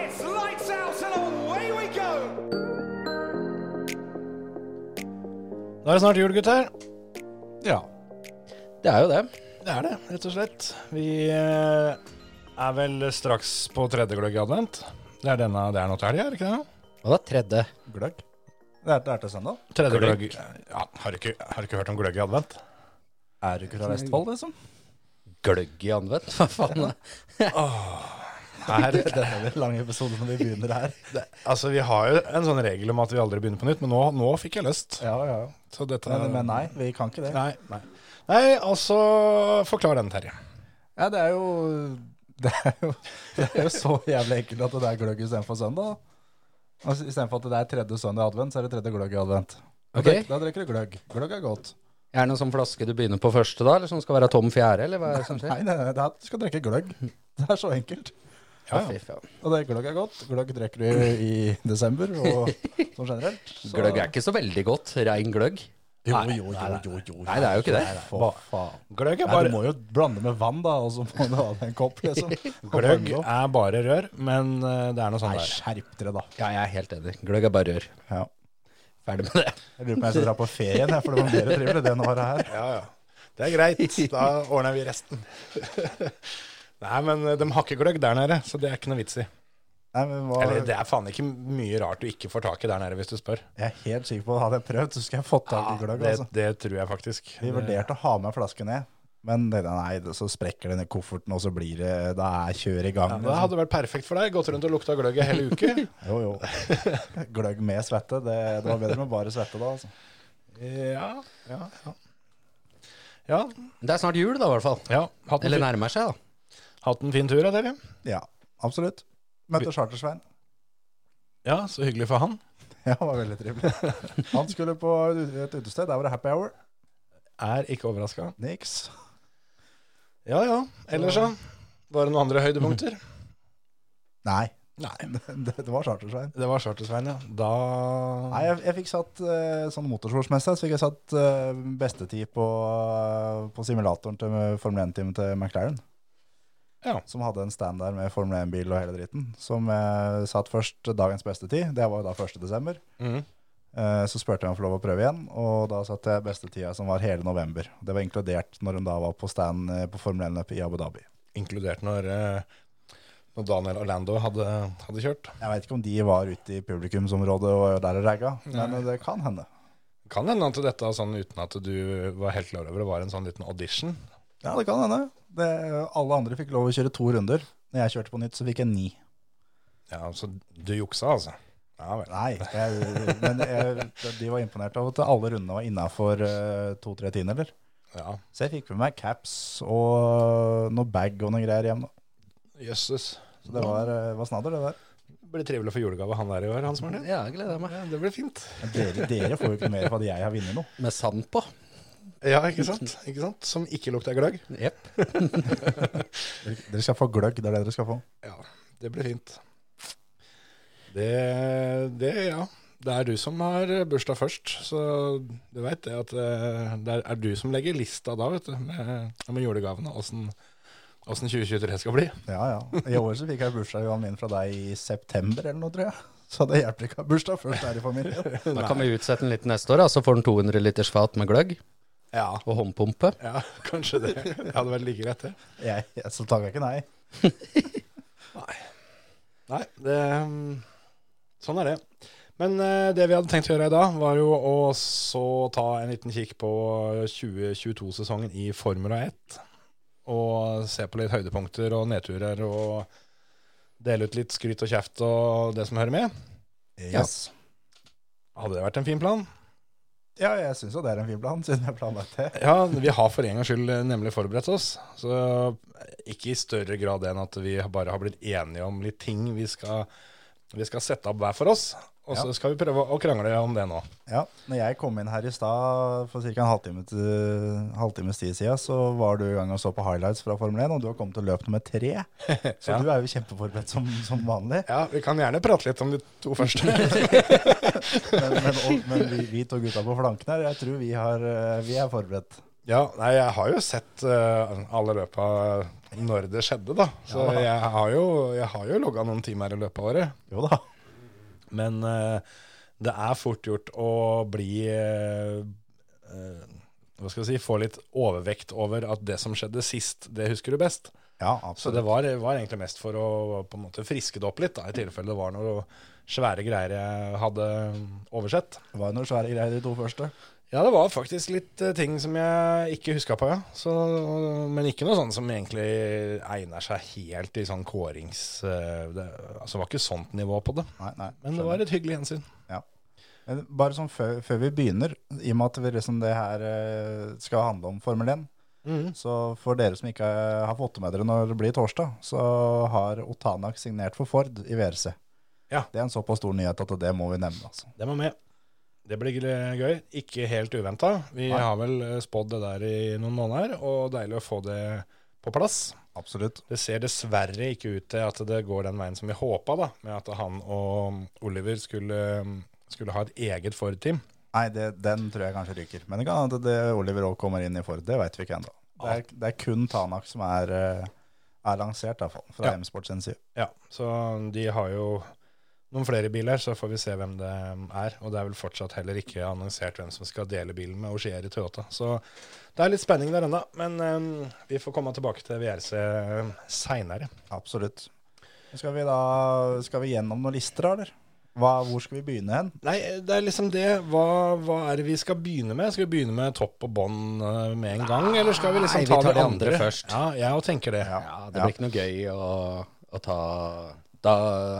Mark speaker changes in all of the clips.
Speaker 1: It's lights out and away we go!
Speaker 2: Da er det snart jul, gutter.
Speaker 3: Ja,
Speaker 2: Det er jo det.
Speaker 3: det er det, rett og slett. Vi eh, er vel straks på tredje gløgg i advent. Det er denne, det er nå til helga, er det ikke det?
Speaker 2: Og det er tredje.
Speaker 3: Gløgg? Det er, det er til søndag. Tredje gløgg. Ja, har du ikke, har du ikke hørt om gløgg i advent? Er du ikke fra Vestfold, liksom?
Speaker 2: Gløgg i anvendt. Hva faen?
Speaker 3: Nei, det, det,
Speaker 4: Den lange episoden når vi begynner her.
Speaker 3: altså, vi har jo en sånn regel om at vi aldri begynner på nytt, men nå, nå fikk jeg lyst.
Speaker 4: Ja, ja, ja.
Speaker 3: Så dette
Speaker 4: Men, men nei, vi kan ikke det.
Speaker 3: Nei, nei. nei, altså Forklar den, Terje.
Speaker 4: Ja, det er jo Det er jo, det er jo så jævlig enkelt at det er gløgg istedenfor søndag. Altså, Istedenfor at det er tredje søndag i advent, så er det tredje gløgg i advent. Da
Speaker 2: Ok.
Speaker 4: drikk- Da drikker du gløgg. Gløgg er godt.
Speaker 2: Er det noen sånn flaske du begynner på første, da? Eller som skal være tom fjerde? Eller hva er det som
Speaker 4: Nei,
Speaker 2: skjer?
Speaker 4: nei, nei, det er- du skal drikke gløgg. Det er så enkelt.
Speaker 2: Ja, fy faen.
Speaker 4: Og det gløgg er godt. Gløgg drikker du i desember og sånn generelt. Så-
Speaker 2: Gløgg er ikke så veldig godt. Rein gløgg.
Speaker 4: Jo, jo, jo, jo, jo.
Speaker 2: Nei, det er jo ikke det.
Speaker 4: For faen. Nei,
Speaker 3: Gløgg er
Speaker 4: du
Speaker 3: bare,
Speaker 4: må jo blande med vann, da, og så må du ha deg en kopp, liksom. Og
Speaker 3: gløgg
Speaker 4: vann opp.
Speaker 3: er bare rør, men eh, det er noe sånn
Speaker 4: Nei,
Speaker 3: der.
Speaker 4: skjerp dere, da.
Speaker 2: Ja, jeg er helt enig. Gløgg er bare rør.
Speaker 4: Ja.
Speaker 2: Ferdig med det.
Speaker 4: Jeg lurer på om jeg skal dra på ferien, jeg, for det var mer trivelig det enn å være her.
Speaker 3: Ja, ja. Det er greit. Da ordner vi resten. Nei, men eh, de har ikke gløgg der nede, så det er ikke noe vits i.
Speaker 4: Nei, men hva,
Speaker 3: Eller det er faen ikke mye rart du ikke får tak i der nede, hvis du spør.
Speaker 4: Jeg er helt sikker på at hadde jeg prøvd, så skulle jeg fått tak i gløgg.
Speaker 3: Det,
Speaker 4: Altså.
Speaker 3: det tror jeg faktisk.
Speaker 4: Vi vurderte å ha med flaske ned, men det- nei, det- så sprekker den i kofferten, og så blir det Da er kjør i gang.
Speaker 3: Ja, det
Speaker 4: liksom.
Speaker 3: hadde vært perfekt for deg. Gått rundt og lukta gløgg i hele uke.
Speaker 4: Jo, jo. Gløgg med svette, det, det var bedre med bare svette da, altså.
Speaker 3: Ja, ja, ja. Ja,
Speaker 2: Det er snart jul, da, i hvert fall.
Speaker 3: ja. Hatt, en
Speaker 2: Eller
Speaker 3: fin,
Speaker 2: nærmer seg, da.
Speaker 3: hatt en fin tur, da, dere.
Speaker 4: Ja, absolutt. Møtte Charter-Svein.
Speaker 3: Ja, så hyggelig for han.
Speaker 4: Ja, det var veldig trivelig. Han skulle på et utested, der var det happy hour.
Speaker 3: Er ikke overraska.
Speaker 4: Niks.
Speaker 3: Ja, ja. Ellers, da? Var det noen andre høydepunkter?
Speaker 4: Nei,
Speaker 3: Nei.
Speaker 4: det, det var Charter-Svein.
Speaker 3: Det var Charter-Svein, ja. Da
Speaker 4: Nei, jeg, jeg fikk satt eh, sånn motorsportsmessig, så fikk jeg satt eh, bestetid på, eh, på simulatoren til Formel 1-teamet til McLaren.
Speaker 3: Ja.
Speaker 4: Som hadde en stand der med Formel 1-bil og hele dritten. Som eh, satt først dagens bestetid, det var jo da 1. desember.
Speaker 3: Mhm.
Speaker 4: Eh, så spurte jeg om jeg får lov å prøve igjen, og da satte jeg bestetida som var hele november. Det var inkludert når hun da var på stand eh, på Formel 1-løpet i Abu Dhabi.
Speaker 3: inkludert når, eh, når Daniel Orlando hadde, hadde kjørt.
Speaker 4: Jeg veit ikke om de var ute i publikumsområdet og der og ragga, men eh, det kan hende.
Speaker 3: Kan hende at dette sånn uten at du var helt klar over det, var en sånn liten audition.
Speaker 4: Ja, det kan hende. Det, alle andre fikk lov å kjøre to runder. Når jeg kjørte på nytt, så fikk jeg ni.
Speaker 3: Ja, Så du juksa, altså? Ja vel.
Speaker 4: Nei, jeg, men jeg, de var imponert over at alle rundene var innafor to-tre tiendeler.
Speaker 3: Ja,
Speaker 4: Så jeg fikk med meg caps og noe bag og noe greier hjem. da.
Speaker 3: Jøsses.
Speaker 4: Så det var, eh, var snadder, det der.
Speaker 3: Det blir trivelig å få julegave han der i år, Hans Martin.
Speaker 2: Ja, jeg gleder meg.
Speaker 3: Ja, det blir fint.
Speaker 4: Men Dere, dere får jo ikke mer for at jeg har vunnet noe.
Speaker 2: Med sand på.
Speaker 3: Ja, ikke sant? Ikke sant? Som ikke lukter gløgg.
Speaker 2: Jepp.
Speaker 4: Dere skal få gløgg, det er det dere skal få.
Speaker 3: Ja, det blir fint. Det, det, ja. Det er du som har bursdag først, så du veit det at eh, det er du som legger lista da, vet du, med, med julegavene, åssen 2023 skal bli.
Speaker 4: Ja, ja. I år så fikk jeg bursdagsgaven min fra deg i september eller noe, tror jeg. Så det hjelper ikke å ha bursdag først her i familien.
Speaker 2: Da kan vi utsette den litt neste år, da. Så får den 200 liters fat med gløgg
Speaker 3: Ja,
Speaker 2: og håndpumpe.
Speaker 3: Ja, kanskje det. Det hadde vært like greit, det.
Speaker 4: Jeg, jeg, så takk jeg ikke nei.
Speaker 3: Nei, det, mm, sånn er det. Men eh, det vi hadde tenkt å gjøre i dag, var jo å så ta en liten kikk på 2022-sesongen i Formula 1. Og se på litt høydepunkter og nedturer og dele ut litt skryt og kjeft og det som hører med.
Speaker 4: Yes.
Speaker 3: Hadde det vært en fin plan?
Speaker 4: Ja, jeg syns jo det er en fin plan, siden jeg planlagt det.
Speaker 3: Ja, vi har for en gangs skyld eh, nemlig forberedt oss. Så ikke i større grad enn at vi bare har blitt enige om litt ting vi skal, vi skal sette opp hver for oss. Og så skal vi prøve å krangle om det nå.
Speaker 4: Ja, når jeg kom inn her i stad for ca. en halvtime til, halvtimes tid siden, så var du i gang og så på highlights fra Formel 1, og du har kommet til løp nummer tre. Så
Speaker 3: Ja.
Speaker 4: du er jo kjempeforberedt som, som vanlig.
Speaker 3: Ja, Vi kan gjerne prate litt om de to første.
Speaker 4: Men, men, og, men vi, vi to gutta på flanken her, jeg tror vi, har, eh, vi er forberedt.
Speaker 3: Ja, nei, jeg har jo sett eh, alle løpa når det skjedde, da. Så jeg har jo, jeg har jo logga noen timer i løpet av året.
Speaker 4: Jo da.
Speaker 3: Men eh, det er fort gjort å bli eh, eh, Hva skal jeg si Få litt overvekt over at det som skjedde sist, det husker du best.
Speaker 4: Ja,
Speaker 3: Så det
Speaker 4: absolutt.
Speaker 3: var, var egentlig mest for å på en måte friske det opp litt, da, i tilfelle det var noe svære greier jeg hadde oversett.
Speaker 4: Det var jo noen svære greier, de to første.
Speaker 3: Ja, det var faktisk litt eh, ting som jeg ikke huska på, ja. Så, men ikke noe sånn som egentlig egner seg helt i sånn kårings... eh, Det, altså, det var ikke sånt nivå på det.
Speaker 4: Nei, nei.
Speaker 3: Men det
Speaker 4: skjønner.
Speaker 3: var et hyggelig gjensyn.
Speaker 4: Ja. Men Bare sånn før, før vi begynner, i og med at vi liksom det her eh, skal handle om Formel 1, så for dere som ikke eh, har fått det med dere når det blir torsdag, så har Otanak signert for Ford i VRC.
Speaker 3: Ja.
Speaker 4: Det er en såpass stor nyhet at det må vi nevne. altså.
Speaker 3: Det må med. Det blir gl- gøy. Ikke helt uventa. Vi
Speaker 4: Nei.
Speaker 3: har vel eh, spådd det der i noen måneder, og deilig å få det på plass.
Speaker 4: Absolutt.
Speaker 3: Det ser dessverre ikke ut til at det går den veien som vi håpa, da, med at han og Oliver skulle, skulle ha et eget Ford-team.
Speaker 4: Nei, det, den tror jeg kanskje ryker. Men det kan hende at det Oliver òg kommer inn i Ford. Det veit vi ikke ennå. Det, er- det er kun Tanak som er, eh, er lansert, i hvert fall, fra
Speaker 3: Ja.
Speaker 4: M-Sport sin side.
Speaker 3: Ja, så de har jo noen flere biler, så får vi se hvem det er. Og det er vel fortsatt heller ikke annonsert hvem som skal dele bilen med Ogier i Toyota. Så det er litt spenning der ennå, men eh, vi får komme tilbake til VRC seinere.
Speaker 4: Absolutt. Skal vi da skal vi gjennom noen lister, da, eller? Hva, hvor skal vi begynne hen?
Speaker 3: Nei, det er liksom det. Hva, hva er det vi skal begynne med? Skal vi begynne med topp og bånd eh, med en gang, eller skal vi liksom
Speaker 2: Nei, vi
Speaker 3: ta
Speaker 2: tar
Speaker 3: det
Speaker 2: de andre
Speaker 3: andre
Speaker 2: først.
Speaker 3: Ja, jeg òg tenker det.
Speaker 2: Ja, det blir ikke noe gøy å, å ta Da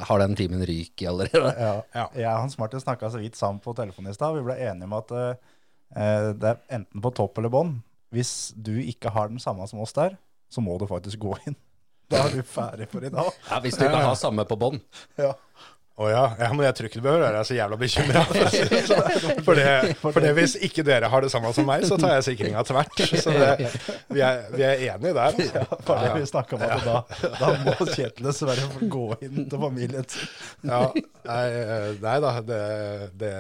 Speaker 2: har den timen ryk i allerede.
Speaker 4: Ja.
Speaker 3: Ja.
Speaker 4: Jeg og Hans Martin snakka så vidt sammen på telefonen i stad. Vi ble enige om at eh, det er enten på topp eller bånn. Hvis du ikke har den samme som oss der, så må du faktisk gå inn. Da er du ferdig for i dag.
Speaker 2: Ja, hvis du ikke har samme på bånd.
Speaker 4: Ja.
Speaker 3: Å ja. ja, men jeg tror ikke du behøver være så jævla bekymra. sånn. For, det- for det hvis ikke dere har det samme som meg, så tar jeg sikringa tvert. Så det, vi, er, vi er enige der.
Speaker 4: Ja,
Speaker 3: altså.
Speaker 4: for det vi snakket om at da, da må Kjetil dessverre få gå inn til familien sin.
Speaker 3: Ja, nei, eh, nei da, det, det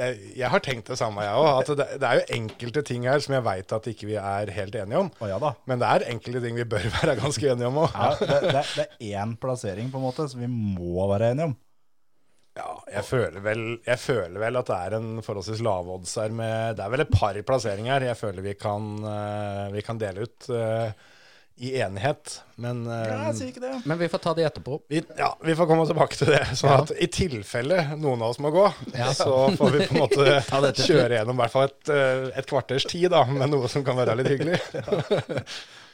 Speaker 3: jeg, jeg har tenkt det samme, jeg òg. At det, det er jo enkelte ting her som jeg veit at ikke vi er helt enige om.
Speaker 4: Å ja da.
Speaker 3: Men det er enkelte ting vi bør være ganske enige om òg.
Speaker 4: Ja, det, det, det er én plassering på en måte som vi må være enige om.
Speaker 3: Ja, jeg føler, vel, jeg føler vel at det er en forholdsvis lav odds her med Det er vel et par plasseringer jeg føler vi kan, eh, vi kan dele ut eh, i enighet. Men eh,
Speaker 4: ikke det.
Speaker 2: Men vi får ta de etterpå.
Speaker 3: vi, ja, vi får komme tilbake til det. Sånn at i tilfelle noen av oss må gå, så får vi på en
Speaker 2: Ta
Speaker 3: måte
Speaker 2: det til slutt.
Speaker 3: kjøre gjennom i hvert fall et, eh, et kvarters tid da, med noe som kan være litt hyggelig.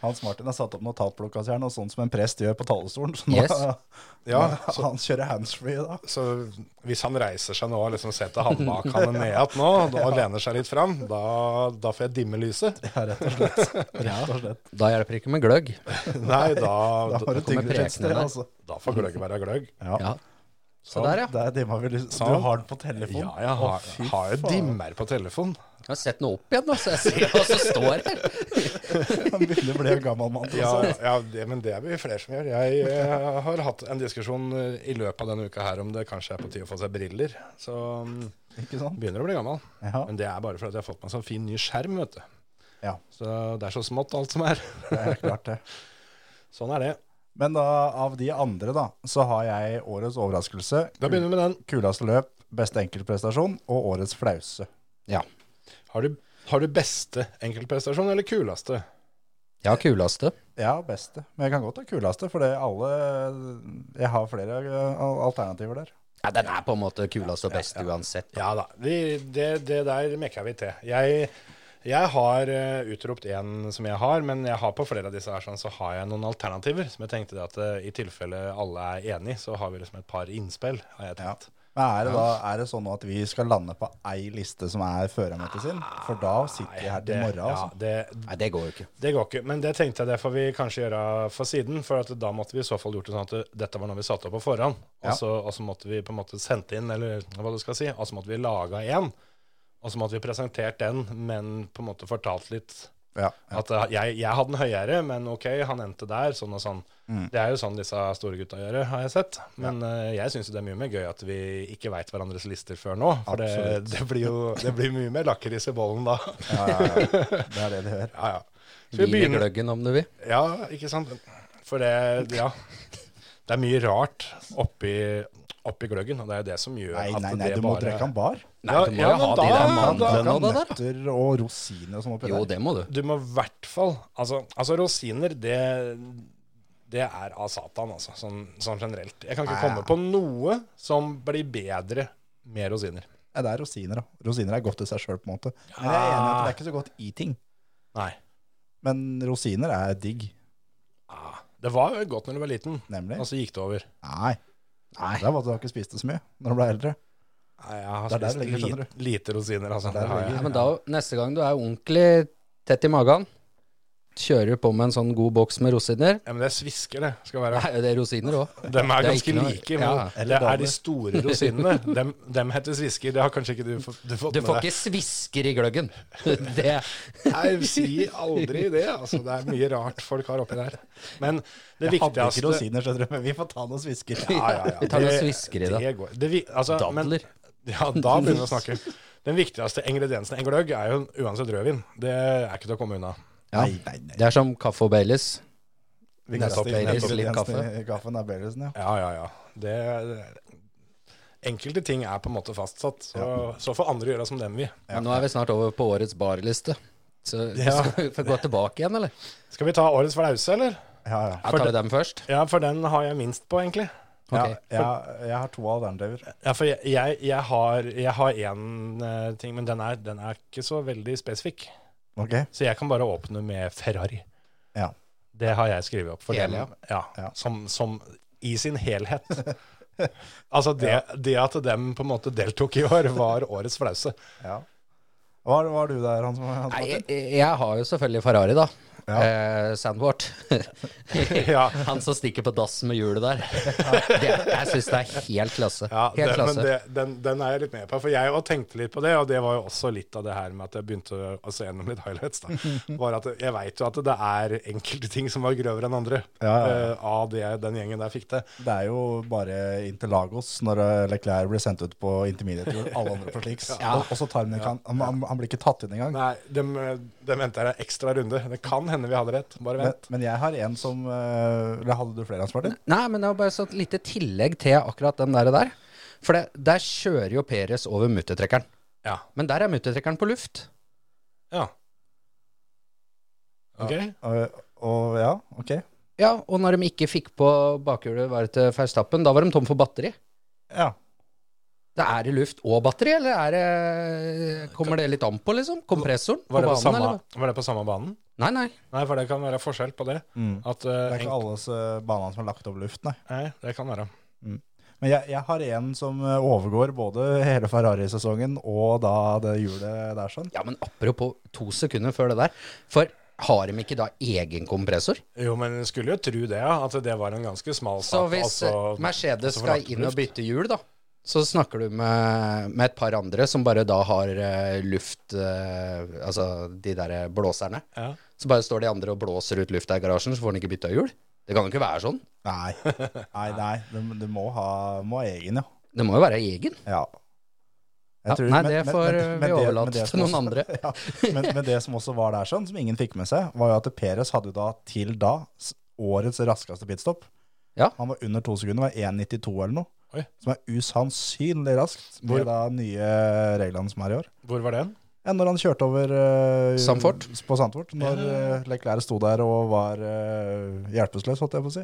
Speaker 4: Hans Martin har satt opp notatblokka si her, noe sånt som en prest gjør på talerstolen. Så nå,
Speaker 2: Yes.
Speaker 3: Ja,
Speaker 4: nå- han kjører handsfree da.
Speaker 3: Så hvis han reiser seg nå og liksom setter håndbakene ned igjen nå, og lener seg litt fram, da, da får jeg dimme lyset.
Speaker 4: Ja, rett og slett. Rett og slett.
Speaker 2: Da hjelper det ikke med gløgg.
Speaker 3: Nei, da,
Speaker 4: Da har du
Speaker 2: kommer
Speaker 4: tyngre et
Speaker 2: prekene
Speaker 4: sted,
Speaker 2: der.
Speaker 4: altså.
Speaker 3: Da får gløgg være gløgg.
Speaker 2: Ja. Se der, ja.
Speaker 4: Der dimma vi lyset.
Speaker 3: Sånn.
Speaker 4: Du har den på telefon?
Speaker 3: Ja, jeg
Speaker 4: Å,
Speaker 3: har,
Speaker 4: fy
Speaker 3: har jo
Speaker 4: faen.
Speaker 3: dimmer på telefon.
Speaker 2: Jeg har sett noe opp igjen, da, så jeg ser hva som står her.
Speaker 4: Han begynner å bli en gammel mann.
Speaker 3: Ja,
Speaker 4: altså.
Speaker 3: ja det, men det er vi flere som gjør. Jeg, eh, har hatt en diskusjon eh, i løpet av denne uka her om det kanskje er på tide å få seg briller. Så mm,
Speaker 4: Ikke sant?
Speaker 3: begynner å bli gammel.
Speaker 4: Ja.
Speaker 3: Men det er bare fordi jeg har fått meg sånn fin ny skjerm, vet du.
Speaker 4: ja,
Speaker 3: Så det er så smått alt som er.
Speaker 4: det er klart det.
Speaker 3: Sånn er det.
Speaker 4: Men da, av de andre, da, så har jeg årets overraskelse.
Speaker 3: Da begynner vi med den.
Speaker 4: Kuleste løp, beste enkeltprestasjon og årets flause.
Speaker 2: Ja.
Speaker 3: Har du, har du beste enkeltprestasjon eller kuleste?
Speaker 2: Jeg har kuleste.
Speaker 4: Ja, beste. Men jeg kan godt ta kuleste, for det er alle Jeg har flere eh, alternativer der.
Speaker 2: Ja, den er på en måte kulest og best uansett.
Speaker 3: Ja da, vi, det, det der mekker vi til. Jeg, jeg har eh, utropt én som jeg har, men jeg har på flere av disse her sånn, så har jeg noen alternativer. Som jeg tenkte det at eh, i tilfelle alle er enige, så har vi liksom et par innspill, har jeg tenkt.
Speaker 4: Men er det, da, er det sånn nå at vi skal lande på ei liste som er førermøtet sin? For da sitter vi her til i morgen, altså.
Speaker 3: Ja, det,
Speaker 2: Nei, det går jo ikke.
Speaker 3: Det går ikke, men det tenkte jeg det får vi kanskje gjøre for siden. For at da måtte vi i så fall gjort det sånn at det- dette var noe vi satte opp på forhånd.
Speaker 4: Ja.
Speaker 3: Og, så, og så måtte vi på en måte sendt inn, eller hva du skal si, og så måtte vi laga en. Og så måtte vi presentert den, men på en måte fortalt litt
Speaker 4: Ja, ja.
Speaker 3: at eh, jeg, jeg hadde den høyere, men ok, han endte der, sånn og sånn.
Speaker 4: Mm.
Speaker 3: Det er jo sånn disse store gutta gjør, har jeg sett. Men eh, jeg syns jo det er mye mer gøy at vi ikke veit hverandres lister før nå. For det,
Speaker 4: Absolutt.
Speaker 3: det blir jo det blir mye mer lakris i bollen da.
Speaker 4: Ja, ja, ja. Det er det det gjør.
Speaker 3: Ja, ja. Skal vi
Speaker 2: Hvil i
Speaker 3: begynne?
Speaker 2: gløggen om du vil.
Speaker 3: Ja, ikke sant. For det Ja. Det er mye rart oppi, oppi gløggen, og det er jo det som gjør
Speaker 4: Nei,
Speaker 3: at
Speaker 4: nei, nei,
Speaker 3: det
Speaker 4: du må
Speaker 3: bare
Speaker 4: drikke en bar.
Speaker 2: Nei,
Speaker 3: Ja,
Speaker 2: du må
Speaker 3: ja,
Speaker 2: jo ha
Speaker 3: men
Speaker 2: de
Speaker 3: da-
Speaker 2: der
Speaker 3: da-
Speaker 2: mandlene og det der.
Speaker 4: nøtter og rosiner og sånn oppi
Speaker 2: Jo,
Speaker 4: der.
Speaker 2: det må du.
Speaker 3: Du må i hvert fall Altså, altså rosiner, det, det er av satan, altså. Sånn, sånn generelt. Jeg kan ikke komme på noe som blir bedre med rosiner.
Speaker 4: Ja, det er rosiner, da. Rosiner er godt i seg sjøl, på en måte. Men jeg er enig i at det er ikke så godt i ting.
Speaker 3: Nei.
Speaker 4: Men rosiner er digg,
Speaker 3: Ah, det var jo godt når du var liten,
Speaker 4: nemlig.
Speaker 3: og så gikk det over.
Speaker 4: Nei. Det er bare at du har ikke spist det så mye når du ble eldre.
Speaker 3: Nei, jeg har
Speaker 4: Det er der
Speaker 3: spist
Speaker 4: det ligger, skjønner
Speaker 3: lite, lite rosiner, altså.
Speaker 4: Det er der
Speaker 3: Det har
Speaker 4: det
Speaker 3: jeg.
Speaker 2: Ja, men da, neste gang du er ordentlig tett i magen, kjører du på med en sånn god boks med rosiner.
Speaker 3: Ja, men det svisker, det. Skal være.
Speaker 2: Nei, det er rosiner òg.
Speaker 3: Dem er
Speaker 2: Det er
Speaker 3: ganske
Speaker 2: ikke noe-
Speaker 3: like, men
Speaker 2: ja.
Speaker 3: det er de store rosinene. Dem, dem heter svisker. Det har kanskje ikke du, fått- du fått
Speaker 2: Du
Speaker 3: med
Speaker 2: får
Speaker 3: deg.
Speaker 2: ikke svisker i gløggen. Det,
Speaker 3: Nei, si aldri det. Altså, det er mye rart folk har oppi der. Men det
Speaker 4: Jeg hadde ikke
Speaker 3: viktigste
Speaker 4: rosiner, skjønner du, men vi får ta noen svisker.
Speaker 3: Ja, ja, ja.
Speaker 2: Vi tar noen svisker i det.
Speaker 3: det går. det vi, altså,
Speaker 2: Dadler.
Speaker 3: Men, ja, da begynner vi å snakke. Den viktigste ingrediensen i en gløgg er jo uansett rødvin. Det er ikke til å komme unna.
Speaker 4: Nei, nei, nei.
Speaker 2: det er som kaffe og Baileys.
Speaker 4: Vi
Speaker 2: Nettopp,
Speaker 4: kaster inn
Speaker 2: Baileys,
Speaker 4: nettopp
Speaker 2: litt
Speaker 4: den
Speaker 2: kaffe.
Speaker 4: i Kaffen er Baileysen, ja.
Speaker 3: Ja, ja, ja. Det, enkelte ting er på en måte fastsatt. Så, så får andre gjøre som dem vil.
Speaker 2: Men Nå er vi snart over på årets barliste. Så
Speaker 3: Ja.
Speaker 2: skal vi få gå tilbake igjen, eller?
Speaker 3: Skal vi ta årets flause, eller?
Speaker 4: Ja, ja.
Speaker 2: Ja,
Speaker 3: For
Speaker 2: tar vi dem først?
Speaker 3: Ja, for den har jeg minst på, egentlig.
Speaker 4: Ja,
Speaker 2: Ok.
Speaker 4: jeg, jeg har to alternativer.
Speaker 3: Ja, for jeg, jeg, jeg har jeg har én eh, ting, men den er, den er ikke så veldig spesifikk.
Speaker 4: Ok,
Speaker 3: Så jeg kan bare åpne med Ferrari.
Speaker 4: ja.
Speaker 3: Det har jeg skrevet opp for
Speaker 2: Hele,
Speaker 3: dem. Ja,
Speaker 4: Ja.
Speaker 3: Som, som i sin helhet. altså det, det at dem på en måte deltok i år, var årets flause.
Speaker 4: ja. Hva var- var du der, han som han som-
Speaker 2: Nei, jeg, jeg har jo selvfølgelig Ferrari, da.
Speaker 4: Ja.
Speaker 2: Eh, Sandwart.
Speaker 3: Ja.
Speaker 2: Han som stikker på dassen med hjulet der. Det, jeg syns det er helt klasse.
Speaker 3: Ja, det,
Speaker 2: Helt
Speaker 3: men
Speaker 2: klasse.
Speaker 3: det, den, den er jeg litt med på, for jeg også tenkte litt på det. Og det var jo også litt av det her med at jeg begynte å se gjennom litt highlights. da Var at Jeg veit jo at det er enkelte ting som var grøvere enn andre
Speaker 4: Ja, ja, ja.
Speaker 3: eh, av det den gjengen der fikk til.
Speaker 4: Det er jo bare Interlagos når eh, Leclerc blir sendt ut på intermediate tour, alle andre på sliks. Og, og så tar han ikke han, han, han blir ikke tatt inn engang.
Speaker 3: Nei, dem, dem venter jeg en ekstra runde. Det kan hende vi hadde rett. Bare
Speaker 4: Men,
Speaker 3: vent.
Speaker 4: men jeg har en som eh, Eller hadde du flere, Hans Martin?
Speaker 2: Nei, men det var bare sånn et lite tillegg til akkurat den der. der. For det, der kjører jo Peres over muttertrekkeren.
Speaker 3: Ja.
Speaker 2: Men der er muttertrekkeren på luft.
Speaker 3: ja. Ok?
Speaker 4: Og, og ja, ok.
Speaker 2: Ja, og når de ikke fikk på bakhjulet var det til Verstappen, da var de tom for batteri.
Speaker 4: Ja.
Speaker 2: Det er det luft og batteri, eller er det, kommer det litt an på, liksom? Kompressoren på
Speaker 3: Var det, på
Speaker 2: banen,
Speaker 3: samme,
Speaker 2: eller?
Speaker 3: var det på samme banen?
Speaker 2: Nei, nei.
Speaker 3: Nei, for det kan være forskjell på det.
Speaker 4: Mm.
Speaker 3: At, eh,
Speaker 4: Det er ikke
Speaker 3: enk-
Speaker 4: alles eh, banene som er lagt opp luft, nei.
Speaker 3: Nei, det kan være.
Speaker 4: Men jeg, jeg har en som eh, overgår både hele Ferrari-sesongen og da det hjulet der sånn.
Speaker 2: Ja, men apropos to sekunder før det der. For har de ikke da egen kompressor?
Speaker 3: Jo, men en skulle jo tro det, ja. At det var en ganske smal
Speaker 2: Så
Speaker 3: sak.
Speaker 2: hvis eh, Mercedes
Speaker 3: altså for
Speaker 2: skal
Speaker 3: lagt
Speaker 2: inn og
Speaker 3: luft.
Speaker 2: bytte hjul, da, så snakker du med, med et par andre som bare da har eh, luft eh, Altså de derre blåserne.
Speaker 3: Ja.
Speaker 2: Så bare står de andre og blåser ut lufta i garasjen, så får han ikke bytta hjul. Det kan jo ikke være sånn.
Speaker 4: Nei, nei, nei. Du, du må, ha, må ha egen, ja.
Speaker 2: Det må jo være egen.
Speaker 4: Ja. Jeg
Speaker 2: Ja,
Speaker 4: tror-
Speaker 2: nei,
Speaker 4: men-
Speaker 2: det
Speaker 4: men-
Speaker 2: får
Speaker 4: men-
Speaker 2: eh,
Speaker 4: men
Speaker 2: vi
Speaker 4: det- men
Speaker 2: overlate
Speaker 4: det som
Speaker 2: til noen
Speaker 4: også-
Speaker 2: andre.
Speaker 4: ja, men, men det som også var der, sånn, som ingen fikk med seg, var jo at Peres hadde da til da s- årets raskeste pitstop.
Speaker 2: Ja.
Speaker 4: Han var under to sekunder, var 1,92 eller noe.
Speaker 3: Oi.
Speaker 4: Som er usannsynlig raskt
Speaker 3: Hvor-
Speaker 4: med da nye reglene som er i år.
Speaker 3: Hvor var den?
Speaker 4: Ja, når han kjørte over eh,
Speaker 2: Sandfort?
Speaker 4: På Sandfort. Når eh, Leclerc sto der og var eh, hjelpeløs, holdt jeg på å si.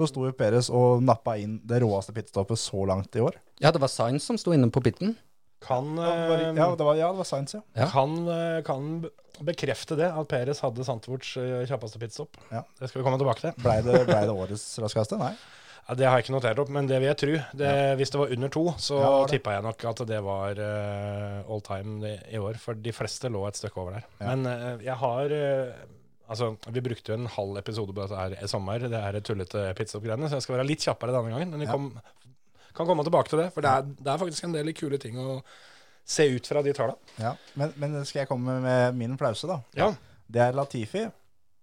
Speaker 4: Så sto jo Peres og nappa inn det råeste pitstoppet så langt i år.
Speaker 2: Ja, det var Sainz som sto inne på pitten.
Speaker 3: Kan, eh,
Speaker 4: Ja, det var, ja, det var Sainz, ja.
Speaker 2: Ja.
Speaker 3: kan, eh, kan be- bekrefte det, at Peres hadde Santvorts eh, kjappeste pitstop.
Speaker 4: Ja.
Speaker 3: Det skal vi komme tilbake til.
Speaker 4: Blei det, ble det årets raskeste? Nei.
Speaker 3: Nei, Ja, det har jeg ikke notert opp, men det vil jeg tro. Det, Hvis det var under to, så
Speaker 4: Ja, det var
Speaker 3: tippet
Speaker 4: det.
Speaker 3: tippa jeg nok at det var eh, all time i, i år. For de fleste lå et stykke over der. Men eh, jeg har eh, Altså, vi brukte jo en halv episode på dette her i sommer, det her tullete pizzaoppgreiene, så jeg skal være litt kjappere denne gangen. Men vi
Speaker 4: Ja.
Speaker 3: kom, kan komme tilbake til det, for det er, det er faktisk en del kule ting å se ut fra de tallene.
Speaker 4: Ja. Men, men skal jeg komme med min flause, da?
Speaker 3: Ja.
Speaker 4: Det er Latifi.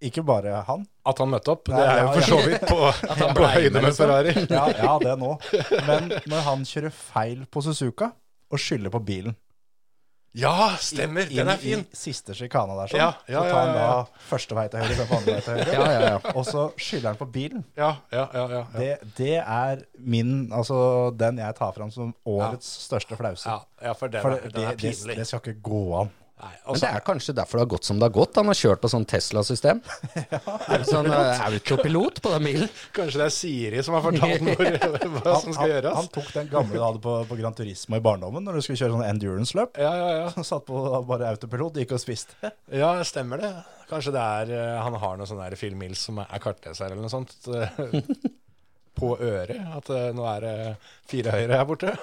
Speaker 4: Ikke bare han.
Speaker 3: At han møtte opp,
Speaker 4: Nei,
Speaker 3: det er jo
Speaker 4: ja,
Speaker 3: for så
Speaker 4: ja.
Speaker 3: vidt på, på
Speaker 2: ble med,
Speaker 3: høyde med
Speaker 2: liksom.
Speaker 3: Ferrari.
Speaker 4: Ja, ja, det nå. Men når han kjører feil på Suzuka og skylder på bilen
Speaker 3: Ja, stemmer! Den
Speaker 4: Inn
Speaker 3: er fin.
Speaker 4: i siste sjikana der, sånn.
Speaker 3: Ja, ja,
Speaker 4: så tar
Speaker 3: ja,
Speaker 4: han
Speaker 3: ja, ja.
Speaker 4: da første vei til høyre, så på andre vei til høyre. Og så skylder han på bilen.
Speaker 3: Ja, ja, ja. ja, ja.
Speaker 4: Det, det er min, altså den jeg tar fram som årets største flause.
Speaker 3: Ja, ja, for den,
Speaker 4: For
Speaker 3: er,
Speaker 4: det,
Speaker 3: den
Speaker 4: det,
Speaker 3: er
Speaker 4: det,
Speaker 3: pinlig.
Speaker 4: det skal ikke gå an.
Speaker 3: Nei,
Speaker 2: Men
Speaker 3: altså,
Speaker 2: det er kanskje derfor det har gått som det har gått. Han har kjørt på sånn Tesla-system. Er det sånn eh, autopilot på den bilen.
Speaker 3: Kanskje det er Siri som har fortalt hvor, hva som skal
Speaker 4: han,
Speaker 3: gjøres?
Speaker 4: han tok den gamle du hadde på, på Gran Turismo i barndommen, når du skulle kjøre sånn endurance-løp.
Speaker 3: Ja, ja, ja.
Speaker 4: Han satt på bare autopilot, gikk og spiste.
Speaker 3: ja, stemmer det. Kanskje det er eh, han har noe sånn der Phil Mills som er kartleser eller noe sånt. eh, På øret. At eh, nå er det fire høyre her borte.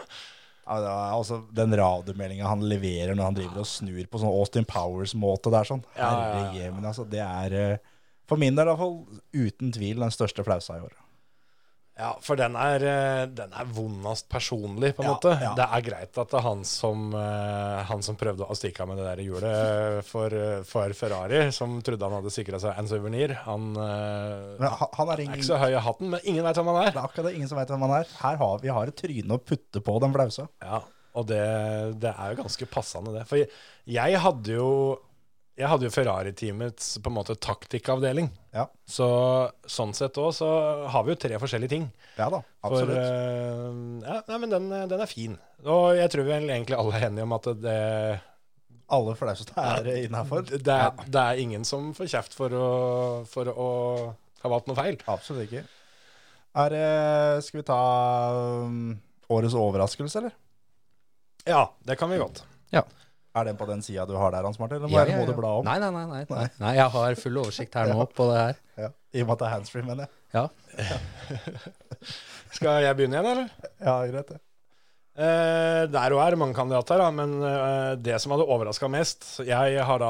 Speaker 4: Ja, det er altså Den radiomeldinga han leverer når han driver og snur på sånn Austin Powers-måte der, sånn.
Speaker 3: Ja, ja, ja, ja.
Speaker 4: Herrejemen, altså. Det er eh, for min del iallfall uten tvil den største flausa i år.
Speaker 3: Ja, for den er, eh, den er vondest personlig, på en
Speaker 4: Ja,
Speaker 3: måte.
Speaker 4: ja.
Speaker 3: Det er greit at det er han som, eh, han som prøvde å stikke av med det der hjulet for, eh, for Ferrari, som trodde han hadde sikra seg en suvenir, han eh,
Speaker 4: Men ha- han er
Speaker 3: er
Speaker 4: ingen
Speaker 3: ikke så høy i hatten, men ingen veit hvem han er.
Speaker 4: Det er akkurat det, ingen som veit hvem han er. Her har vi har et tryne å putte på den flausa.
Speaker 3: Ja, og det, det er jo ganske passende det. For jeg, jeg hadde jo jeg hadde jo Ferrari-teamets på en måte taktikkavdeling.
Speaker 4: Ja.
Speaker 3: Så sånn sett òg, så har vi jo tre forskjellige ting.
Speaker 4: Ja da,
Speaker 3: For,
Speaker 4: absolutt.
Speaker 3: eh, ja, nei, men den, den er fin. Og jeg tror vel egentlig alle er enige om at det,
Speaker 4: Alle flausene er innafor.
Speaker 3: det, er, det er ingen som får kjeft for å, for å ha valgt noe feil.
Speaker 4: Absolutt ikke. Er, det- skal vi ta um, årets overraskelse, eller?
Speaker 3: Ja, det kan vi godt.
Speaker 4: Er den på den sida du har der, Hans Martin? Eller må,
Speaker 2: Ja,
Speaker 4: må
Speaker 2: ja,
Speaker 4: du
Speaker 2: ja.
Speaker 4: bla om?
Speaker 2: Nei, nei, nei, nei, nei. Nei, jeg har full oversikt her nå på det her.
Speaker 4: Ja. I og med at det er handsfree, mener jeg.
Speaker 2: Ja.
Speaker 3: Skal jeg begynne igjen, eller?
Speaker 4: Ja, greit det.
Speaker 3: Eh, der òg er det mange kandidater, da, men eh, det som hadde overraska mest Jeg har da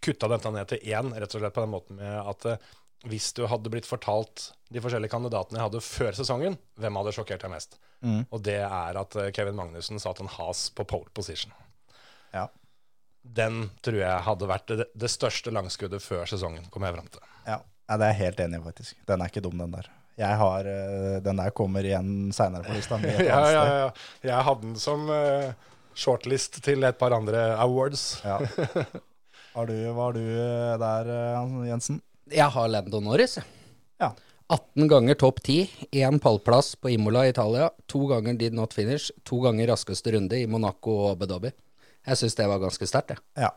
Speaker 3: kutta dette ned til én, rett og slett på den måten med at eh, hvis du hadde blitt fortalt de forskjellige kandidatene jeg hadde før sesongen, hvem hadde sjokkert deg mest?
Speaker 4: Mm.
Speaker 3: Og det er at eh, Kevin Magnussen satt en has på pole position.
Speaker 4: Ja.
Speaker 3: Den tror jeg hadde vært det, det største langskuddet før sesongen, kom jeg fram til.
Speaker 4: Ja. ja, det er jeg helt enig i, faktisk. Den er ikke dum, den der. Jeg har, eh, Den der kommer igjen seinere på lista. men et
Speaker 3: Ja,
Speaker 4: annet
Speaker 3: ja,
Speaker 4: sted.
Speaker 3: ja. Jeg hadde den som eh, shortlist til et par andre awards.
Speaker 4: ja. Har du, var du eh, der, eh, Hans- Jensen?
Speaker 2: Jeg har Lando Norris. jeg.
Speaker 4: Ja.
Speaker 2: 18 ganger topp 10, én pallplass på Imola i Italia, to ganger did not finish, to ganger raskeste runde i Monaco og Abu Dhabi. Jeg syns det var ganske sterkt, jeg.
Speaker 4: ja.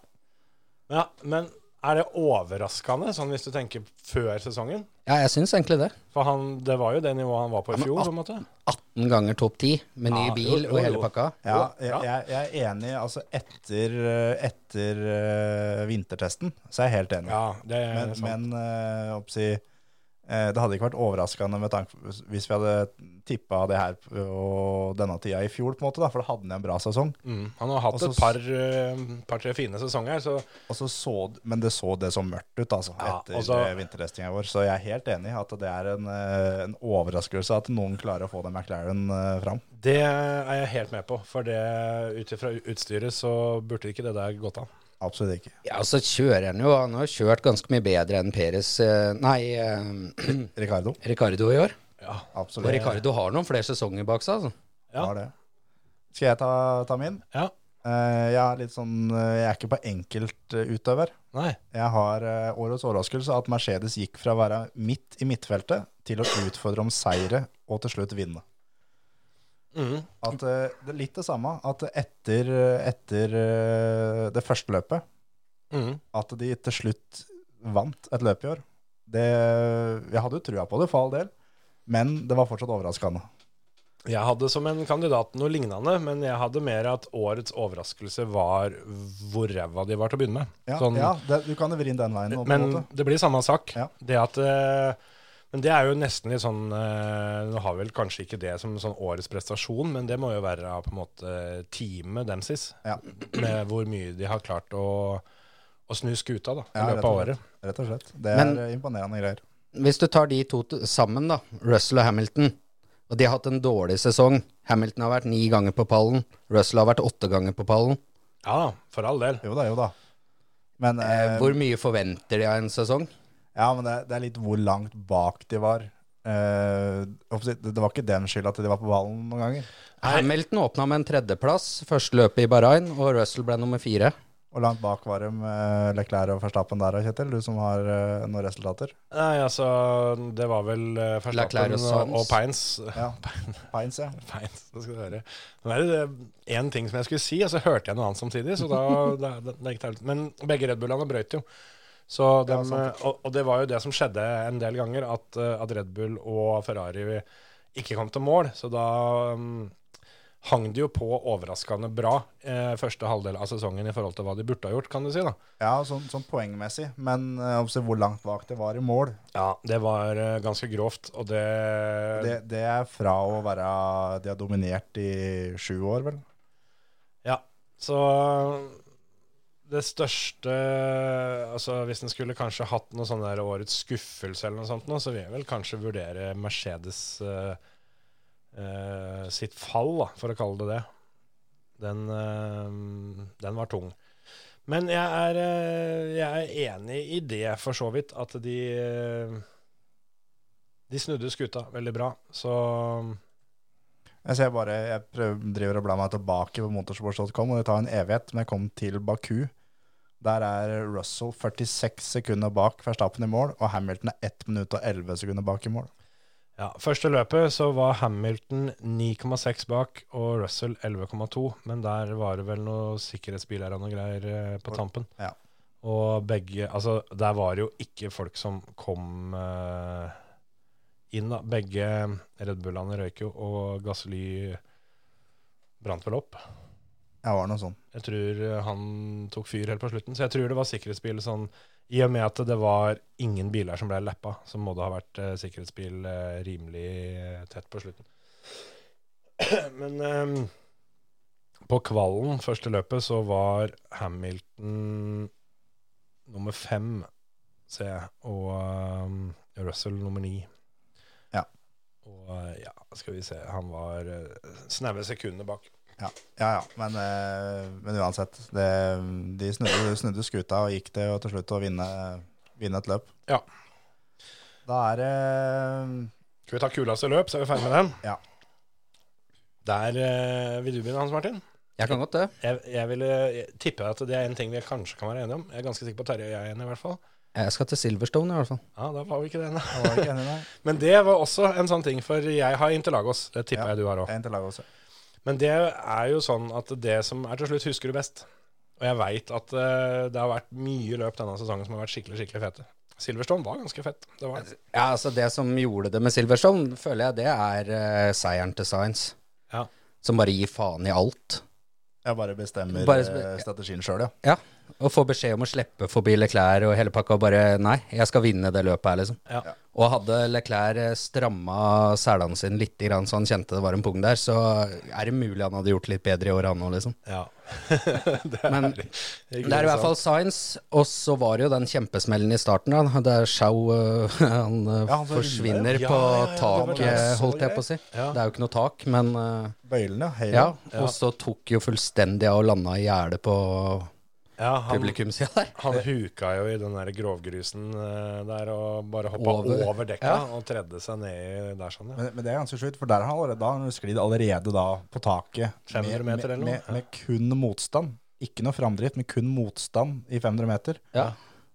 Speaker 3: Ja, men er det overraskende, sånn hvis du tenker før sesongen?
Speaker 2: Ja, jeg syns egentlig det.
Speaker 3: For han, det var jo det nivået han var på i
Speaker 2: men
Speaker 3: fjor,
Speaker 2: at-
Speaker 3: på en måte.
Speaker 2: 18 ganger topp 10 med ny
Speaker 3: Ja,
Speaker 2: bil
Speaker 3: jo, jo,
Speaker 2: og hele
Speaker 3: jo.
Speaker 2: pakka.
Speaker 4: Ja, jeg,
Speaker 3: Jo, ja.
Speaker 4: jeg jeg er enig. Altså etter, eh, etter eh, vintertesten så er jeg helt enig.
Speaker 3: Ja, det er
Speaker 4: men
Speaker 3: sant.
Speaker 4: men eh, oppsi, eh, det hadde ikke vært overraskende med tanke på hvis vi hadde tippa det her på- og denne tida i fjor, på en måte, da, for da hadde han en bra sesong.
Speaker 3: mm, han har hatt
Speaker 4: Også-
Speaker 3: et par, eh, par-tre fine sesonger, så
Speaker 4: Og så så, d- men det så det så mørkt ut altså,
Speaker 3: Ja,
Speaker 4: etter
Speaker 3: og så-
Speaker 4: eh, vintertestinga vår, så jeg er helt enig i at det er en, eh, en overraskelse at noen klarer å få den McLaren eh, fram.
Speaker 3: det er jeg helt med på. For det, ut ifra utstyret så burde ikke det der gått an.
Speaker 4: Absolutt ikke.
Speaker 2: Ja, og så kjører han jo Han har jo kjørt ganske mye bedre enn Peres eh, Nei, eh,
Speaker 4: Ricardo,
Speaker 2: Ricardo i år.
Speaker 3: Ja.
Speaker 2: Og
Speaker 4: absolutt.
Speaker 2: Ricardo har noen flere sesonger bak seg, altså.
Speaker 3: Ja.
Speaker 4: Har det. Skal jeg ta, ta min?
Speaker 3: ja.
Speaker 4: Eh, jeg er litt sånn eh, Jeg er ikke på enkeltutøver.
Speaker 3: Nei.
Speaker 4: Jeg har eh, årets overraskelse at Mercedes gikk fra å være midt i midtfeltet til å utfordre om seire og til slutt vinne.
Speaker 3: Mm.
Speaker 4: At, eh, det er litt det samme. At etter, etter eh, det første løpet,
Speaker 3: Mm.
Speaker 4: at de til slutt vant et løp i år. Det, jeg hadde jo trua på det, for all del, men det var fortsatt overraskende.
Speaker 3: Jeg hadde som en kandidat noe lignende, men jeg hadde mer at årets overraskelse var hvor ræva de var til å begynne med.
Speaker 4: Ja,
Speaker 3: Sånn-
Speaker 4: ja det, Du kan jo vri den veien nå, på en
Speaker 3: Men
Speaker 4: måte.
Speaker 3: det blir samme sak.
Speaker 4: Ja.
Speaker 3: Det at eh, Men det er jo nesten litt sånn eh, Nå har vi vel kanskje ikke det som sånn årets prestasjon, men det må jo være av på en måte teamet deres,
Speaker 4: Ja.
Speaker 3: med hvor mye de har klart å, å snu skuta da, i
Speaker 4: Ja, rett
Speaker 3: løpet av
Speaker 4: og slett.
Speaker 3: året.
Speaker 4: Rett og slett. Det er
Speaker 2: Men-
Speaker 4: eh, imponerende greier.
Speaker 2: Hvis du tar de to t- sammen, da, Russell og Hamilton, og de har hatt en dårlig sesong Hamilton har vært ni ganger på pallen, Russell har vært åtte ganger på pallen.
Speaker 3: Ja da, for all del.
Speaker 4: Jo da, jo da. Men,
Speaker 2: Eh,
Speaker 4: eh,
Speaker 2: Hvor mye forventer de av en sesong?
Speaker 4: ja, men det, det er litt hvor langt bak de var. Eh, oppsi- det var ikke den skyld at de var på ballen noen ganger.
Speaker 2: Hamilton åpna med en tredjeplass første løpet i Bahrain, og Russell ble nummer fire.
Speaker 4: Og langt bak var de eh, Leclerc og Verstappen der, Kjetil, du som har eh, noen resultater.
Speaker 3: Nei, altså, det var vel eh, Verstappen
Speaker 2: Leclerc og
Speaker 3: og,
Speaker 2: Sainz.
Speaker 3: og Pines.
Speaker 4: Ja, Pines, ja.
Speaker 3: Pines, det skal du høre. Nå er det det én ting som jeg skulle si, og så hørte jeg noe annet samtidig. Så da, da, da, da gikk det helt- Men begge Red Bullene brøyt jo. Så dem,
Speaker 4: Ja, sant.
Speaker 3: og, og det var jo det som skjedde en del ganger, at, eh, at Red Bull og Ferrari ikke kom til mål. Så da mm, hang det jo på overraskende bra eh, første halvdel av sesongen i forhold til hva de burde ha gjort, kan du si. da.
Speaker 4: Ja, sånn, sånn poengmessig, men eh, oppsi hvor langt bak det var i mål,
Speaker 3: Ja, det var eh, ganske grovt, og det,
Speaker 4: det, det er fra å være De har dominert i sju år, vel?
Speaker 3: Ja, så det største Altså hvis en skulle kanskje hatt noe sånn der årets skuffelse eller noe sånt nå, så vil jeg vel kanskje vurdere Mercedes eh, eh, sitt fall, da, for å kalle det det. Den, eh, den var tung. Men jeg er, eh, jeg er enig i det, for så vidt, at de eh, De snudde skuta veldig bra, så
Speaker 4: Jeg ser bare, jeg prøver, driver og blar meg tilbake på motorsports.com, og det tar en evighet, men jeg kom til Baku. Der er Russell 46 sekunder bak Verstappen i mål, og Hamilton er 1 minutt og 11 sekunder bak i mål.
Speaker 3: Ja, Første løpet så var Hamilton 9,6 bak og Russell 11,2, men der var det vel noen sikkerhetsbiler og noe greier eh, på tampen.
Speaker 4: Ja.
Speaker 3: Og begge Altså, der var det jo ikke folk som kom eh, inn, da. Begge Red Bullene røyk jo, og Gasly brant vel opp.
Speaker 4: Ja, var det noe sånn.
Speaker 3: Jeg tror eh, han tok fyr helt på slutten, så jeg tror det var sikkerhetsbil sånn I og med at det var ingen biler som ble lappa, så må det ha vært eh, sikkerhetsbil eh, rimelig eh, tett på slutten. Men eh, på kvalen, første løpet, så var Hamilton nummer fem, ser jeg, og eh, Russell nummer ni.
Speaker 4: Ja.
Speaker 3: Og eh, ja, skal vi se, han var uh, snaue sekunder bak.
Speaker 4: Ja, ja, ja. Men, eh, men uansett. Det, de snudde, snudde skuta og gikk det jo til slutt å vinne, vinne et løp.
Speaker 3: Ja.
Speaker 4: Da er det
Speaker 3: Skal vi ta kuleste løp, så er vi ferdig med den?
Speaker 4: Ja.
Speaker 3: Der eh, vil du begynne, Hans Martin.
Speaker 2: Jeg kan godt det.
Speaker 3: Jeg, jeg ville tippe at det er en ting vi kanskje kan være enige om. Jeg er ganske sikker på at Terje og jeg er enige, i hvert fall.
Speaker 2: Jeg skal til Silverstone, i hvert fall.
Speaker 3: Ja, da var vi ikke det ennå.
Speaker 4: Jeg var ikke enig der.
Speaker 3: Men det var også en sånn ting, for jeg har Interlagos. Det tipper
Speaker 4: Ja.
Speaker 3: jeg du har òg.
Speaker 4: En til lag også.
Speaker 3: Men det er jo sånn at det som er til slutt, husker du best. Og jeg veit at eh, det har vært mye løp denne sesongen som har vært skikkelig, skikkelig fete. Silverstone var ganske fett. Det var det.
Speaker 2: Ja, altså Det som gjorde det med Silverstone, føler jeg, det er eh, seieren til Science.
Speaker 3: Ja.
Speaker 2: Som bare gir faen i alt.
Speaker 4: Jeg bare bestemmer
Speaker 2: Bare spe-
Speaker 4: eh, strategien sjøl, ja.
Speaker 2: Ja. Og får beskjed om å slippe forbi Leclerc og hele pakka, og bare Nei, jeg skal vinne det løpet her, liksom.
Speaker 3: Ja.
Speaker 2: Og hadde Leclerc eh, stramma selene sine litt, grann, så han kjente det var en pung der, så er det mulig han hadde gjort litt bedre i år, han òg, liksom.
Speaker 3: ja. det er
Speaker 2: Men
Speaker 3: ikke
Speaker 2: Det er i hvert fall Science, og så var det jo den kjempesmellen i starten, da. Det er Schau øh, Han øh,
Speaker 4: Ja, han som
Speaker 2: forsvinner
Speaker 4: ruller,
Speaker 3: ja.
Speaker 2: på
Speaker 3: Ja, ja, ja, det var
Speaker 2: taket,
Speaker 3: det jeg så
Speaker 2: holdt jeg
Speaker 3: greit.
Speaker 2: på å si.
Speaker 3: Ja.
Speaker 2: Det er jo ikke noe tak, men øh,
Speaker 4: Bøylen, ja. Halen.
Speaker 2: ja. Og så tok jo fullstendig av og landa i gjerdet på
Speaker 3: ja, han,
Speaker 2: publikumssida der.
Speaker 3: Han huka jo i den der grovgrusen eh, der og bare hoppa over,
Speaker 2: Over.
Speaker 3: dekka og tredde seg ned der sånn, ja.
Speaker 4: Men, men det er ganske sjukt, for der har han allerede, da har han sklidd allerede da på taket.
Speaker 3: 500 meter eller noe,
Speaker 4: Med, med, med kun motstand. Ikke noe framdrift, men kun motstand i 500 meter.
Speaker 2: Ja.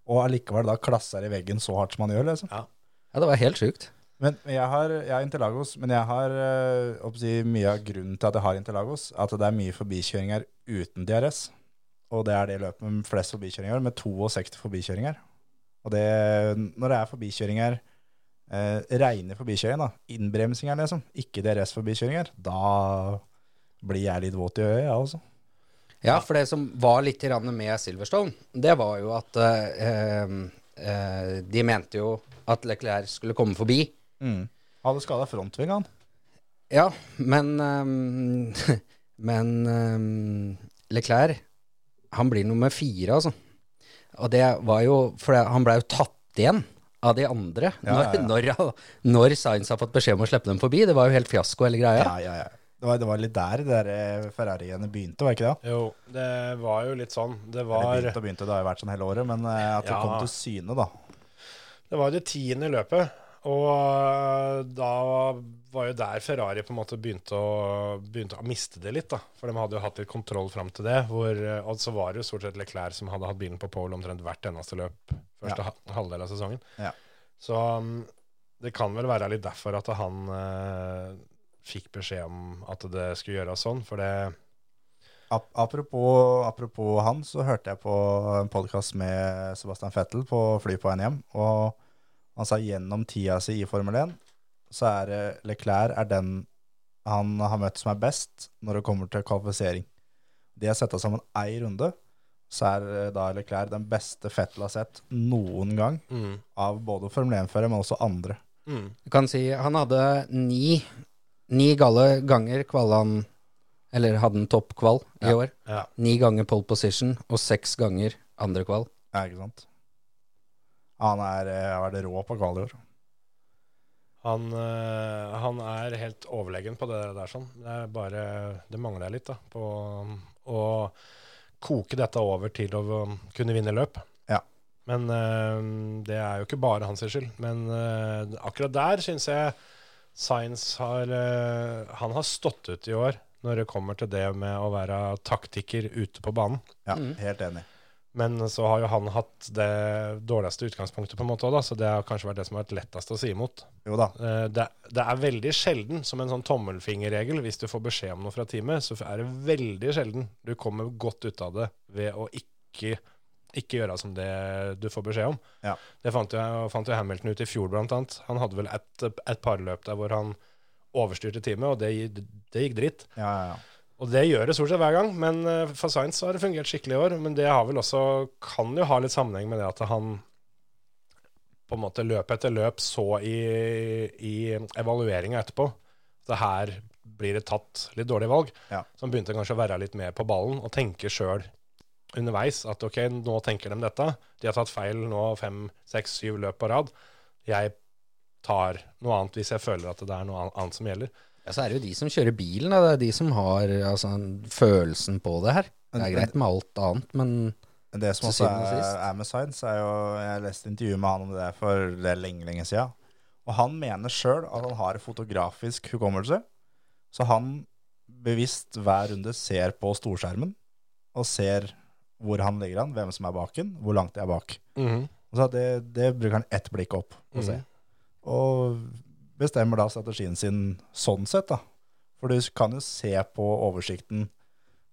Speaker 4: Og allikevel da klasser i veggen så hardt som han gjør, liksom.
Speaker 3: Ja.
Speaker 2: ja, det var helt sjukt.
Speaker 4: Men men jeg har, jeg har Interlagos, men jeg har eh, oppå å si, mye av grunnen til at jeg har Interlagos, at det er mye forbikjøringer uten DRS. Og det er det løpet med flest forbikjøringer, med 62 forbikjøringer. Og det, når det er forbikjøringer, eh, reine forbikjøringer, da, innbremsinger liksom, ikke DRS-forbikjøringer, da blir jeg litt våt i øyet, jeg også.
Speaker 2: Ja, for det som var litt grann med Silverstone, det var jo at eh, eh, eh, De mente jo at Leclerc skulle komme forbi.
Speaker 4: Mm. Hadde skada frontvingen, han.
Speaker 2: Ja, men ehm, Men ehm, Leclerc, han blir nummer fire, altså. Og det var jo For det- han blei jo tatt igjen av de andre
Speaker 4: Ja, ja,
Speaker 2: Når, når, når Sainz har fått beskjed om å slippe dem forbi. Det var jo helt fiasko, hele greia.
Speaker 4: Ja, ja, ja. Det var, det var litt der det der eh, Ferrariene begynte, var ikke det?
Speaker 3: Jo, det var jo litt sånn. Det
Speaker 4: Eller
Speaker 3: var,
Speaker 4: begynte og begynte, det har jo vært sånn hele året, men eh, at det
Speaker 3: Ja.
Speaker 4: kom til syne, da.
Speaker 3: det var det tiende løpet. Og eh, da var jo der Ferrari på en måte begynte å, begynte å miste det litt. da. For de hadde jo hatt litt kontroll fram til det. hvor, eh, Og så var det jo stort sett Leclerc som hadde hatt bilen på pole omtrent hvert eneste løp første ha- halvdel av sesongen.
Speaker 4: Ja.
Speaker 3: Så um, det kan vel være litt derfor at han eh, fikk beskjed om at det skulle gjøres sånn. For det
Speaker 4: Ap apropos, apropos han, så hørte jeg på en podkast med Sebastian Fettel på fly på veien hjem. Og han sa gjennom tida si i Formel 1, så er det- Leclerc er den han har møtt som er best når det kommer til kvalifisering. De har sett av sammen ei runde, så er eh, da Leclerc den beste Fettel har sett noen gang.
Speaker 3: mm,
Speaker 4: Av både Formel 1-førere, men også andre.
Speaker 2: Du kan si han hadde ni Ni gale ganger kvala han Eller hadde han toppkval i år.
Speaker 3: ja.
Speaker 2: Ni ganger pole position og seks ganger andre kval.
Speaker 4: Ja, ikke sant? Han er, eh, har vært rå på kval i år.
Speaker 3: Han, eh, han er helt overlegen på det der sånn. Det er bare Det mangler litt, da. På um, å koke dette over til å um, kunne vinne løp.
Speaker 4: Ja.
Speaker 3: Men eh, det er jo ikke bare hans skyld. Men eh, akkurat der syns jeg Science har eh, Han har stått ut i år når det kommer til det med å være taktiker ute på banen.
Speaker 4: Ja,
Speaker 2: Mm.
Speaker 4: Helt enig.
Speaker 3: Men så har jo han hatt det dårligste utgangspunktet, på en måte også, da, så det har kanskje vært det som har vært lettest å si imot.
Speaker 4: Jo da.
Speaker 3: Eh, det, det er veldig sjelden, som en sånn tommelfingerregel, hvis du får beskjed om noe fra teamet, så er det veldig sjelden du kommer godt ut av det ved å ikke, ikke gjøre som det du får beskjed om.
Speaker 4: Ja.
Speaker 3: Det fant jo, fant jo Hamilton ut i fjor, blant annet. Han hadde vel et, et par løp der hvor han overstyrte teamet, og det, gi- det gikk dritt.
Speaker 4: Ja, ja, ja.
Speaker 3: Og det gjør det stort sett hver gang, men eh, for Sainz har det fungert skikkelig i år. Men det har vel også, kan jo ha litt sammenheng med det at han på en måte løp etter løp så i, i evalueringa etterpå at det her blir det tatt litt dårlige valg.
Speaker 4: Ja.
Speaker 3: Så han begynte kanskje å være litt mer på ballen og tenke sjøl underveis at ok, nå tenker de dette. De har tatt feil nå fem, seks, syv løp på rad. Jeg tar noe annet hvis jeg føler at det er noe an- annet som gjelder.
Speaker 2: Ja, så er det jo de som kjører bilen, da. det er de som har altså, følelsen på det her. Det er
Speaker 4: Men-
Speaker 2: greit med alt annet, men
Speaker 4: Det som
Speaker 2: Til
Speaker 4: også
Speaker 2: syvende og
Speaker 4: er,
Speaker 2: sist.
Speaker 4: er med Science, er jo Jeg leste intervju med han om det der for det er lenge, lenge siden. Og han mener sjøl at han har fotografisk hukommelse. Så han bevisst hver runde ser på storskjermen og ser hvor han ligger an, hvem som er baken, hvor langt de er bak. Og så at det, det bruker han ett blikk opp på å se.
Speaker 3: Mhm.
Speaker 4: Og bestemmer da strategien sin sånn sett, da. For du kan jo se på oversikten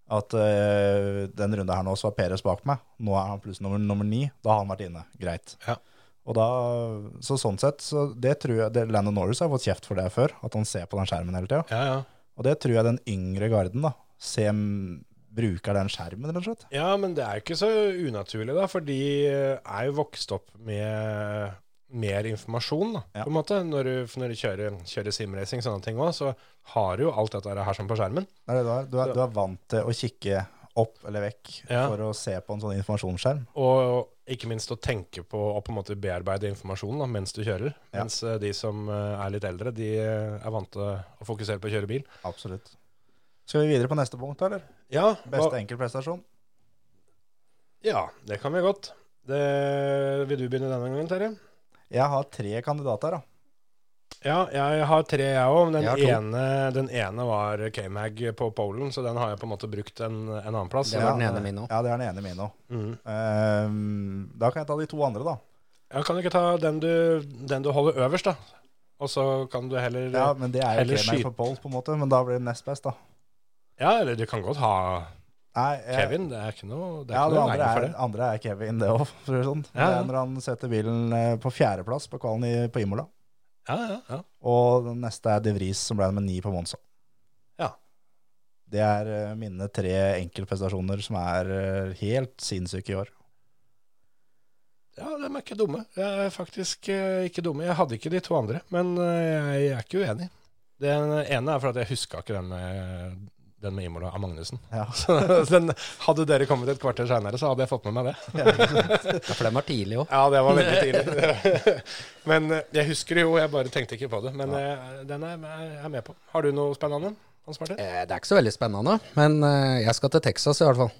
Speaker 4: at eh, den runda her nå så var Peres bak meg. Nå er han pluss nummer, nummer ni. Da har han vært inne. Greit.
Speaker 3: Ja.
Speaker 4: Og da, så sånn sett, så det tror jeg det, Landon Norris har fått kjeft for det før, at han ser på den skjermen hele tida.
Speaker 3: Ja, ja.
Speaker 4: Og det tror jeg den yngre garden da, ser, bruker den skjermen, rett og slett.
Speaker 3: Ja, men det er jo ikke så unaturlig, da, for de eh, er jo vokst opp med mer informasjon, da,
Speaker 4: Ja.
Speaker 3: på en måte. Når du, for når du kjører, kjører simracing og sånne ting òg, så har du jo alt dette her sånn på skjermen.
Speaker 4: Det er det du er. Du er, du er vant til å kikke opp eller vekk
Speaker 3: Ja.
Speaker 4: for å se på en sånn informasjonsskjerm.
Speaker 3: Og ikke minst å tenke på og på en måte bearbeide informasjon da, mens du kjører.
Speaker 4: Ja.
Speaker 3: Mens eh, de som eh, er litt eldre, de eh, er vant til å fokusere på å kjøre bil.
Speaker 4: Absolutt. Skal vi videre på neste punkt, eller?
Speaker 3: Ja,
Speaker 4: Beste
Speaker 3: hva-
Speaker 4: enkeltprestasjon.
Speaker 3: ja det kan vi godt. Det, vil du begynne denne gangen, Terje?
Speaker 4: Jeg har tre kandidater, da.
Speaker 3: Ja, jeg har tre, jeg òg. Den,
Speaker 2: Jeg har to.
Speaker 3: ene- den ene var K-Mag på Polen, så den har jeg på en måte brukt en, en annen plass.
Speaker 2: det
Speaker 3: Ja.
Speaker 2: var den ene min òg.
Speaker 4: Ja, det er den ene min òg.
Speaker 3: Mm.
Speaker 4: da kan jeg ta de to andre, da.
Speaker 3: Ja, kan du ikke ta den du, den du holder øverst, da? Og så kan du heller
Speaker 4: Ja,
Speaker 3: ja.
Speaker 4: men det er jo
Speaker 3: Eller
Speaker 4: ikke meg
Speaker 3: skyt.
Speaker 4: for Bolt, på en måte, men da blir det nest best, da.
Speaker 3: eller du kan godt ha
Speaker 4: Nei, jeg,
Speaker 3: Kevin. Det er ikke noe Det er
Speaker 4: Ja,
Speaker 3: ikke
Speaker 4: det
Speaker 3: noe
Speaker 4: andre
Speaker 3: regn for
Speaker 4: er,
Speaker 3: det.
Speaker 4: andre er Kevin, det òg, for å si det sånn.
Speaker 3: Ja,
Speaker 4: Det
Speaker 3: ja.
Speaker 4: er når han setter bilen eh, på fjerdeplass på kvalen i, på Imola.
Speaker 3: Ja, ja, ja.
Speaker 4: Og den neste er De Vries, som ble med ni på Monza.
Speaker 3: Ja.
Speaker 4: Det er eh, mine tre enkeltprestasjoner som er eh, helt sinnssyke i år.
Speaker 3: ja, de er ikke dumme. De er faktisk eh, ikke dumme. Jeg hadde ikke de to andre, men eh, jeg er ikke uenig. Den ene er fordi jeg huska ikke den med, den med Imola av Magnussen.
Speaker 4: Ja.
Speaker 3: Så den, hadde dere kommet et kvarter seinere, så hadde jeg fått med meg det.
Speaker 2: Ja, for dem er tidlig òg.
Speaker 3: Ja, det var veldig tidlig. men eh, jeg husker det jo, jeg bare tenkte ikke på det. Men eh, den er jeg er med på. Har du noe spennende, Hans Martin?
Speaker 2: Eh, Det er ikke så veldig spennende, men eh, jeg skal til Texas i hvert fall.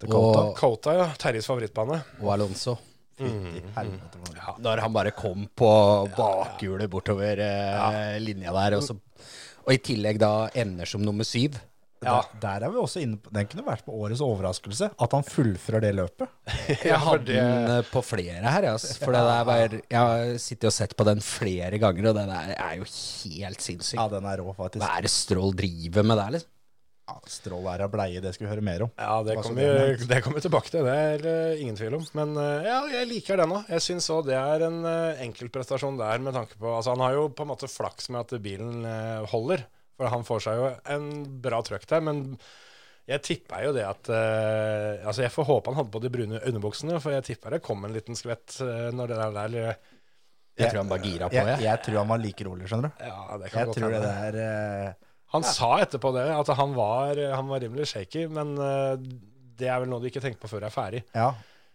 Speaker 4: Dakota.
Speaker 2: Og,
Speaker 3: Kota, ja. Terjes favorittbane.
Speaker 2: og Alonso.
Speaker 4: Fytti
Speaker 3: Mm.
Speaker 4: helvete. for noe.
Speaker 2: Når han bare kom på bakhjulet bortover eh, linja der, og, så, og i tillegg da ender som nummer syv.
Speaker 3: Ja.
Speaker 4: Der, der er vi også inne på Den kunne vært på årets overraskelse, at han fullfører det løpet.
Speaker 3: Ja,
Speaker 2: Jeg
Speaker 3: for
Speaker 2: hadde
Speaker 3: det-
Speaker 2: den eh, på flere her, ass, for det der var, jeg har sittet og sett på den flere ganger, og det der er jo helt sinnssykt.
Speaker 4: Ja, den er rå, faktisk.
Speaker 2: Hva er det Strål driver med der, liksom?
Speaker 4: Ja, Strål er av bleie, det skal vi høre mer om.
Speaker 3: Ja, det
Speaker 4: Hva så
Speaker 3: kommer
Speaker 4: det
Speaker 3: vi kommer tilbake til. Det er eh, ingen tvil om. Men eh, ja, jeg liker den òg. Jeg syns òg det er en eh, enkeltprestasjon der med tanke på Altså, han har jo på en måte flaks med at bilen eh, holder. For han får seg jo en bra trøkk der, men jeg tipper jo det at eh, Altså, jeg får håpe han hadde på de brune underbuksene, for jeg tipper det kom en liten skvett eh, når det der der eh,
Speaker 2: Jeg tror han bare gira på,
Speaker 4: Jeg,
Speaker 2: jeg.
Speaker 4: jeg tror han var like rolig, skjønner du.
Speaker 3: Ja, det kan
Speaker 4: Jeg
Speaker 3: godt
Speaker 4: tror det
Speaker 3: hende.
Speaker 4: der eh,
Speaker 3: Han sa etterpå det, at han var, han var rimelig shaky, men eh, det er vel noe du ikke tenker på før du er ferdig.
Speaker 4: Ja.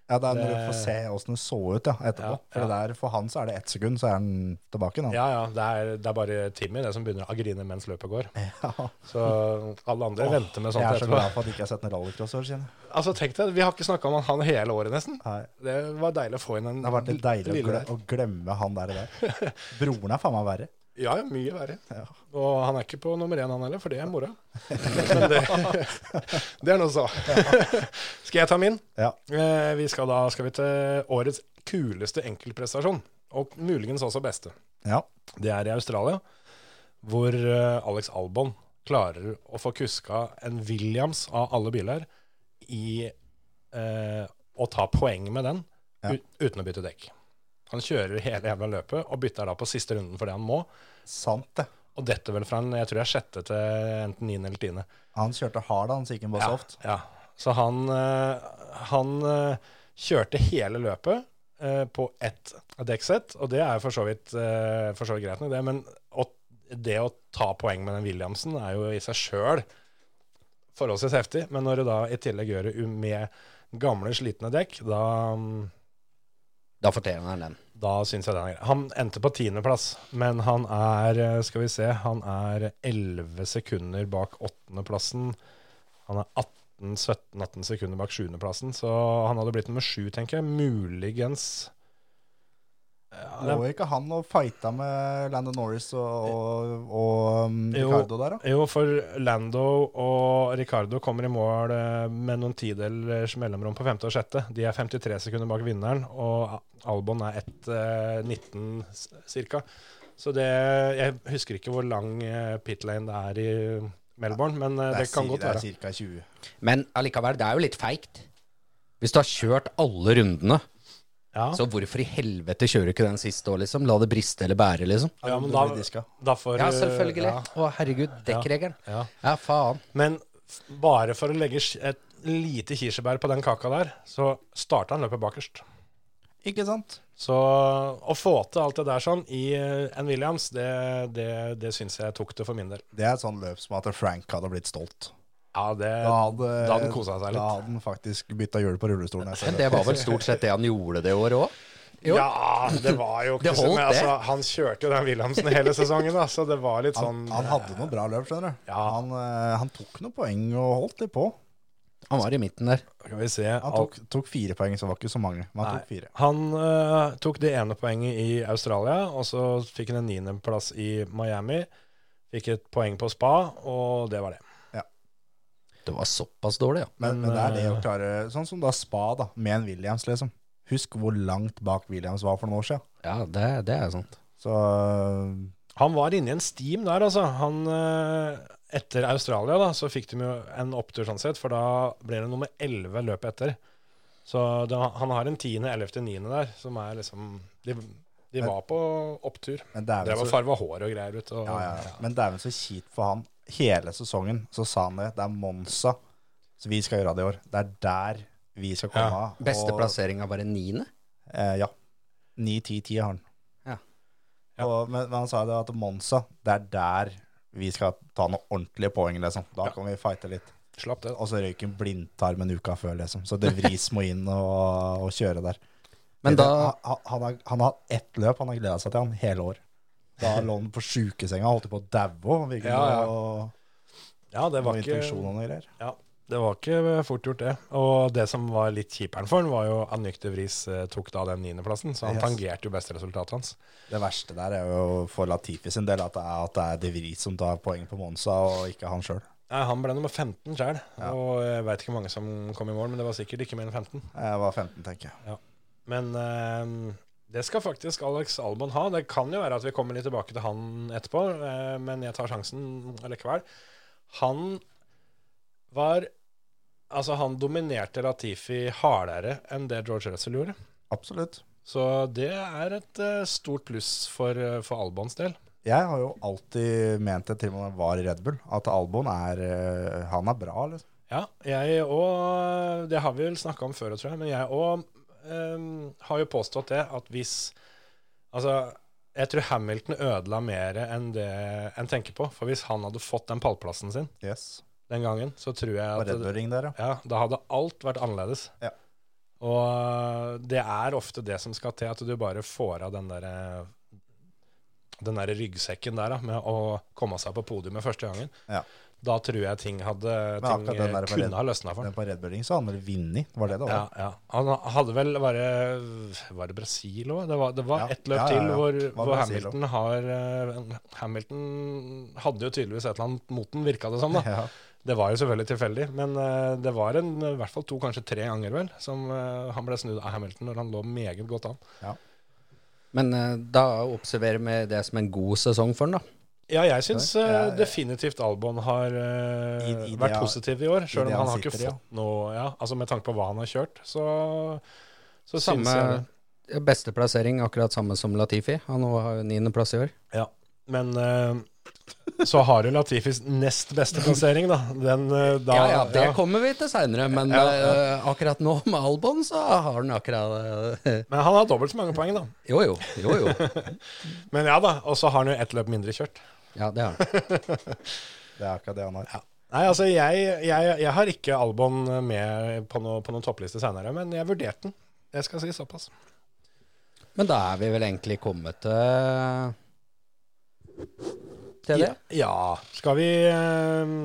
Speaker 4: ja det er når du
Speaker 3: Det-
Speaker 4: får se åssen det så ut ja, etterpå.
Speaker 3: Ja,
Speaker 4: For, det der, for han så er det ett sekund, så er han tilbake nå.
Speaker 3: Ja, ja, det er, det er bare Timmy det som begynner å grine mens løpet går.
Speaker 4: Ja.
Speaker 3: Så alle andre venter med sånt
Speaker 4: Jeg er så
Speaker 3: etterpå.
Speaker 4: glad for at jeg ikke har sett en rallycross år siden.
Speaker 3: Altså, tenk deg, Vi har ikke snakka om han hele året, nesten.
Speaker 4: Nei.
Speaker 3: Det var deilig å få inn en
Speaker 4: Det har vært litt deilig å
Speaker 3: lille
Speaker 4: gle-
Speaker 3: der.
Speaker 4: å glemme han der. der. Broren er faen meg verre.
Speaker 3: Ja, ja, mye verre.
Speaker 4: Ja.
Speaker 3: Og han er ikke på nummer én, han heller, for det er mora. Men det, det er noe så. Skal jeg ta min?
Speaker 4: Ja.
Speaker 3: Eh, Vi skal da skal vi til årets kuleste enkeltprestasjon, og muligens også beste.
Speaker 4: Ja.
Speaker 3: Det er i Australia, hvor eh, Alex Albon klarer å få kuska en Williams av alle biler i eh, å ta poeng med den
Speaker 4: Ja.
Speaker 3: ut, uten å bytte dekk. Han kjører hele jævla løpet og bytter da på siste runden for det han må.
Speaker 4: Sant det.
Speaker 3: Og dette vel fra en, jeg tror jeg er sjette til enten niende eller tiende.
Speaker 4: Han kjørte hard, han, så gikk han bare soft.
Speaker 3: Ja. Så han, eh, han eh, kjørte hele løpet eh, på ett dekksett, og det er jo for så vidt, eh, for så vidt greit nok, det. Men å, det å ta poeng med den Williamsen er jo i seg sjøl forholdsvis heftig. Men når du da i tillegg gjør det u- med gamle, slitne dekk, da mm,
Speaker 2: Da fortjener han den.
Speaker 3: da syns jeg den er grei. Han endte på tiendeplass, men han er eh, Skal vi se, han er elleve sekunder bak åttendeplassen. Han er 18-17-18 sekunder bak sjuendeplassen, så han hadde blitt nummer sju, tenker jeg. Muligens
Speaker 4: Lå ikke han og fighta med Landon Norris og, og, og um,
Speaker 3: Jo.
Speaker 4: Ricardo der, da?
Speaker 3: Jo, for Lando og Ricardo kommer i mål eh, med noen tidelers mellomrom på femte og sjette. De er 53 sekunder bak vinneren, og Albon er eh, 1,19 ca. Så det Jeg husker ikke hvor lang eh, pitlane det er i Melbourne, men eh, det kan
Speaker 4: si-
Speaker 3: godt være.
Speaker 4: Det er ca. 20.
Speaker 2: Men allikevel, det er jo litt feigt. Hvis du har kjørt alle rundene,
Speaker 3: Ja.
Speaker 2: så hvorfor i helvete kjører du ikke den siste òg, liksom? La det briste eller bære, liksom.
Speaker 3: Ja, men
Speaker 4: Du
Speaker 3: da,
Speaker 4: blir diska.
Speaker 3: da får
Speaker 2: Ja,
Speaker 3: du-
Speaker 2: selvfølgelig.
Speaker 3: ja,
Speaker 2: Å, herregud, dekkregelen.
Speaker 3: ja.
Speaker 2: Ja, faen.
Speaker 3: Men f- bare for å legge sk- et lite kirsebær på den kaka der, så starta han løpet bakerst.
Speaker 4: Ikke sant?
Speaker 3: Så å få til alt det der sånn i eh, en Williams, det, det, det syns jeg tok det for min del.
Speaker 4: Det er et sånt løp som at Frank hadde blitt stolt.
Speaker 3: Ja, det,
Speaker 4: Da hadde,
Speaker 3: da hadde han kosa seg
Speaker 4: Da
Speaker 3: litt.
Speaker 4: hadde han faktisk bytta hjul på rullestolen. etter
Speaker 2: Men det var vel stort sett det han gjorde det året òg? jo.
Speaker 3: Ja, det var jo ikke
Speaker 2: Det
Speaker 3: så
Speaker 2: holdt,
Speaker 3: men
Speaker 2: det.
Speaker 3: altså, Han kjørte jo den Williamsen hele sesongen, da, så det var litt
Speaker 4: Han,
Speaker 3: sånn
Speaker 4: han hadde noen bra løp, skjønner du.
Speaker 3: Ja.
Speaker 4: Han, eh, han tok noen poeng og holdt litt på.
Speaker 2: Han var i midten der.
Speaker 3: Skal vi se
Speaker 4: Han
Speaker 3: alt-
Speaker 4: tok, tok fire poeng, så var ikke så mange. Men han
Speaker 3: Nei,
Speaker 4: tok fire.
Speaker 3: Han eh, tok det ene poenget i Australia, og så fikk han en niendeplass i Miami. Fikk et poeng på spa, og det var det.
Speaker 2: Det var såpass dårlig, ja.
Speaker 4: Men, men
Speaker 3: Men,
Speaker 4: det er det å
Speaker 3: eh,
Speaker 4: klare Sånn som da Spa, da, med en Williams, liksom. Husk hvor langt bak Williams var for noen år siden.
Speaker 2: Ja, det, det er sant.
Speaker 4: Så
Speaker 3: Han var inne i en steam der, altså. Han, eh, etter Australia da, så fikk de jo en opptur sånn sett, for da ble det nummer 11 løpet etter. Så det, han har en tiende, ellevte, niende der, som er liksom De, de var på opptur.
Speaker 4: Men det er
Speaker 3: Drev
Speaker 4: vel
Speaker 3: og
Speaker 4: så,
Speaker 3: farva hår og greier ut. Og,
Speaker 4: ja, ja, ja. Men det er vel så kjipt for han. Hele sesongen så sa han det. Det er Monza så vi skal gjøre det i år. Det er der vi skal komme
Speaker 3: Ja.
Speaker 4: av.
Speaker 2: Beste
Speaker 4: Og-
Speaker 2: plasseringa var en niende?
Speaker 4: Eh, ja. 9-10-10 har han.
Speaker 2: Ja.
Speaker 4: Og, men, men han sa det at Monza, det er der vi skal ta noen ordentlige poeng, liksom. Da kan vi fighte litt.
Speaker 3: Slapp det.
Speaker 4: Og så røyk en blindtarm en uke før, liksom. Så De Vries må inn og, og kjøre der.
Speaker 2: Men da
Speaker 4: han, han, har, han har hatt ett løp han har gleda seg til, han hele år. Da lå han på sjukesenga, holdt på å daue. han virket
Speaker 3: Ja, ja.
Speaker 4: å-
Speaker 3: Ja, det var
Speaker 4: noen infeksjon
Speaker 3: ikke
Speaker 4: og noe greier.
Speaker 3: Ja, det var ikke eh, fort gjort, det. Og det som var litt kjiperen for han, var jo at Nykter Vris eh, tok da den niendeplassen, så han
Speaker 4: Yes.
Speaker 3: tangerte jo besteresultatet hans.
Speaker 4: Det verste der er jo for Latifi sin del at det er, at det er De Vries som tar poeng på Monza, og ikke han sjøl.
Speaker 3: Nei, Han ble nummer 15 sjøl,
Speaker 4: Ja.
Speaker 3: og jeg veit ikke hvor mange som kom i mål, men det var sikkert ikke mer enn 15.
Speaker 4: Jeg var 15, tenker jeg.
Speaker 3: Men eh, det skal faktisk Alex Albon ha. Det kan jo være at vi kommer litt tilbake til han etterpå, eh, men jeg tar sjansen likevel. Han var Altså, han dominerte Latifi hardere enn det George Russell gjorde.
Speaker 4: Absolutt.
Speaker 3: Så det er et eh, stort pluss for, eh, for Albons del.
Speaker 4: Jeg har jo alltid ment det til og med når jeg var i Red Bull, at Albon er eh, Han er bra, liksom.
Speaker 3: Ja, jeg òg Det har vi vel snakka om før, tror jeg, men jeg òg har jo påstått det at hvis Altså, jeg tror Hamilton ødela mer enn det en tenker på. For hvis han hadde fått den pallplassen sin
Speaker 4: Yes.
Speaker 3: den gangen, så tror jeg
Speaker 4: Og
Speaker 3: at
Speaker 4: Red Bull-ring der, ja.
Speaker 3: ja, da hadde alt vært annerledes.
Speaker 4: Ja.
Speaker 3: Og det er ofte det som skal til, at du bare får av den derre den der ryggsekken der da, med å komme seg på podiumet første gangen.
Speaker 4: Ja.
Speaker 3: Da tror jeg ting hadde ting
Speaker 4: akkurat den der på Red-
Speaker 3: kunne ha løsna for ham.
Speaker 4: Den på Red Bull-ring så hadde han vel vunnet, det var det det var?
Speaker 3: Ja, ja. Han hadde vel bare Var det Brasil òg? Det var, det var
Speaker 4: Ja.
Speaker 3: ett løp
Speaker 4: Ja, ja, ja.
Speaker 3: til hvor,
Speaker 4: Det var
Speaker 3: hvor
Speaker 4: Brasil
Speaker 3: Hamilton har eh, Hamilton hadde jo tydeligvis et eller annet mot den, virka det som. da.
Speaker 4: Ja.
Speaker 3: Det var jo selvfølgelig tilfeldig, men eh, det var en, i hvert fall to, kanskje tre ganger vel, som eh, han ble snudd av Hamilton når han lå meget godt an.
Speaker 2: Men eh, da observerer vi det som en god sesong for han, da.
Speaker 3: Ja, jeg syns
Speaker 4: Takk.
Speaker 3: eh,
Speaker 4: Jeg-
Speaker 3: definitivt Albon har eh,
Speaker 4: I- i det
Speaker 3: vært
Speaker 4: han-
Speaker 3: positiv i år,
Speaker 4: i
Speaker 3: sjøl
Speaker 4: det
Speaker 3: om
Speaker 4: han
Speaker 3: han, har ikke
Speaker 4: sitter i, ja.
Speaker 3: fått noe ja, altså Med tanke på hva han har kjørt, så, så
Speaker 2: Samme-
Speaker 3: syns jeg det.
Speaker 2: Beste plassering, akkurat samme som Latifi. Han nå har jo niendeplass i år.
Speaker 3: Men eh, så har du Latifis nest beste plassering, da. Den, eh, da
Speaker 2: ja, ja, det
Speaker 3: ja.
Speaker 2: kommer vi til seinere, men
Speaker 3: Ja,
Speaker 2: eh, akkurat nå med Albon, så har han akkurat eh,
Speaker 3: Men han har dobbelt så mange poeng, da.
Speaker 2: Jo, jo. jo, jo.
Speaker 3: Men ja da, og så har han jo ett løp mindre kjørt.
Speaker 2: Ja, det har han.
Speaker 4: Det er akkurat det han har.
Speaker 3: Nei, altså jeg, jeg, jeg har ikke Albon med på, noe, på noen toppliste senere, men jeg vurderte den. Jeg skal si såpass.
Speaker 2: Men da er vi vel egentlig kommet til Til det?
Speaker 3: Ja. Skal vi eh,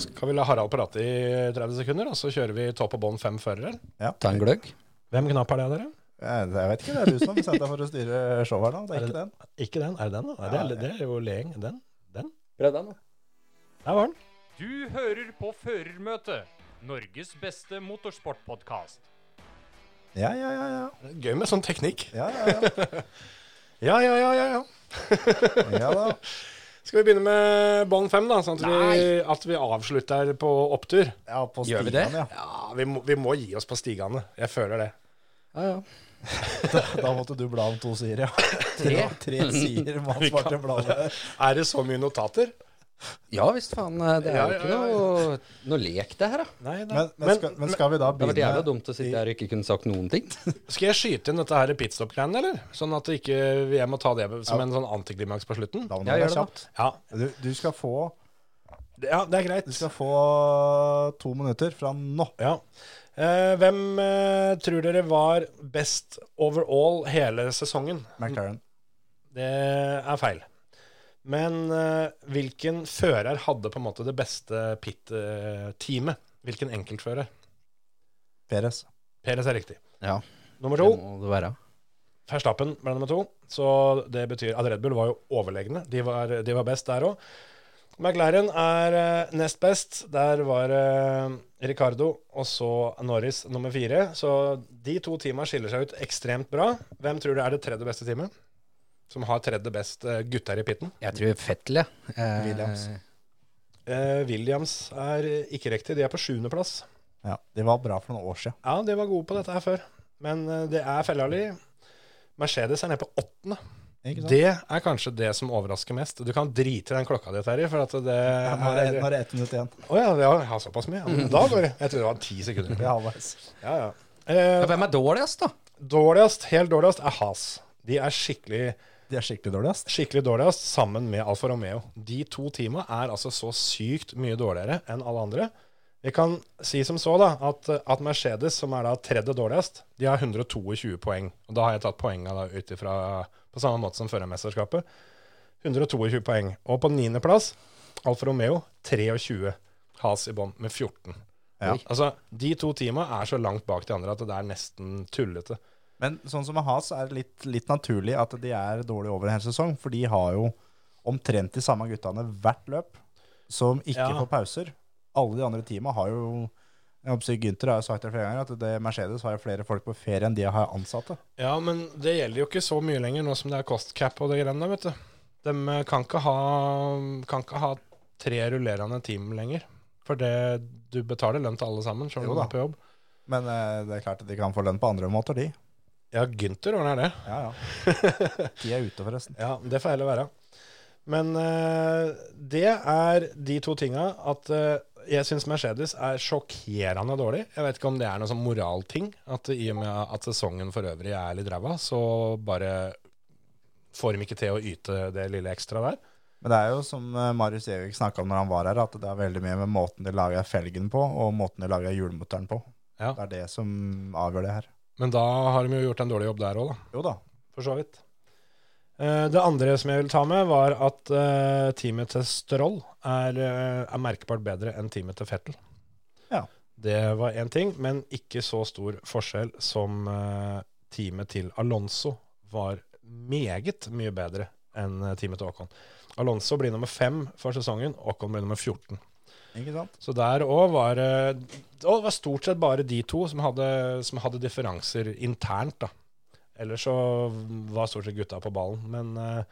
Speaker 3: Skal vi la Harald prate i 30 sekunder, og så kjører vi topp og bånd fem førere?
Speaker 2: Ta en gløgg?
Speaker 3: Hvem knapp er det, dere?
Speaker 4: Jeg, jeg vet ikke, det er du som har bestemt deg for å styre showet her nå. Det er
Speaker 3: Er
Speaker 4: ikke den.
Speaker 3: Ikke den. Er det den, da?
Speaker 4: Ja,
Speaker 3: det, er, det er jo Leeng. Den? Den?
Speaker 2: Prøv den, da.
Speaker 3: Der var den.
Speaker 5: Du hører på Førermøtet, Norges beste motorsportpodkast.
Speaker 4: Ja, ja, ja. ja.
Speaker 3: Gøy med sånn teknikk.
Speaker 4: Ja, ja, ja.
Speaker 3: Ja, ja, ja, ja, ja.
Speaker 4: ja da.
Speaker 3: Skal vi begynne med bånd fem, da? Sånn at vi, at vi avslutter på opptur.
Speaker 4: Ja, på
Speaker 2: Gjør vi
Speaker 4: stigen,
Speaker 2: det?
Speaker 4: ja.
Speaker 3: Ja, vi må, vi må gi oss på stigene. Jeg føler det.
Speaker 2: Ja, ja.
Speaker 4: Da, da måtte du bla om to sider, ja. Tre, tre sider man
Speaker 3: Vi kan-
Speaker 4: svarte bladet.
Speaker 3: Er det så mye notater?
Speaker 2: ja visst faen. Det er
Speaker 3: Ja,
Speaker 2: jo
Speaker 3: ja,
Speaker 2: ikke
Speaker 3: ja, ja.
Speaker 2: noe, noe lek, det her, da.
Speaker 3: Nei,
Speaker 4: Men, men, skal, men skal vi da
Speaker 2: Det hadde vært jævla
Speaker 4: begynne
Speaker 2: dumt å sitte her og ikke kunne sagt noen ting.
Speaker 3: Skal jeg skyte inn dette her pitstop-greiene, eller? Sånn at ikke, jeg må ta det som en sånn antiklimaks på slutten?
Speaker 4: Da må
Speaker 2: Ja,
Speaker 4: det
Speaker 2: gjør
Speaker 4: være
Speaker 2: det da.
Speaker 4: kjapt.
Speaker 3: Ja,
Speaker 4: Du, du, skal få,
Speaker 3: det- ja det er greit.
Speaker 4: du skal få eh, to minutter fra nå.
Speaker 3: Ja. Eh, hvem eh, tror dere var best overall hele sesongen?
Speaker 4: McLaren.
Speaker 3: Det er feil. Men eh, hvilken fører hadde på en måte det beste pit-teamet? Hvilken enkeltfører?
Speaker 4: Perez.
Speaker 3: Peres er riktig.
Speaker 2: Ja,
Speaker 3: Nummer
Speaker 2: det
Speaker 3: to,
Speaker 2: må det være.
Speaker 3: Verstappen ble nummer to. Så det betyr at Red Bull var jo overlegne. De var, de var best der òg. McLaren er eh, nest best. Der var eh, Ricardo og så Norris nummer fire. Så de to teama skiller seg ut ekstremt bra. Hvem tror du er det tredje beste teamet? Som har tredje best eh, gutter i pitten?
Speaker 2: Jeg tror Fettel, jeg. Eh,
Speaker 4: Williams.
Speaker 3: Eh, Williams er eh, ikke riktig. De er på sjuendeplass.
Speaker 4: Ja, de var bra for noen år siden.
Speaker 3: Ja, de var gode på dette her før. Men eh, det er Fellali. Mercedes er nede på åttende.
Speaker 4: Ikke sant?
Speaker 3: Det er kanskje det som overrasker mest. Du kan drite i den klokka di, Terje. For at det
Speaker 4: Ja, Mm. Nå er det, nå er det ett minutt igjen.
Speaker 3: Å ja, ja, jeg har såpass mye. Ja, men da går det. Jeg tror det var ti sekunder.
Speaker 4: Vi er halvveis.
Speaker 3: Ja, ja. Eh,
Speaker 2: Hvem er dårligst, da?
Speaker 3: dårligst, helt dårligst, er Has. De er skikkelig,
Speaker 4: De er skikkelig dårligst.
Speaker 3: skikkelig dårligst sammen med Alfa Romeo. De to teama er altså så sykt mye dårligere enn alle andre. Vi kan si som så da, at, at Mercedes, som er da tredje dårligst, de har 122 poeng. Og da har jeg tatt poenga da ut ifra på samme måte som førermesterskapet. 122 poeng. Og på niendeplass Alfa Romeo 23. Has i bånn med 14.
Speaker 4: Ja.
Speaker 3: Altså, De to teama er så langt bak de andre at det er nesten tullete.
Speaker 4: Men sånn som med Has er det litt, litt naturlig at de er dårlige over en hel sesong, for de har jo omtrent de samme guttene hvert løp, som ikke
Speaker 3: Ja.
Speaker 4: får pauser. Alle de andre teama har jo jeg håper å si Gunther har jo sagt det flere ganger, at det Mercedes har jo flere folk på ferie enn de har ansatte.
Speaker 3: Ja, men det gjelder jo ikke så mye lenger nå som det er cost cap og det greiene der, vet du. De eh, kan ikke ha, kan ikke ha tre rullerende team lenger. For det, du betaler lønn til alle sammen, selv
Speaker 4: Jo
Speaker 3: om du
Speaker 4: da.
Speaker 3: er på jobb.
Speaker 4: Men eh, det er klart at de kan få lønn på andre måter, de.
Speaker 3: Ja, Gynter ordner det.
Speaker 4: Ja, ja. De er ute, forresten.
Speaker 3: Ja, det får heller være. Men eh, det er de to tinga at eh, jeg syns Mercedes er sjokkerende dårlig. Jeg vet ikke om det er noe sånn moralting, at i og med at sesongen for øvrig er litt ræva, så bare får de ikke til å yte det lille ekstra der.
Speaker 4: Men det er jo som eh, Marius Evik snakka om når han var her, at det er veldig mye med måten de lager felgen på, og måten de lager hjulmotoren på.
Speaker 3: Ja.
Speaker 4: Det er det som avgjør det her.
Speaker 3: Men da har de jo gjort en dårlig jobb der òg, da.
Speaker 4: Jo da.
Speaker 3: For så vidt. Eh, Det andre som jeg vil ta med, var at eh, teamet til Stroll er, eh, er merkbart bedre enn teamet til Fettel.
Speaker 4: Ja.
Speaker 3: Det var én ting, men ikke så stor forskjell som eh, teamet til Alonso var meget mye bedre enn eh, teamet til Aacon. Alonso blir nummer fem for sesongen, Aacon blir nummer 14.
Speaker 4: Ikke sant?
Speaker 3: Så der òg var det og det var stort sett bare de to som hadde, som hadde differanser internt, da. Ellers så var stort sett gutta på ballen. Men eh,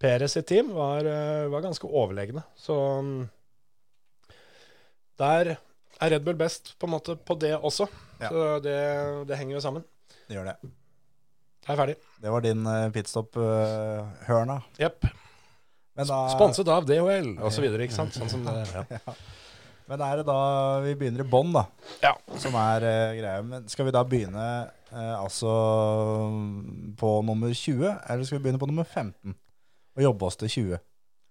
Speaker 3: Perez sitt team var, eh, var ganske overlegne. Så mm, der er Red Bull best på en måte på det også.
Speaker 4: Ja.
Speaker 3: Så det, det henger jo sammen.
Speaker 4: Det gjør det.
Speaker 3: Jeg er ferdig.
Speaker 4: Det var din eh, pitstop-hørna.
Speaker 3: Jepp.
Speaker 4: Men, da-
Speaker 3: Sponset av DHL osv., ikke sant. Sånn som det, ja.
Speaker 4: men er det da vi begynner i bånn, da?
Speaker 3: Ja.
Speaker 4: Som er eh, greia. Men skal vi da begynne eh, altså på nummer 20, eller skal vi begynne på nummer 15? Og jobbe oss til 20?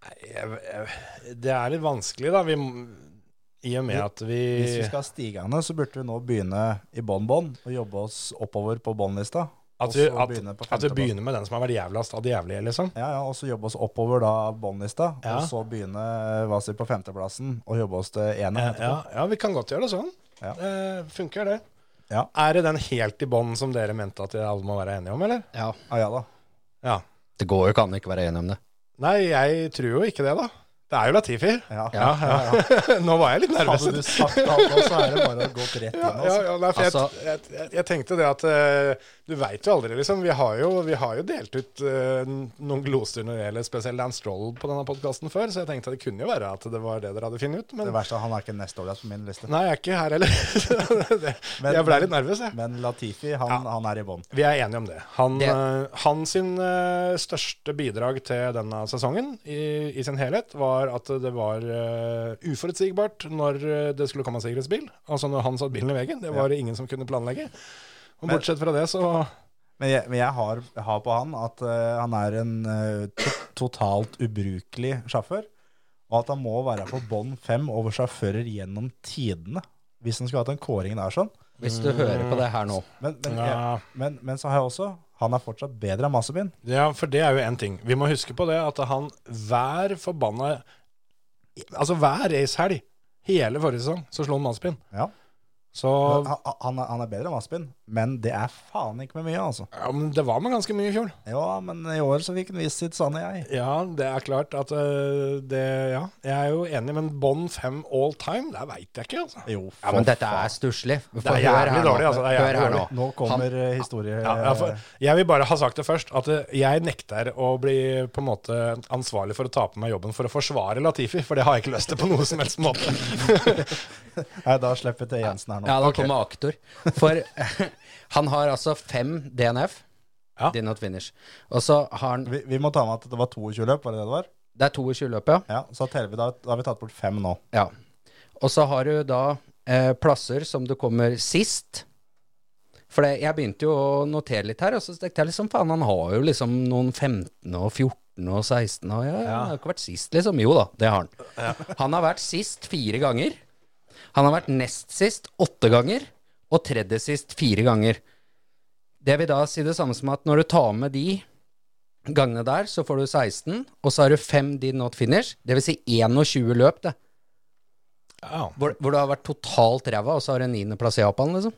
Speaker 3: Nei, jeg, jeg, det er litt vanskelig, da. Vi, må- I og med at vi
Speaker 4: Hvis vi skal ha stigende, så burde vi nå begynne i bånn-bånn, og jobbe oss oppover på bånnlista. og
Speaker 3: At vi,
Speaker 4: så
Speaker 3: at,
Speaker 4: begynne på
Speaker 3: at vi
Speaker 4: femteplass.
Speaker 3: begynner med den som har vært jævligst av de jævlige, liksom.
Speaker 4: Ja, ja, og så jobbe oss oppover da båndlista,
Speaker 3: Ja.
Speaker 4: og så begynne eh, hva sier på femteplassen, og jobbe oss til ene
Speaker 3: Ja,
Speaker 4: etterpå.
Speaker 3: Eh, ja, vi kan godt gjøre det sånn.
Speaker 4: Ja.
Speaker 3: Det funker, det.
Speaker 4: Ja.
Speaker 3: Er det den helt i bånn som dere mente at alle må være enige om, eller?
Speaker 2: Ja.
Speaker 4: Ah, ja da.
Speaker 3: Ja.
Speaker 2: Det går jo ikke an å ikke være enig om det.
Speaker 3: Nei, jeg tror jo ikke det, da. Det er jo Latifi.
Speaker 4: Ja.
Speaker 2: Ja.
Speaker 3: Nå var jeg litt nervøs.
Speaker 4: Hadde du sagt det nå, så er det bare å gå rett inn.
Speaker 3: Ja, ja,
Speaker 4: Altså.
Speaker 3: ja, nei, for
Speaker 2: Altså-
Speaker 3: jeg, jeg, jeg tenkte det at eh, du veit jo aldri, liksom. Vi har jo, vi har jo delt ut eh, noen gloser når det gjelder spesielt Dan Stroll på denne podkasten før, så jeg tenkte at det kunne jo være at det var det dere hadde funnet ut. Men
Speaker 4: Det verste er han er ikke nestårligst på min liste.
Speaker 3: Nei, jeg er ikke her heller. det,
Speaker 4: Men-
Speaker 3: jeg ble litt nervøs, jeg.
Speaker 4: Men Latifi, han, han er i bånn.
Speaker 3: Vi er enige om det. Han,
Speaker 2: Det-
Speaker 3: eh, han sin eh, største bidrag til denne sesongen i, i sin helhet var at det var eh, uforutsigbart når eh, det skulle komme en sikkerhetsbil. Altså når han satt bilen i veggen. Det var det ingen som kunne planlegge. Og
Speaker 4: Men-
Speaker 3: bortsett fra det, så
Speaker 4: Men jeg, men jeg har, har på han at eh, han er en eh, to- totalt ubrukelig sjåfør, og at han må være på bånn fem over sjåfører gjennom tidene, hvis han skulle hatt en kåring der sånn.
Speaker 2: Hvis du hører på det her nå.
Speaker 4: Men, men,
Speaker 3: Ja.
Speaker 4: men, men så har jeg også, han er fortsatt bedre enn Masebin.
Speaker 3: Ja, for det er jo én ting. Vi må huske på det at han hver forbanna Altså hver racehelg hele forrige sesong så slo han mannspinn.
Speaker 4: Ja.
Speaker 3: Så
Speaker 4: Han, han, er- han er bedre enn Aspen, men det er faen ikke med mye, altså.
Speaker 3: ja, men det var med ganske mye i fjor.
Speaker 4: Ja, men i år så fikk han vist sitt sanne jeg.
Speaker 3: Ja, det er klart at øh, det Ja, jeg er jo enig, men Bond 5 all time, det veit jeg ikke, altså.
Speaker 4: Jo,
Speaker 2: Ja, men dette er stusslig.
Speaker 3: Det er jævlig dårlig, altså. Det er jævlig
Speaker 2: Hør her nå.
Speaker 3: dårlig.
Speaker 4: Nå kommer eh, historie...
Speaker 3: Ja, ja, for jeg vil bare ha sagt det først, at øh, jeg nekter å bli på en måte ansvarlig for å ta på meg jobben for å forsvare Latifi, for det har jeg ikke lyst til på noen som helst måte.
Speaker 4: Nei, da slipper jeg til Jensen her nå.
Speaker 2: Ja, da kommer aktor. For han har altså fem DNF.
Speaker 3: Ja.
Speaker 2: Did not finish. Og så har han
Speaker 4: Vi, vi må ta med at det var 22 løp, var det det det var?
Speaker 2: Det er 22 løp, ja.
Speaker 4: Ja, så teller vi da, da har vi tatt bort fem nå.
Speaker 2: ja. Og så har du da eh, plasser som du kommer sist, For det, jeg begynte jo å notere litt her, og så tenkte jeg liksom faen, han har jo liksom noen 15 og 14 og 16 og ja, ja, han har jo ikke vært sist, liksom. Jo da, det har han. Han har vært sist fire ganger. Han har vært nest sist åtte ganger, og tredje sist fire ganger. Det vil da si det samme som at når du tar med de gangene der, så får du 16, og så har du fem did not finish, det vil si 21 løp, det.
Speaker 3: Ja.
Speaker 2: Hvor, hvor du har vært totalt ræva, og så har du en niendeplass i Japan, liksom.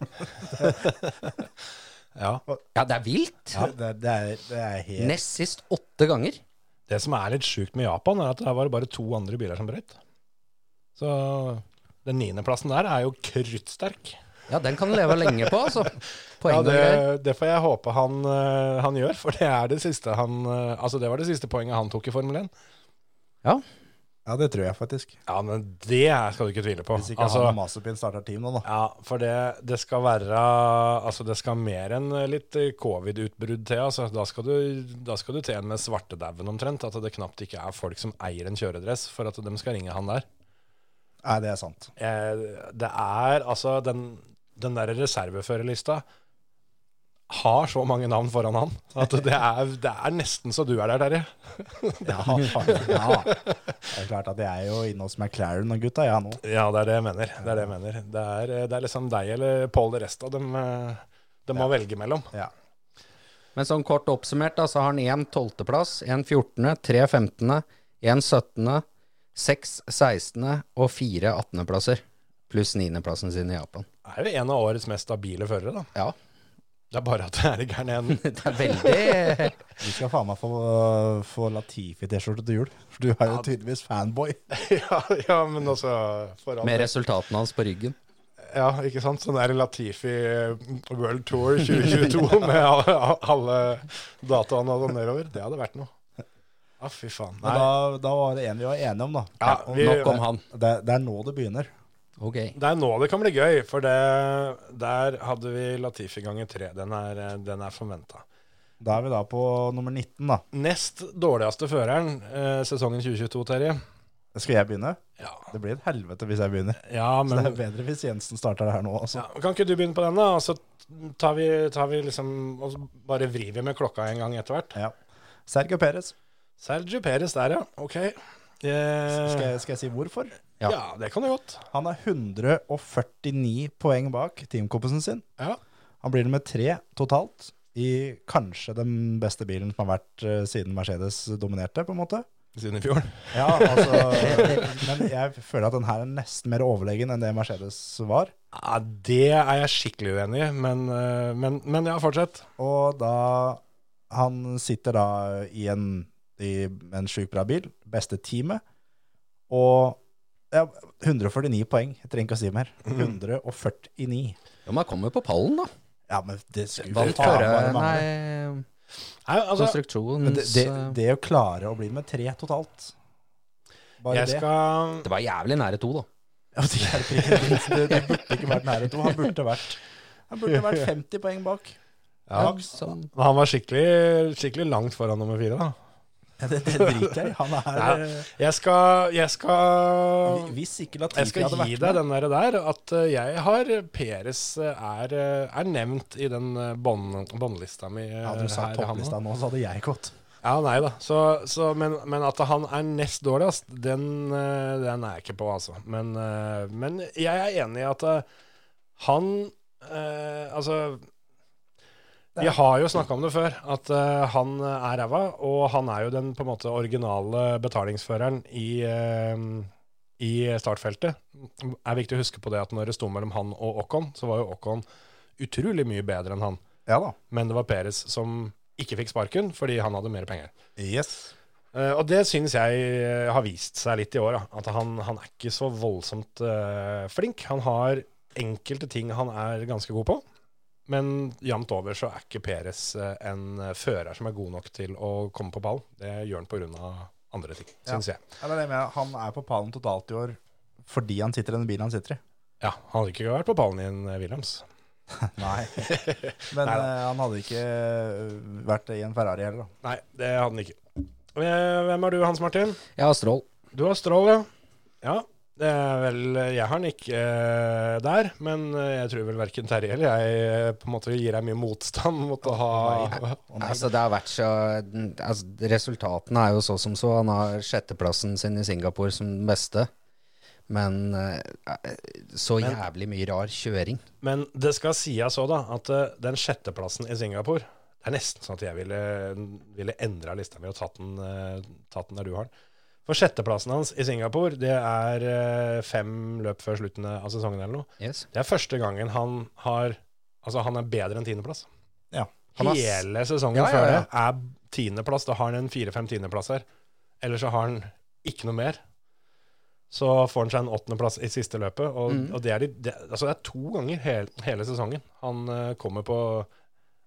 Speaker 3: ja.
Speaker 2: Ja, det er vilt.
Speaker 4: Det, det, er, det er helt
Speaker 2: Nest sist åtte ganger.
Speaker 3: Det som er litt sjukt med Japan, er at der var det bare to andre biler som brøyt. Så den niendeplassen der er jo kruttsterk.
Speaker 2: Ja, den kan du leve lenge på, altså. Poeng
Speaker 3: Ja,
Speaker 2: og
Speaker 3: det,
Speaker 2: greier.
Speaker 3: det får jeg håpe han, eh, han gjør, for det er det siste han eh, Altså, det var det siste poenget han tok i Formel 1.
Speaker 4: Ja, det tror jeg faktisk.
Speaker 3: Ja, men det skal du ikke tvile på.
Speaker 4: Hvis ikke
Speaker 3: Altså,
Speaker 4: han og Masupin starter team nå, da.
Speaker 3: ja, for det, det skal være Altså, det skal mer enn litt eh, covid-utbrudd til. Altså, da skal du, da skal du til en med svartedauden omtrent. At det knapt ikke er folk som eier en kjøredress for at de skal ringe han der.
Speaker 4: Nei, det er sant.
Speaker 3: Eh, det er altså Den, den der reserveførerlista har så mange navn foran han at det er, det er nesten så du er der, Terje.
Speaker 4: Ja, faen, ja. Det er klart at jeg er jo inne hos McLaren og gutta, jeg nå.
Speaker 3: Ja, det er det jeg mener. Det er, det jeg mener. Det er, det er liksom deg eller Paul de Resta de, eh, de må velge mellom.
Speaker 4: Ja.
Speaker 2: Men sånn kort oppsummert, da, så har han én tolvteplass, én fjortende, tre femtende, én syttende, seks sekstende og fire attendeplasser. Pluss niendeplassen sin i Japan.
Speaker 3: Det er jo en av årets mest stabile førere, da.
Speaker 2: Ja,
Speaker 3: Det er bare at det er i gærne enden.
Speaker 2: det er veldig
Speaker 4: Du skal faen meg få, få Latifi-T-skjorte til jul. For du er jo tydeligvis fanboy.
Speaker 3: ja, ja, men altså for all
Speaker 2: Med
Speaker 3: del.
Speaker 2: resultatene hans på ryggen.
Speaker 3: Ja, ikke sant? Sånn der Latifi World Tour 2022 med alle, alle dataene og sånn nedover. Det hadde vært noe. Ja, fy faen.
Speaker 4: Men
Speaker 3: Nei.
Speaker 4: da, da var det en vi var enige om, da.
Speaker 3: Ja, vi,
Speaker 2: Nok om han.
Speaker 4: Det, det er nå det begynner.
Speaker 2: Ok.
Speaker 3: det er nå det kan bli gøy, for det, der hadde vi Latifi ganger tre. Den er, den er forventa.
Speaker 4: Da er vi da på nummer 19, da.
Speaker 3: Nest dårligste føreren eh, sesongen 2022, Terje.
Speaker 4: Skal jeg begynne?
Speaker 3: Ja,
Speaker 4: Det blir et helvete hvis jeg begynner.
Speaker 3: ja
Speaker 4: Så det
Speaker 3: men
Speaker 4: er bedre hvis Jensen starter det her nå. Altså.
Speaker 3: ja, Kan ikke du begynne på den, da? Og så tar vi, tar vi liksom Og så bare vrir vi med klokka en gang etter hvert.
Speaker 4: Ja. Sergio Perez.
Speaker 3: Sergio Perez der, ja. Ok. Eh,
Speaker 4: Skal jeg, skal jeg si hvorfor?
Speaker 3: ja. det kan du godt.
Speaker 4: Han er 149 poeng bak teamkompisen sin.
Speaker 3: Ja.
Speaker 4: Han blir nummer tre totalt i kanskje den beste bilen som har vært eh, siden Mercedes dominerte, på en måte.
Speaker 3: Siden i fjor.
Speaker 4: Ja, altså Men jeg føler at den her er nesten mer overlegen enn det Mercedes var.
Speaker 3: Ja, det er jeg skikkelig uenig i, men, eh, men, men ja, fortsett.
Speaker 4: Og da Han sitter da i en, i en sjukt bra bil, beste teamet, og ja, 149 poeng. Jeg trenger ikke å si mer.
Speaker 3: Mm.
Speaker 4: 149.
Speaker 2: Ja, man kommer på pallen, da.
Speaker 4: Ja, men det skulle
Speaker 2: Vant
Speaker 4: faen
Speaker 2: fører
Speaker 4: bare mangle.
Speaker 2: Nei,
Speaker 3: Nei, altså,
Speaker 4: Men det,
Speaker 2: konstruksjons...
Speaker 4: det,
Speaker 2: eh,
Speaker 4: det å klare å bli med tre totalt Bare
Speaker 3: jeg
Speaker 4: det.
Speaker 3: skal
Speaker 2: Det var jævlig nære to, da.
Speaker 4: Ja, det, hjelper ikke. det, det burde ikke vært nære to. Han burde vært, han burde vært 50 poeng bak.
Speaker 3: Ja.
Speaker 2: sånn.
Speaker 3: Han var skikkelig, skikkelig langt foran nummer fire, da.
Speaker 4: Ja, Det, det driter jeg i. Han er
Speaker 3: Nei,
Speaker 4: eh,
Speaker 3: jeg skal, jeg skal
Speaker 4: vi- Hvis ikke
Speaker 3: Jeg
Speaker 4: Latifi
Speaker 3: skal
Speaker 4: hadde
Speaker 3: gi
Speaker 4: vært
Speaker 3: deg
Speaker 4: med
Speaker 3: den der, der at eh, jeg har Peres eh, er, eh, er nevnt i den eh, bånd- båndlista mi. eh,
Speaker 4: Hadde du sagt
Speaker 3: her, han
Speaker 4: topplista
Speaker 3: også.
Speaker 4: nå, så hadde jeg gått.
Speaker 3: Ja, nei da. Så, så, men, men at han er nest dårligst, den, eh, den er jeg ikke på, altså. Men, eh, men jeg er enig i at eh, han eh, Altså vi har jo snakka om det før, at eh, han er ræva. Og han er jo den på en måte originale betalingsføreren i, eh, i startfeltet. Det er viktig å huske på det at når det sto mellom han og Ocon, så var jo Ocon utrolig mye bedre enn han.
Speaker 4: Ja da.
Speaker 3: Men det var Peres som ikke fikk sparken fordi han hadde mer penger.
Speaker 4: Yes.
Speaker 3: Eh, og det syns jeg eh, har vist seg litt i år. Da. At han, han er ikke så voldsomt eh, flink. Han har enkelte ting han er ganske god på, men jevnt over så er ikke Peres eh, en fører som er god nok til å komme på ball. Det gjør han pga. andre ting,
Speaker 4: Ja.
Speaker 3: syns jeg.
Speaker 4: Ja, det er det med. Han er på pallen totalt i år fordi han sitter i den bilen han sitter i.
Speaker 3: Ja, Han hadde ikke vært på pallen i en eh, Williams.
Speaker 4: Nei. Men
Speaker 3: Neida.
Speaker 4: eh, han hadde ikke eh, vært i en Ferrari heller, da.
Speaker 3: Nei, det hadde han ikke. Eh, Hvem er du, Hans Martin?
Speaker 2: Jeg har strål.
Speaker 3: Du har strål, ja. Ja, Det er vel, jeg har den ikke eh, der, men eh, jeg tror vel verken Terje eller jeg eh, på en måte gir deg mye motstand mot å ha
Speaker 2: Altså, det har vært så altså, Resultatene er jo så som så. Han har sjetteplassen sin i Singapore som den beste. Men eh, så
Speaker 3: Men-
Speaker 2: jævlig mye rar kjøring.
Speaker 3: Men det skal sies òg, da, at eh, den sjetteplassen i Singapore Det er nesten sånn at jeg ville, ville endra lista mi og tatt den, eh, tatt den der du har den. For sjetteplassen hans i Singapore, det er eh, fem løp før slutten av sesongen eller noe.
Speaker 2: Yes.
Speaker 3: Det er første gangen han har Altså, han er bedre enn tiendeplass.
Speaker 4: Ja.
Speaker 2: Han har s-
Speaker 3: Hele sesongen
Speaker 2: Ja, ja,
Speaker 3: før
Speaker 2: ja.
Speaker 3: det er tiendeplass. Da har han en fire-fem tiendeplasser. Eller så har han ikke noe mer. Så får han seg en åttendeplass i siste løpet. Og,
Speaker 2: Mm.
Speaker 3: og det, er de, det, altså det er to ganger hel, hele sesongen han eh, kommer på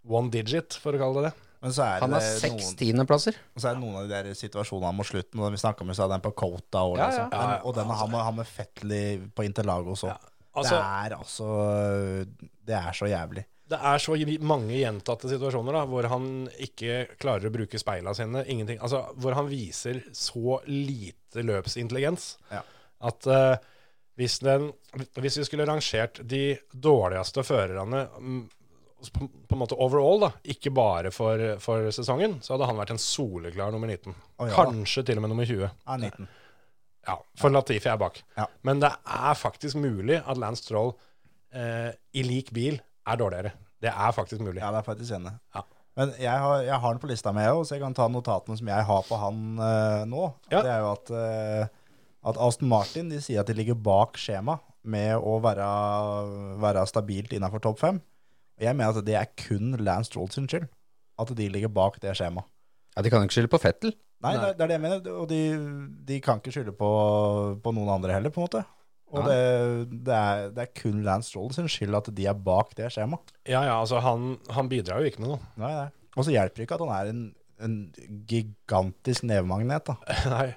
Speaker 3: one digit, for å kalle det det.
Speaker 4: Men så er
Speaker 2: Han har
Speaker 4: det
Speaker 2: seks
Speaker 4: noen,
Speaker 2: tiendeplasser.
Speaker 4: så er det noen av de der situasjonene mot slutten. og Vi snakka med så er den på Cota og,
Speaker 2: Ja, ja.
Speaker 4: altså. Den, og den har med, har med Fetley på Interlagos òg.
Speaker 3: Altså,
Speaker 4: det er altså Det er så jævlig.
Speaker 3: det er så mange gjentatte situasjoner da, hvor han ikke klarer å bruke speila sine. Ingenting, altså, hvor han viser så lite løpsintelligens
Speaker 4: Ja.
Speaker 3: at eh, hvis, den, hvis vi skulle rangert de dårligste førerne mm, på, på en måte overall, da, ikke bare for, for sesongen, så hadde han vært en soleklar nummer 19.
Speaker 4: Å, ja.
Speaker 3: Kanskje til og med nummer 20.
Speaker 4: Er 19.
Speaker 3: Ja, for Latifi er bak.
Speaker 4: Ja.
Speaker 3: Men det er faktisk mulig at Lance Troll eh, i lik bil er dårligere. Det er faktisk mulig.
Speaker 4: Ja, det er faktisk enig.
Speaker 3: Ja.
Speaker 4: Men jeg har, jeg har den på lista mi òg, så jeg kan ta notatene som jeg har på han eh, nå.
Speaker 3: Ja.
Speaker 4: Det er jo at, eh, at Aston Martin de sier at de ligger bak skjema med å være, være stabilt innafor topp fem. Og Jeg mener at det er kun Lance Stroll sin skyld at de ligger bak det skjemaet.
Speaker 2: Ja, De kan jo ikke skylde på Fettel.
Speaker 4: Nei, Det, er- det er det jeg mener, og de, de kan ikke skylde på, på noen andre heller, på en måte. Og det, det, er, det er kun Lance Stroll sin skyld at de er bak det skjemaet.
Speaker 3: Ja, ja, altså han, han bidrar jo ikke med noe.
Speaker 4: Nei, nei. Og så hjelper det ikke at han er en, en gigantisk nevemagnet, da.
Speaker 3: Nei.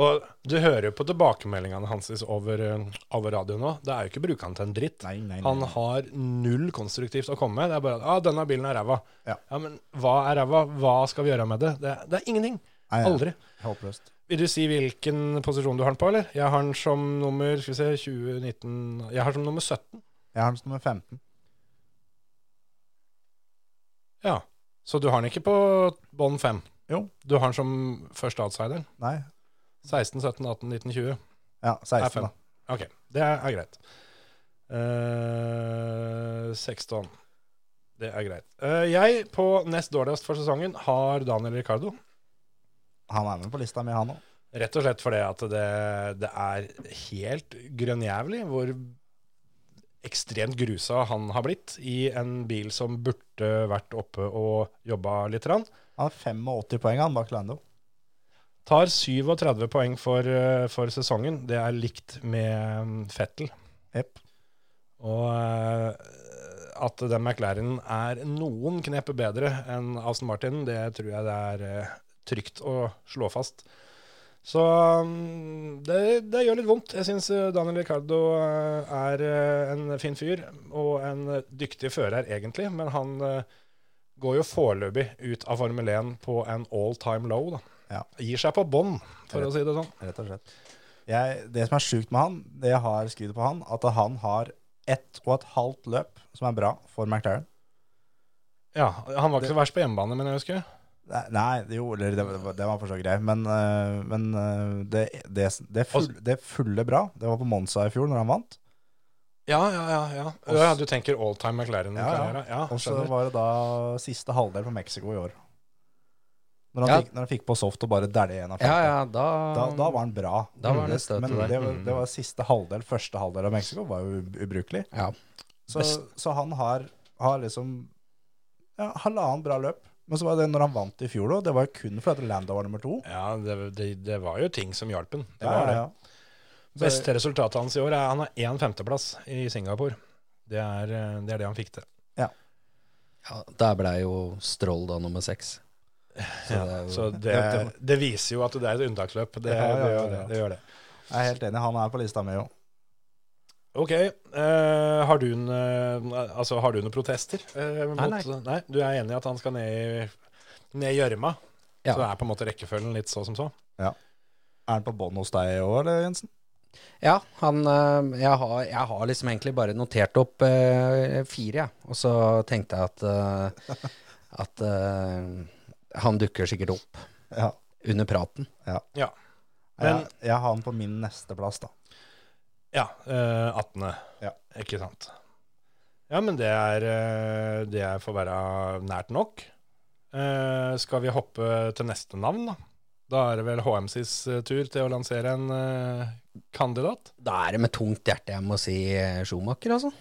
Speaker 3: Og du hører jo på tilbakemeldingene hans over, eh, over radioen nå. Det er jo ikke brukeren til en dritt.
Speaker 4: Nei, nei, nei.
Speaker 3: Han har null konstruktivt å komme med. Det er bare at ah, 'denne bilen er ræva'.
Speaker 4: Ja.
Speaker 3: men hva er ræva? Hva skal vi gjøre med det? Det, det er ingenting.
Speaker 4: Nei, nei.
Speaker 3: Aldri.
Speaker 4: Håpløst.
Speaker 3: Vil du si hvilken posisjon du har den på, eller? Jeg har den som nummer skal vi se, 2019 Jeg har den som nummer 17.
Speaker 4: Jeg har ham som nummer 15.
Speaker 3: Ja. Så du har den ikke på bånd 5?
Speaker 4: Jo.
Speaker 3: Du har den som første outsideren?
Speaker 4: Nei,
Speaker 3: 16, 17, 18, 19, 20?
Speaker 4: ja, 16,
Speaker 3: Nei, fem.
Speaker 4: da.
Speaker 3: Ok, det er, er greit. Eh, 16. Det er greit. Eh, jeg, på nest dårligst for sesongen, har Daniel Ricardo.
Speaker 4: Han er med på lista mi, han òg.
Speaker 3: Rett og slett fordi at det, det er helt grønnjævlig hvor ekstremt grusa han har blitt i en bil som burde vært oppe og jobba litt. Rann.
Speaker 4: Han har 85 poeng, han, bak Lando.
Speaker 3: Tar 37 poeng for, eh, for sesongen. Det er likt med mm, Fettel.
Speaker 4: Jepp.
Speaker 3: Og eh, at den McLaren er noen knep bedre enn Aston Martin, det tror jeg det er eh, trygt å slå fast. Så mm, det, det gjør litt vondt. Jeg syns Daniel Ricardo eh, er eh, en fin fyr, og en eh, dyktig fører egentlig, men han eh, går jo foreløpig ut av Formel 1 på en all time low, da.
Speaker 4: Ja.
Speaker 3: Gir seg på bånn, for å si det sånn.
Speaker 4: Rett og slett. Jeg, det som er sjukt med han, det jeg har skrevet på han, at han har ett og et halvt løp som er bra for McLaren.
Speaker 3: Ja, Han var ikke så verst på hjemmebane, men jeg husker.
Speaker 4: Nei, Nei, det, jo, eller det, var- det var for så grei, men, øh, men øh, det, det,
Speaker 3: Altså-
Speaker 4: det, full, det fulle bra, det var på Monza i fjor når han vant.
Speaker 3: Ja, ja, ja. ja. ja du tenker all time McLaren?
Speaker 4: Ja, ja.
Speaker 3: karriere. ja
Speaker 4: Og så
Speaker 3: skjønner.
Speaker 4: var det da siste halvdel på Mexico i år. Når han,
Speaker 2: Ja.
Speaker 4: fikk, når han fikk på soft og bare dælja en av
Speaker 2: Ja,
Speaker 4: feltet.
Speaker 2: ja, da,
Speaker 4: Da, da var han bra.
Speaker 2: Da var det
Speaker 4: Men-
Speaker 2: støtet
Speaker 4: Men
Speaker 2: der.
Speaker 4: det var, det var siste halvdel, første halvdel av Mexico var jo u- ubrukelig.
Speaker 2: Ja.
Speaker 4: Så, så han har, har liksom ja, halvannen bra løp. Men så var det når han vant i fjor, da. Det var jo kun fordi at Lando var nummer to.
Speaker 3: Ja, det, det, det var jo ting som hjalp ham. Det
Speaker 4: Ja, ja,
Speaker 3: var det.
Speaker 4: ja. Så-
Speaker 3: Beste resultatet hans i år er han har én femteplass i Singapore. Det er, eh, det er det han fikk til.
Speaker 2: ja, der ble jo Stroll da nummer seks. Så det er jo
Speaker 3: Så det, det, det viser jo at det er et unntaksløp. Det,
Speaker 4: Ja, ja,
Speaker 3: det,
Speaker 4: ja,
Speaker 3: gjør det,
Speaker 4: ja.
Speaker 3: det gjør det.
Speaker 4: Jeg er helt enig, han er på lista mi òg.
Speaker 3: Ok. eh, har, du en, eh, altså, har du noen protester? eh, mot, nei,
Speaker 2: nei.
Speaker 3: Du er enig i at han skal ned i ned i gjørma?
Speaker 2: Ja.
Speaker 3: Så er på en måte rekkefølgen litt så som så?
Speaker 4: Er han på bånn hos deg òg, eller Jensen?
Speaker 2: Ja, han, eh, jeg, har, jeg har liksom egentlig bare notert opp eh, fire, jeg. Og så tenkte jeg at, eh, at eh, han dukker sikkert opp
Speaker 4: Ja.
Speaker 2: under praten.
Speaker 3: Ja. Men-
Speaker 4: Jeg, jeg har den på min neste plass, da.
Speaker 3: Ja, eh, 18.
Speaker 4: Ja.
Speaker 3: Ikke sant. Ja, men det er, eh, det er får være nært nok. Eh, skal vi hoppe til neste navn, da? Da er det vel HMCs eh, tur til å lansere en eh, kandidat.
Speaker 2: Da er det med tungt hjerte jeg må si eh, Schumacher, altså.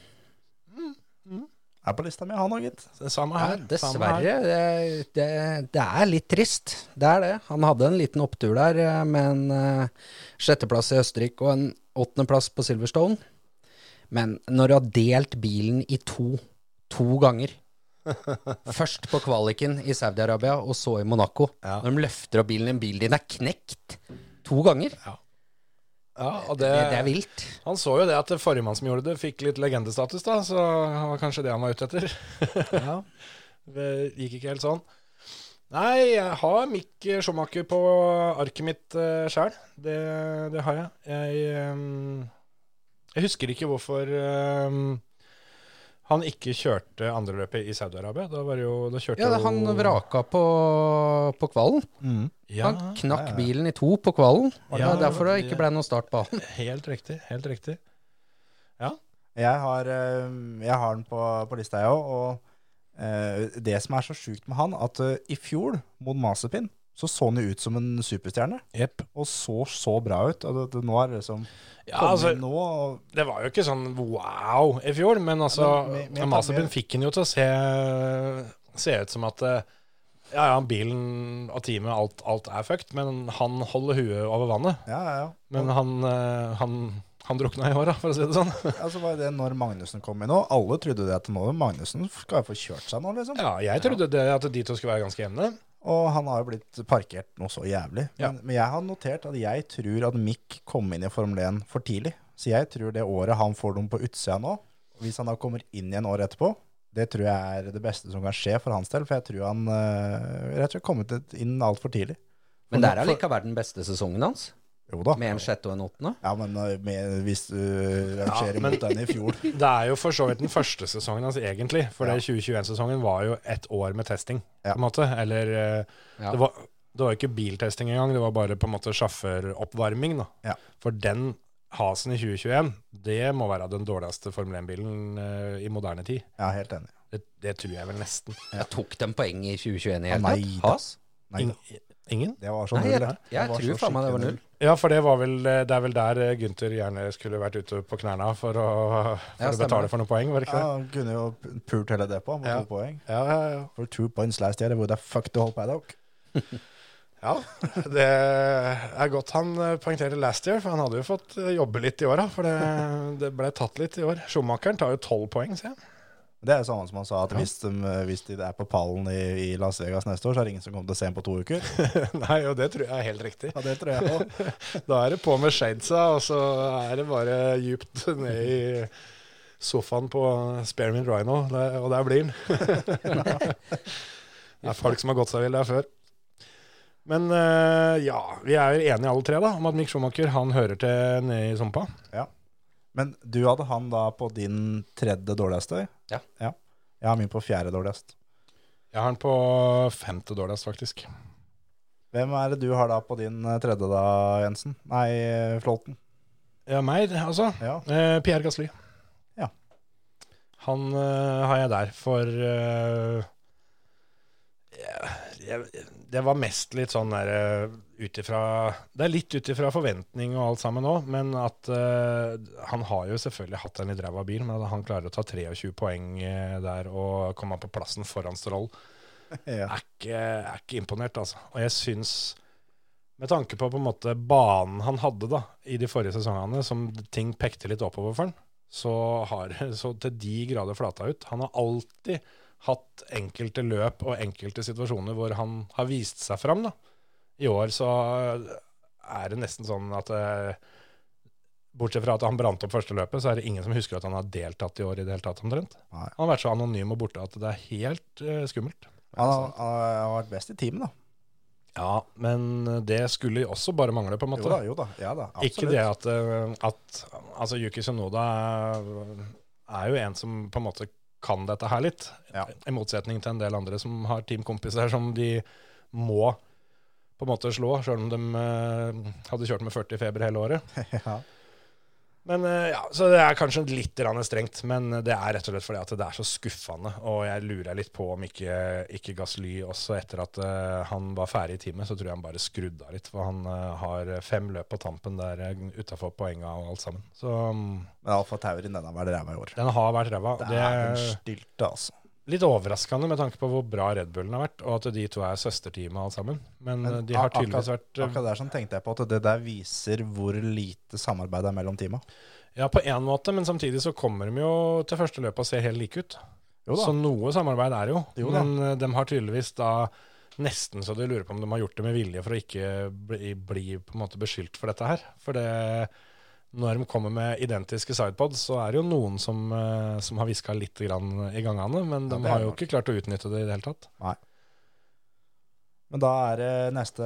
Speaker 4: Er på lista mi, han òg, gitt.
Speaker 3: Samme
Speaker 2: Ja,
Speaker 3: her. samme her.
Speaker 2: dessverre. Det, det, det er litt trist. Det er det. Han hadde en liten opptur der eh, med en eh, sjetteplass i Østerrike og en åttendeplass på Silverstone. Men når du har delt bilen i to to ganger Først på kvaliken i Saudi-Arabia, og så i Monaco.
Speaker 3: Ja.
Speaker 2: Når de løfter opp bilen, en bil din er knekt to ganger.
Speaker 3: Ja, og
Speaker 2: Det,
Speaker 3: det,
Speaker 2: det er vilt.
Speaker 3: han så jo det at det forrige mann som gjorde det, fikk litt legendestatus, da. Så det var kanskje det han var ute etter. Det gikk ikke helt sånn. Nei, jeg har Mick Schumacher på arket mitt uh, sjøl. Det, det har jeg. Jeg, ehm, jeg husker ikke hvorfor ehm, han ikke kjørte andreløpet i Saudi-Arabia. Da, var det jo, da kjørte
Speaker 2: Ja, det, han
Speaker 3: jo
Speaker 2: vraka på, på kvalen.
Speaker 4: Mm.
Speaker 3: Ja,
Speaker 2: han knakk
Speaker 4: ja, ja.
Speaker 2: bilen i to på kvalen.
Speaker 3: Var
Speaker 2: det
Speaker 3: det-
Speaker 2: var derfor det ikke ble noe start på han.
Speaker 3: helt riktig. Helt riktig.
Speaker 4: Jeg har, eh, jeg har den på, på lista, jeg òg. Og eh, det som er så sjukt med han, at eh, i fjor, mot Mazepin, så så han jo ut som en superstjerne.
Speaker 3: Jepp.
Speaker 4: Og så så bra ut. Og det, det, nå er det liksom
Speaker 3: Ja, altså,
Speaker 4: Kommer nå, og
Speaker 3: det var jo ikke sånn wow i fjor, men altså
Speaker 4: Ja, men med- med-
Speaker 3: Mazepin
Speaker 4: med-
Speaker 3: fikk han jo til å se, se ut som at eh, ja, ja, bilen og teamet, alt, alt er fucked, men han holder huet over vannet.
Speaker 4: Ja, ja, ja.
Speaker 3: Men han, eh, han, han drukna i håra, for å si det sånn.
Speaker 4: Altså var det når Magnussen kom inn nå. Alle trodde det at nå Magnussen skal jo få kjørt seg nå, liksom.
Speaker 3: Ja, jeg trodde det at de to skulle være ganske jevne.
Speaker 4: Og han har jo blitt parkert noe så jævlig. Men, men jeg har notert at jeg tror at Mick kom inn i Formel 1 for tidlig. Så jeg tror det året han får dem på utsida nå, hvis han da kommer inn igjen året etterpå, det tror jeg er det beste som kan skje for hans del. For jeg tror han eh, rett og slett kommet inn altfor tidlig.
Speaker 2: Men det er allikevel den beste sesongen hans,
Speaker 4: Jo da.
Speaker 2: med en sjette og en åttende.
Speaker 4: Ja, men eh, med, hvis eh, du rangerer
Speaker 3: men-
Speaker 4: mot den i fjor
Speaker 3: Det er jo for så vidt den første sesongen hans, egentlig. For det 2021-sesongen var jo ett år med testing,
Speaker 4: Ja.
Speaker 3: på en måte. Eller eh,
Speaker 2: Ja.
Speaker 3: det, var, det var jo ikke biltesting engang, det var bare på en måte sjåføroppvarming, da.
Speaker 4: Ja.
Speaker 3: For den Hasen i 2021, det må være den dårligste Formel 1-bilen eh, i moderne tid.
Speaker 4: Ja, helt enig.
Speaker 3: Det, det tror jeg vel nesten.
Speaker 2: Jeg tok dem poeng i 2021 i hele
Speaker 4: Nei,
Speaker 2: tatt.
Speaker 4: da.
Speaker 2: Has?
Speaker 4: Nei,
Speaker 3: Ing- Ingen?
Speaker 4: det var så
Speaker 2: Nei,
Speaker 4: null.
Speaker 2: jeg,
Speaker 4: det. Det
Speaker 2: jeg
Speaker 4: var så
Speaker 2: tror faen meg det var
Speaker 4: skikkelig
Speaker 2: null.
Speaker 3: Ja, for det, var vel, det er vel der eh, Gunther gjerne skulle vært ute på knærne for å, for
Speaker 2: Ja,
Speaker 3: å
Speaker 2: stemmer
Speaker 3: betale
Speaker 2: det.
Speaker 3: for noen poeng, var det ikke
Speaker 4: Ja, han kunne jo p- pult hele det på, med
Speaker 3: Ja.
Speaker 4: to poeng.
Speaker 3: det? Ja, ja, ja.
Speaker 4: For two points last year, would have fucked the whole paddock.
Speaker 3: Ja, det er godt han eh, poengterte last year, for han hadde jo fått eh, jobbe litt i år, da, for det, det ble tatt litt i år. Schumacheren tar jo tolv poeng, ser jeg.
Speaker 4: Det er jo samme som han sa, at hvis, de, eh, hvis de er på pallen i, i Las Vegas neste år, så er det ingen som kommer til å se ham på to uker.
Speaker 3: Nei, og det tror jeg er helt riktig.
Speaker 4: Ja, det tror jeg også.
Speaker 3: Da er det på med shadesa, og så er det bare djupt ned i sofaen på Spearmint Rhino, der, og der blir den. det er folk som har gått seg vill der før. Men eh, ja, vi er jo enige alle tre da, om at Mick Schumacher han hører til nede i Sumpa.
Speaker 4: Men du hadde han da på din tredje dårligste?
Speaker 2: Ja.
Speaker 4: Jeg har min på fjerde dårligst.
Speaker 3: Jeg har han på femte dårligst, faktisk.
Speaker 4: Hvem er det du har da på din eh, tredje da, Jensen? Nei, eh, Flåten.
Speaker 3: Ja, meg, altså.
Speaker 4: Ja.
Speaker 3: Eh, Pierre Gasly.
Speaker 4: Ja.
Speaker 3: Han eh, har jeg der for eh, jeg- jeg, Det var mest litt sånn der eh, ut ifra Det er litt ut ifra forventning og alt sammen òg, men at eh, han har jo selvfølgelig hatt en litt ræva bil, men at han klarer å ta 23 poeng eh, der og komme på plassen foran Stroll
Speaker 4: Ja.
Speaker 3: er ikke, er ikke imponert, altså. Og jeg syns, med tanke på på en måte banen han hadde da, i de forrige sesongene, som ting pekte litt oppover for han, så har det så til de grader flata ut. Han har alltid hatt enkelte løp og enkelte situasjoner hvor han har vist seg fram. Da. I år så er det nesten sånn at eh, Bortsett fra at han brant opp første løpet, så er det ingen som husker at han har deltatt i år i det hele tatt, omtrent.
Speaker 4: Nei.
Speaker 3: Han har vært så anonym og borte at det er helt eh, skummelt.
Speaker 4: Han har, han har vært best i teamet, da.
Speaker 3: Ja, men det skulle også bare mangle, på en måte.
Speaker 4: Jo da, jo da. Ja da,
Speaker 3: Ikke
Speaker 4: absolutt.
Speaker 3: det at, eh, at Altså, Yuki Sonoda er, er jo en som på en måte kan dette her litt.
Speaker 4: Ja.
Speaker 3: I motsetning til en del andre som har teamkompiser som de må på en måte slå, sjøl om de eh, hadde kjørt med 40 feber hele året.
Speaker 4: Ja.
Speaker 3: Men eh, ja, Så det er kanskje litt grann strengt, men det er rett og slett fordi at det er så skuffende. Og jeg lurer litt på om ikke, ikke Gasly også etter at eh, han var ferdig i teamet, så tror jeg han bare skrudde av litt. For han eh, har fem løp på tampen der utafor poenga og alt sammen. Så mm,
Speaker 4: Men Alfa Taurin, den har vært ræva i år.
Speaker 3: den har vært ræva. og
Speaker 4: Det er en stylte, altså.
Speaker 3: Litt overraskende med tanke på hvor bra Red Bullen har vært, og at de to er søsterteamet alt sammen. Men, eh, de har
Speaker 4: ak-
Speaker 3: tydeligvis
Speaker 4: akkurat-
Speaker 3: vært eh,
Speaker 4: Akkurat der sånn tenkte jeg på at det der viser hvor lite samarbeid det er mellom teama.
Speaker 3: Ja, på én måte, men samtidig så kommer de jo til første løpet og ser helt like ut.
Speaker 4: Jo da.
Speaker 3: Så noe samarbeid er det jo.
Speaker 4: Jo da.
Speaker 3: men eh, de har tydeligvis da nesten så de lurer på om de har gjort det med vilje for å ikke bli, bli på en måte beskyldt for dette her. For det, når de kommer med identiske sidepods, så er det jo noen som, eh, som har hviska litt grann i gangene,
Speaker 4: Ja,
Speaker 3: men
Speaker 4: det
Speaker 3: de
Speaker 4: er
Speaker 3: har jo
Speaker 4: nok.
Speaker 3: ikke klart å utnytte det i det hele tatt.
Speaker 4: Men da er det neste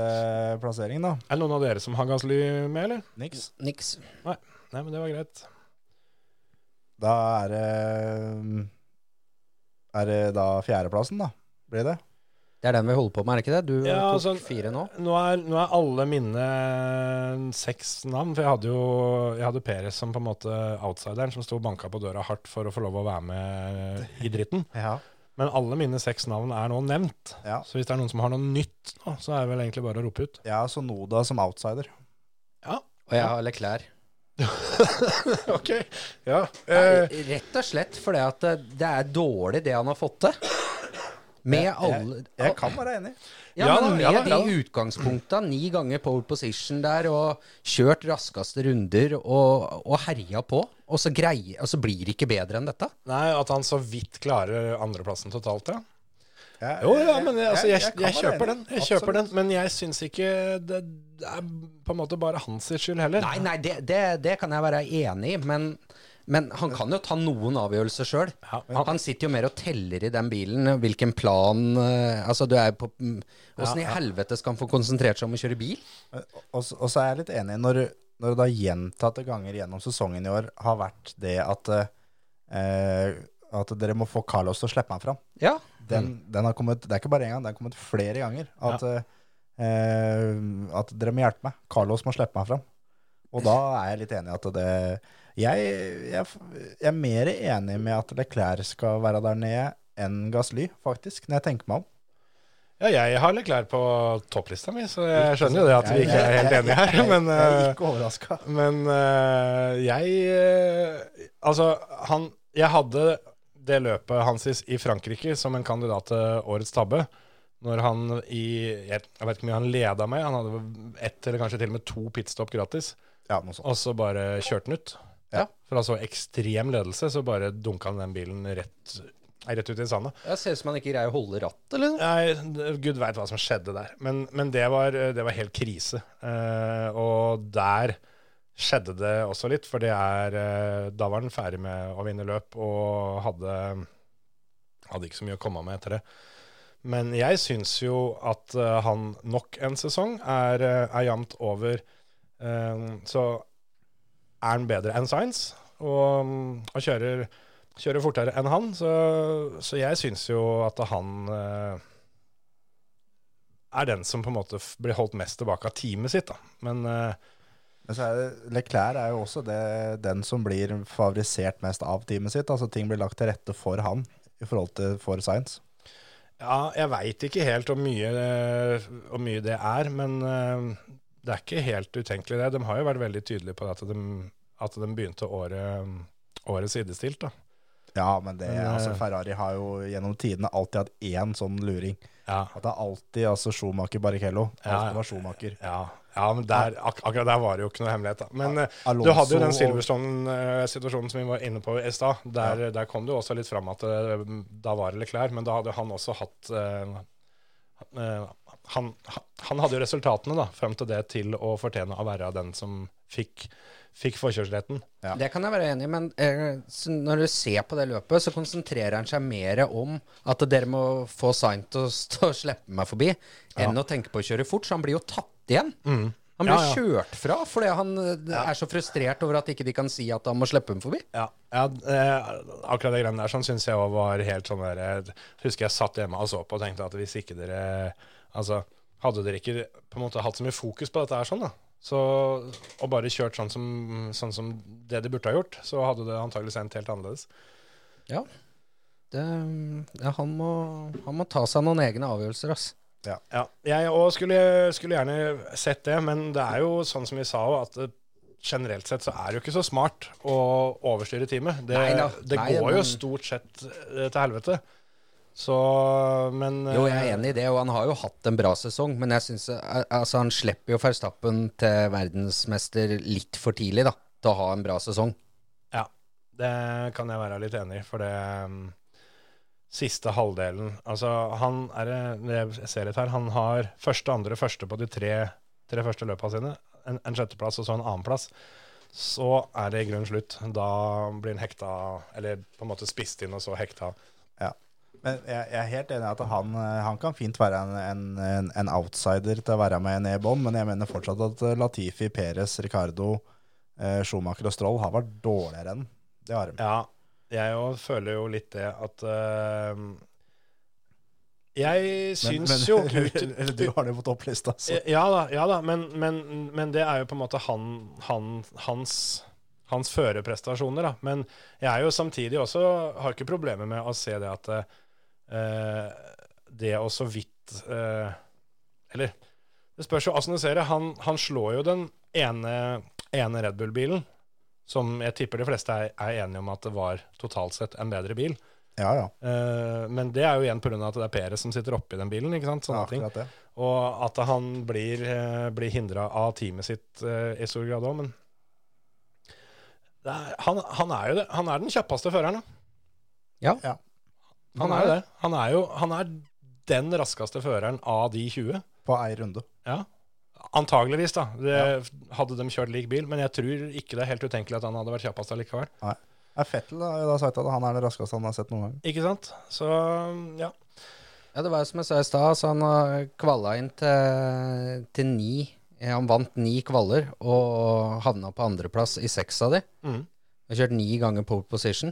Speaker 4: plassering, da.
Speaker 3: Er det noen av dere som har Gasly med, eller?
Speaker 4: Niks.
Speaker 2: Niks.
Speaker 3: Nei, men det var greit.
Speaker 4: Da er det mm, Er det da fjerdeplassen, da? Blir det?
Speaker 2: Det er den vi holder på med, er det ikke det? Du
Speaker 3: Ja,
Speaker 2: tok
Speaker 3: sånn-
Speaker 2: fire nå.
Speaker 3: Nå er, nå er alle mine eh, seks navn, for jeg hadde jo jeg hadde Peres som på en måte outsideren som sto og banka på døra hardt for å få lov å være med i dritten.
Speaker 4: Ja.
Speaker 3: Men alle mine seks navn er nå nevnt,
Speaker 4: Ja.
Speaker 3: så hvis det er noen som har noe nytt nå, så er det vel egentlig bare å rope ut.
Speaker 4: Jeg har Sonoda som outsider.
Speaker 2: Og jeg har Leclerc.
Speaker 3: ok, ja. Eh.
Speaker 2: Rett og slett fordi at det- det er dårlig det han har fått til. Med alle
Speaker 4: Jeg kan være enig.
Speaker 2: Ja,
Speaker 3: Ja da,
Speaker 2: men med
Speaker 3: ja da, ja da.
Speaker 2: de utgangspunkta, ni ganger pole position der, og kjørt raskeste runder og, og herja på, og så, greier, og så blir det ikke bedre enn dette.
Speaker 3: Nei, at han så vidt klarer andreplassen totalt, ja.
Speaker 4: Jeg-
Speaker 3: Jo, ja,
Speaker 4: jeg-
Speaker 3: men jeg, altså, jeg, jeg,
Speaker 4: kan være
Speaker 3: kjøper den,
Speaker 4: enig.
Speaker 3: jeg kjøper den,
Speaker 4: Absolutt.
Speaker 3: men jeg syns ikke det, det er på en måte bare hans skyld heller.
Speaker 2: Nei, nei, det, det, det kan jeg være enig i, men, men han kan jo ta noen avgjørelser sjøl.
Speaker 3: Ja, han-
Speaker 2: Han sitter jo mer og teller i den bilen hvilken plan eh, Altså, du er jo på Åssen i helvete skal han få konsentrert seg om å kjøre bil?
Speaker 4: Og så og så er jeg litt enig når, når det da gjentatte ganger gjennom sesongen i år har vært det at eh, at dere må få Carlos til å slippe meg fram.
Speaker 2: Ja.
Speaker 4: Den,
Speaker 3: Mm.
Speaker 4: den har kommet, det er ikke bare én gang, den har kommet flere ganger. At, eh, at dere må hjelpe meg. Carlos må slippe meg fram. Og da er jeg litt enig i at det jeg, jeg, jeg er mer enig med at Leclerc skal være der nede enn Gasly, faktisk, når jeg tenker meg om.
Speaker 3: Ja, jeg har Leclerc på topplista mi, så jeg skjønner jo det at vi ikke er helt enige her. Men,
Speaker 4: jeg er
Speaker 3: eh,
Speaker 4: ikke overraska.
Speaker 3: men eh, jeg eh, Altså, han Jeg hadde det løpet hans i- i Frankrike som en kandidat til årets tabbe. Når han i Jeg jeg vet ikke hvor mye han leda med. Han hadde ett eller kanskje til og med to pitstop gratis.
Speaker 4: Ja, noe sånt.
Speaker 3: Og så bare kjørte han ut.
Speaker 4: Ja.
Speaker 3: Fra så ekstrem ledelse, så bare dunka han den bilen rett, rett ut i sanda.
Speaker 2: Det ser ut som han ikke greier å holde rattet, liksom.
Speaker 3: Nei, d- gud veit hva som skjedde der. Men, men det, var, det var helt krise. Eh, og der skjedde det også litt, for det er eh, Da var han ferdig med å vinne løp og hadde, hadde ikke så mye å komme med etter det. Men jeg syns jo at eh, han nok en sesong er, eh, er jevnt over eh, Så er han bedre enn Science, og, og kjører kjører fortere enn han, så, så jeg syns jo at han eh, er den som på en måte f- blir holdt mest tilbake av teamet sitt, da. Men eh,
Speaker 4: Men så er det, Leclerc er jo også det, den som blir favorisert mest av teamet sitt. Altså ting blir lagt til rette for han i forhold til for Science.
Speaker 3: ja, jeg veit ikke helt hvor mye, eh, hvor mye det er, men eh, det er ikke helt utenkelig det. De har jo vært veldig tydelige på at de, at de begynte året, året sidestilt, da.
Speaker 4: Ja, men det,
Speaker 3: Men, eh,
Speaker 4: altså Ferrari har jo gjennom tidene alltid hatt én sånn luring.
Speaker 3: Ja.
Speaker 4: At det er alltid altså Schumacher Barrichello.
Speaker 3: Ja,
Speaker 4: Ja,
Speaker 3: ja.
Speaker 4: var Schumacher.
Speaker 3: Ja, ja men der, ak akkurat der var det jo ikke noe hemmelighet. Da. Men eh,
Speaker 4: Alonso
Speaker 3: du hadde jo den
Speaker 4: og-
Speaker 3: Silverstone-situasjonen som vi var inne på i stad. Der, der kom det jo også litt fram at eh, da var det Leclerc, men da hadde han også hatt eh, eh, han, han hadde jo resultatene da, frem til det til å fortjene å være den som fikk, fikk forkjørsretten.
Speaker 4: Ja.
Speaker 2: Det kan jeg være enig i, men eh, så når du ser på det løpet, så konsentrerer han seg mer om at dere må få Saint til å stå og slippe meg forbi, enn å tenke på å kjøre fort. Så han blir jo tatt igjen. Han blir
Speaker 3: Mm. Ja, ja.
Speaker 2: kjørt fra fordi han eh, er så frustrert over at ikke de kan si at han må slippe dem forbi.
Speaker 3: Ja, ja eh, akkurat det greiene der sånn syns jeg òg var helt sånn der jeg Husker jeg satt hjemme og så på og tenkte at hvis ikke dere Altså, hadde dere ikke på en måte hatt så mye fokus på dette her sånn, da, så, og bare kjørt sånn som, sånn som det de burde ha gjort, så hadde det antakeligvis endt helt annerledes.
Speaker 2: Ja. Det, ja han, må, han må ta seg noen egne avgjørelser, ass.
Speaker 3: Ja, jeg òg skulle, skulle gjerne sett det, men det er jo sånn som vi sa òg, at eh, generelt sett så er det jo ikke så smart å overstyre teamet. Det,
Speaker 2: Nei da.
Speaker 3: det
Speaker 2: Nei,
Speaker 3: går
Speaker 2: men-
Speaker 3: jo stort sett eh, til helvete. Så, men eh,
Speaker 2: Jo, jeg er enig i det, og han har jo hatt en bra sesong, men jeg synes, eh, altså, han slipper jo Verstappen til verdensmester litt for tidlig, da, til å ha en bra sesong.
Speaker 3: Ja, det kan jeg være litt enig i, for det um, siste halvdelen Altså, han er det Jeg ser litt her. Han har første, andre, første på de tre, tre første løpa sine. En, en sjetteplass og så en annenplass. Så er det i grunnen slutt. Da blir han hekta, eller på en måte spist inn og så hekta.
Speaker 4: Ja. Men jeg, jeg er helt enig i at han, eh, han kan fint være en, en, en, en outsider til å være med ned i bånn, men jeg mener fortsatt at eh, Latifi, Perez, Ricardo, eh, Schumacher og Stroll har vært dårligere enn det har de.
Speaker 3: Ja, jeg òg føler jo litt det at um, Jeg syns jo ut,
Speaker 4: eller Du har det på topplista, så
Speaker 3: Eh, Ja da, ja da men, men, men det er jo på en måte han, han, hans, hans førerprestasjoner. Da. Men jeg er jo samtidig også har ikke problemer med å se det at eh, det å så vidt eh, Eller det spørs jo åssen du ser det. Han, han slår jo den ene, ene Red Bull-bilen, som jeg tipper de fleste er, er enige om at det var totalt sett en bedre bil.
Speaker 4: Ja, ja.
Speaker 3: Eh, men det er jo igjen pga. at det er Peres som sitter oppi den bilen. ikke sant?
Speaker 4: ja
Speaker 3: Sånne ting.
Speaker 4: akkurat det.
Speaker 3: Og at han blir, eh, blir hindra av teamet sitt eh, i stor grad òg, men det er, han, han er jo det. Han er den kjappeste føreren, da.
Speaker 2: Ja.
Speaker 4: Ja.
Speaker 3: Han, er jo det. Han er jo han er den raskeste føreren av de 20.
Speaker 4: På ei runde.
Speaker 3: Ja. Antageligvis, da. Det, Hadde de kjørt lik bil. Men jeg tror ikke det er helt utenkelig at han hadde vært kjappest allikevel.
Speaker 4: Nei. Ja, Fettel har jo da sagt at han er det raskeste han har sett noen gang.
Speaker 3: Ikke sant? Så ja.
Speaker 2: Ja, det var jo som jeg sa i stad, så han har kvala inn til, til ni. Eh, Han vant ni kvaller og havna på andreplass i seks av de.
Speaker 3: Mhm.
Speaker 2: Har kjørt ni ganger pole position.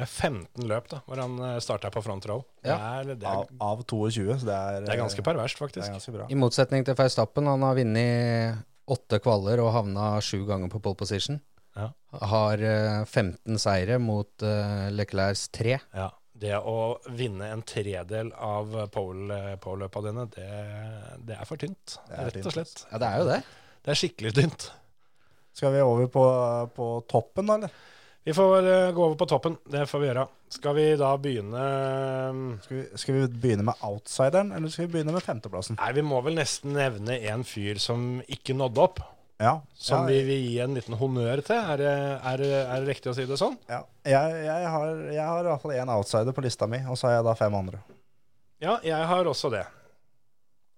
Speaker 3: Det er 15 løp da, hvor han starta på front row. Det,
Speaker 2: Ja.
Speaker 3: er, det,
Speaker 4: Av,
Speaker 3: er,
Speaker 4: av 22, så det er,
Speaker 3: det er ganske perverst,
Speaker 4: det er
Speaker 3: faktisk.
Speaker 4: ganske bra.
Speaker 2: I motsetning til Verstappen, han har vunnet åtte kvaller og havna sju ganger på pole position.
Speaker 3: Ja.
Speaker 2: Har eh, 15 seire mot eh, Leclercs tre.
Speaker 3: Ja, det å vinne en tredel av pole- pole-løpa dine, det, det er for tynt,
Speaker 4: Det er
Speaker 3: rett
Speaker 4: tynt, altså.
Speaker 3: og slett.
Speaker 2: Ja, det er jo det.
Speaker 3: Det er skikkelig tynt.
Speaker 4: Skal vi over på, på toppen, da, eller?
Speaker 3: Vi får eh, gå over på toppen, det får vi gjøre. Skal vi da begynne eh,
Speaker 4: Skal vi, skal vi begynne med outsideren, eller skal vi begynne med femteplassen?
Speaker 3: Nei, vi må vel nesten nevne en fyr som ikke nådde opp,
Speaker 4: Ja,
Speaker 3: som
Speaker 4: ja,
Speaker 3: vi vil gi en liten honnør til. Er, det- er, det- er det riktig å si det sånn?
Speaker 4: ja. Jeg, jeg, har, jeg har i hvert fall én outsider på lista mi, og så har jeg da fem andre.
Speaker 3: Ja, jeg har også det.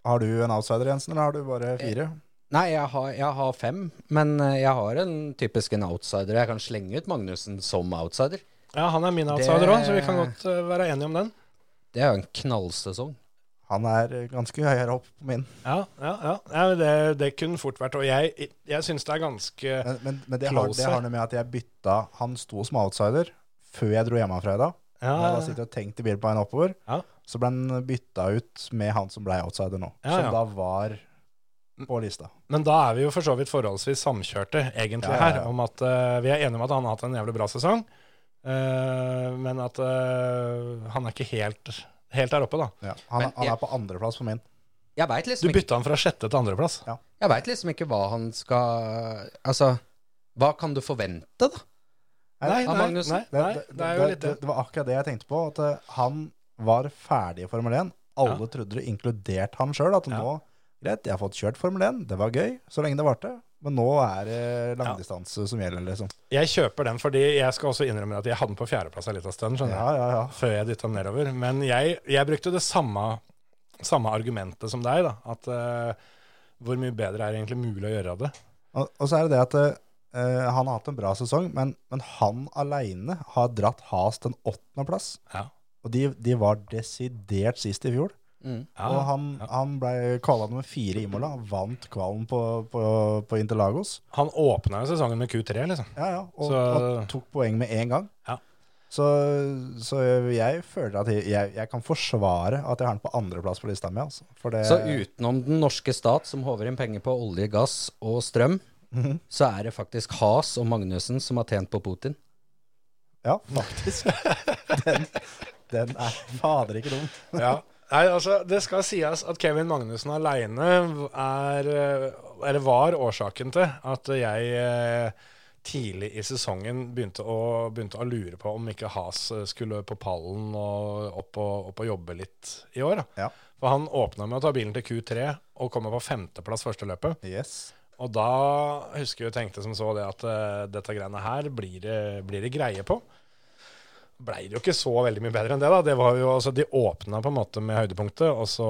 Speaker 4: Har du en outsider, Jensen, eller har du
Speaker 3: Eh.
Speaker 4: bare fire?
Speaker 2: Nei, jeg har, jeg har fem, men eh, jeg har en typisk en outsider. Jeg kan slenge ut Magnussen som outsider.
Speaker 3: Ja, Han er min
Speaker 2: Det-
Speaker 3: outsider òg, så vi kan godt eh, være enige om den.
Speaker 2: Det er jo en knallsesong.
Speaker 4: Han er ganske høyere opp på min.
Speaker 3: Ja, ja, ja. ja men det, det kunne fort vært. Og jeg, jeg syns det er ganske
Speaker 4: Men, men, men det, har, det
Speaker 3: Closer.
Speaker 4: har noe med at jeg bytta Han sto som outsider før jeg dro hjemmefra i dag.
Speaker 3: Ja,
Speaker 4: Når jeg da sitter og tenkt i bilen på veien oppover,
Speaker 3: Ja.
Speaker 4: så ble han bytta ut med han som ble outsider nå.
Speaker 3: Ja, ja.
Speaker 4: Som da var på lista.
Speaker 3: Men da er vi jo for så vidt forholdsvis samkjørte, egentlig,
Speaker 4: Ja, ja, ja.
Speaker 3: her. Om at, eh, vi er enige om at han har hatt en jævlig bra sesong, eh, men at eh, han er ikke helt, helt der oppe, da.
Speaker 4: Ja. Han,
Speaker 2: Men
Speaker 4: han
Speaker 2: jeg-
Speaker 4: er på andreplass på min.
Speaker 2: Jeg veit
Speaker 3: Du
Speaker 2: liksom, ikke-
Speaker 3: bytta han fra sjette til andreplass.
Speaker 2: jeg vet liksom ikke hva han skal Altså, hva kan du forvente, da?
Speaker 3: Nei, nei,
Speaker 2: av
Speaker 3: nei,
Speaker 2: Magnussen?
Speaker 3: nei,
Speaker 4: Det,
Speaker 3: det er jo litt det.
Speaker 4: det, det var akkurat det jeg tenkte på. At eh, han var ferdig i Formel 1. Alle trodde det, inkludert han sjøl. At
Speaker 3: Ja.
Speaker 4: nå Greit, jeg har fått kjørt Formel 1. Det var gøy så lenge det varte. Men nå er det langdistanse som gjelder, liksom.
Speaker 3: Jeg kjøper den fordi jeg skal også innrømme at jeg hadde den på fjerdeplass en liten stund, skjønner
Speaker 4: Ja,
Speaker 3: jeg,
Speaker 4: ja, ja.
Speaker 3: før jeg dytta den nedover. Men jeg, jeg brukte det samme samme argumentet som deg, da. At eh, hvor mye bedre er det egentlig mulig å gjøre det?
Speaker 4: Og, og så er det det at eh, han har hatt en bra sesong, men, men han aleine har dratt Has til en åttendeplass.
Speaker 3: Ja.
Speaker 4: Og de, de var desidert sist i fjor.
Speaker 3: Ja,
Speaker 4: og han, han ble kvala nummer fire i Imola, vant kvalen på, på, på Interlagos.
Speaker 3: Han åpna jo sesongen med Q3, liksom.
Speaker 4: Ja, ja, og,
Speaker 3: Så-
Speaker 4: og tok poeng med én gang.
Speaker 3: Ja.
Speaker 4: Så, så jeg føler at jeg, jeg, jeg kan forsvare at jeg har den på andreplass på lista mi. Altså. For det,
Speaker 2: Så
Speaker 3: Eh.
Speaker 2: utenom den norske stat, som håver inn penger på olje, gass og strøm,
Speaker 3: Mhm.
Speaker 2: så er det faktisk Has og Magnussen som har tjent på Putin.
Speaker 4: Ja, faktisk. Den, den er fader ikke dum.
Speaker 3: Ja. Nei, altså, det skal sies at Kevin Magnussen aleine er eh, Eller var årsaken til at jeg eh, tidlig i sesongen begynte å, begynte å lure på om ikke Has skulle på pallen og opp og, opp og jobbe litt i år. Da.
Speaker 4: Ja.
Speaker 3: For han åpna med å ta bilen til Q3 og komme på femteplass første løpet.
Speaker 4: Yes.
Speaker 3: Og da husker jeg tenkte som så det at eh, dette greiene her blir det, blir det greie på. Blei det jo ikke så veldig mye bedre enn det, da. Det var jo, altså, de åpna på en måte med høydepunktet, og så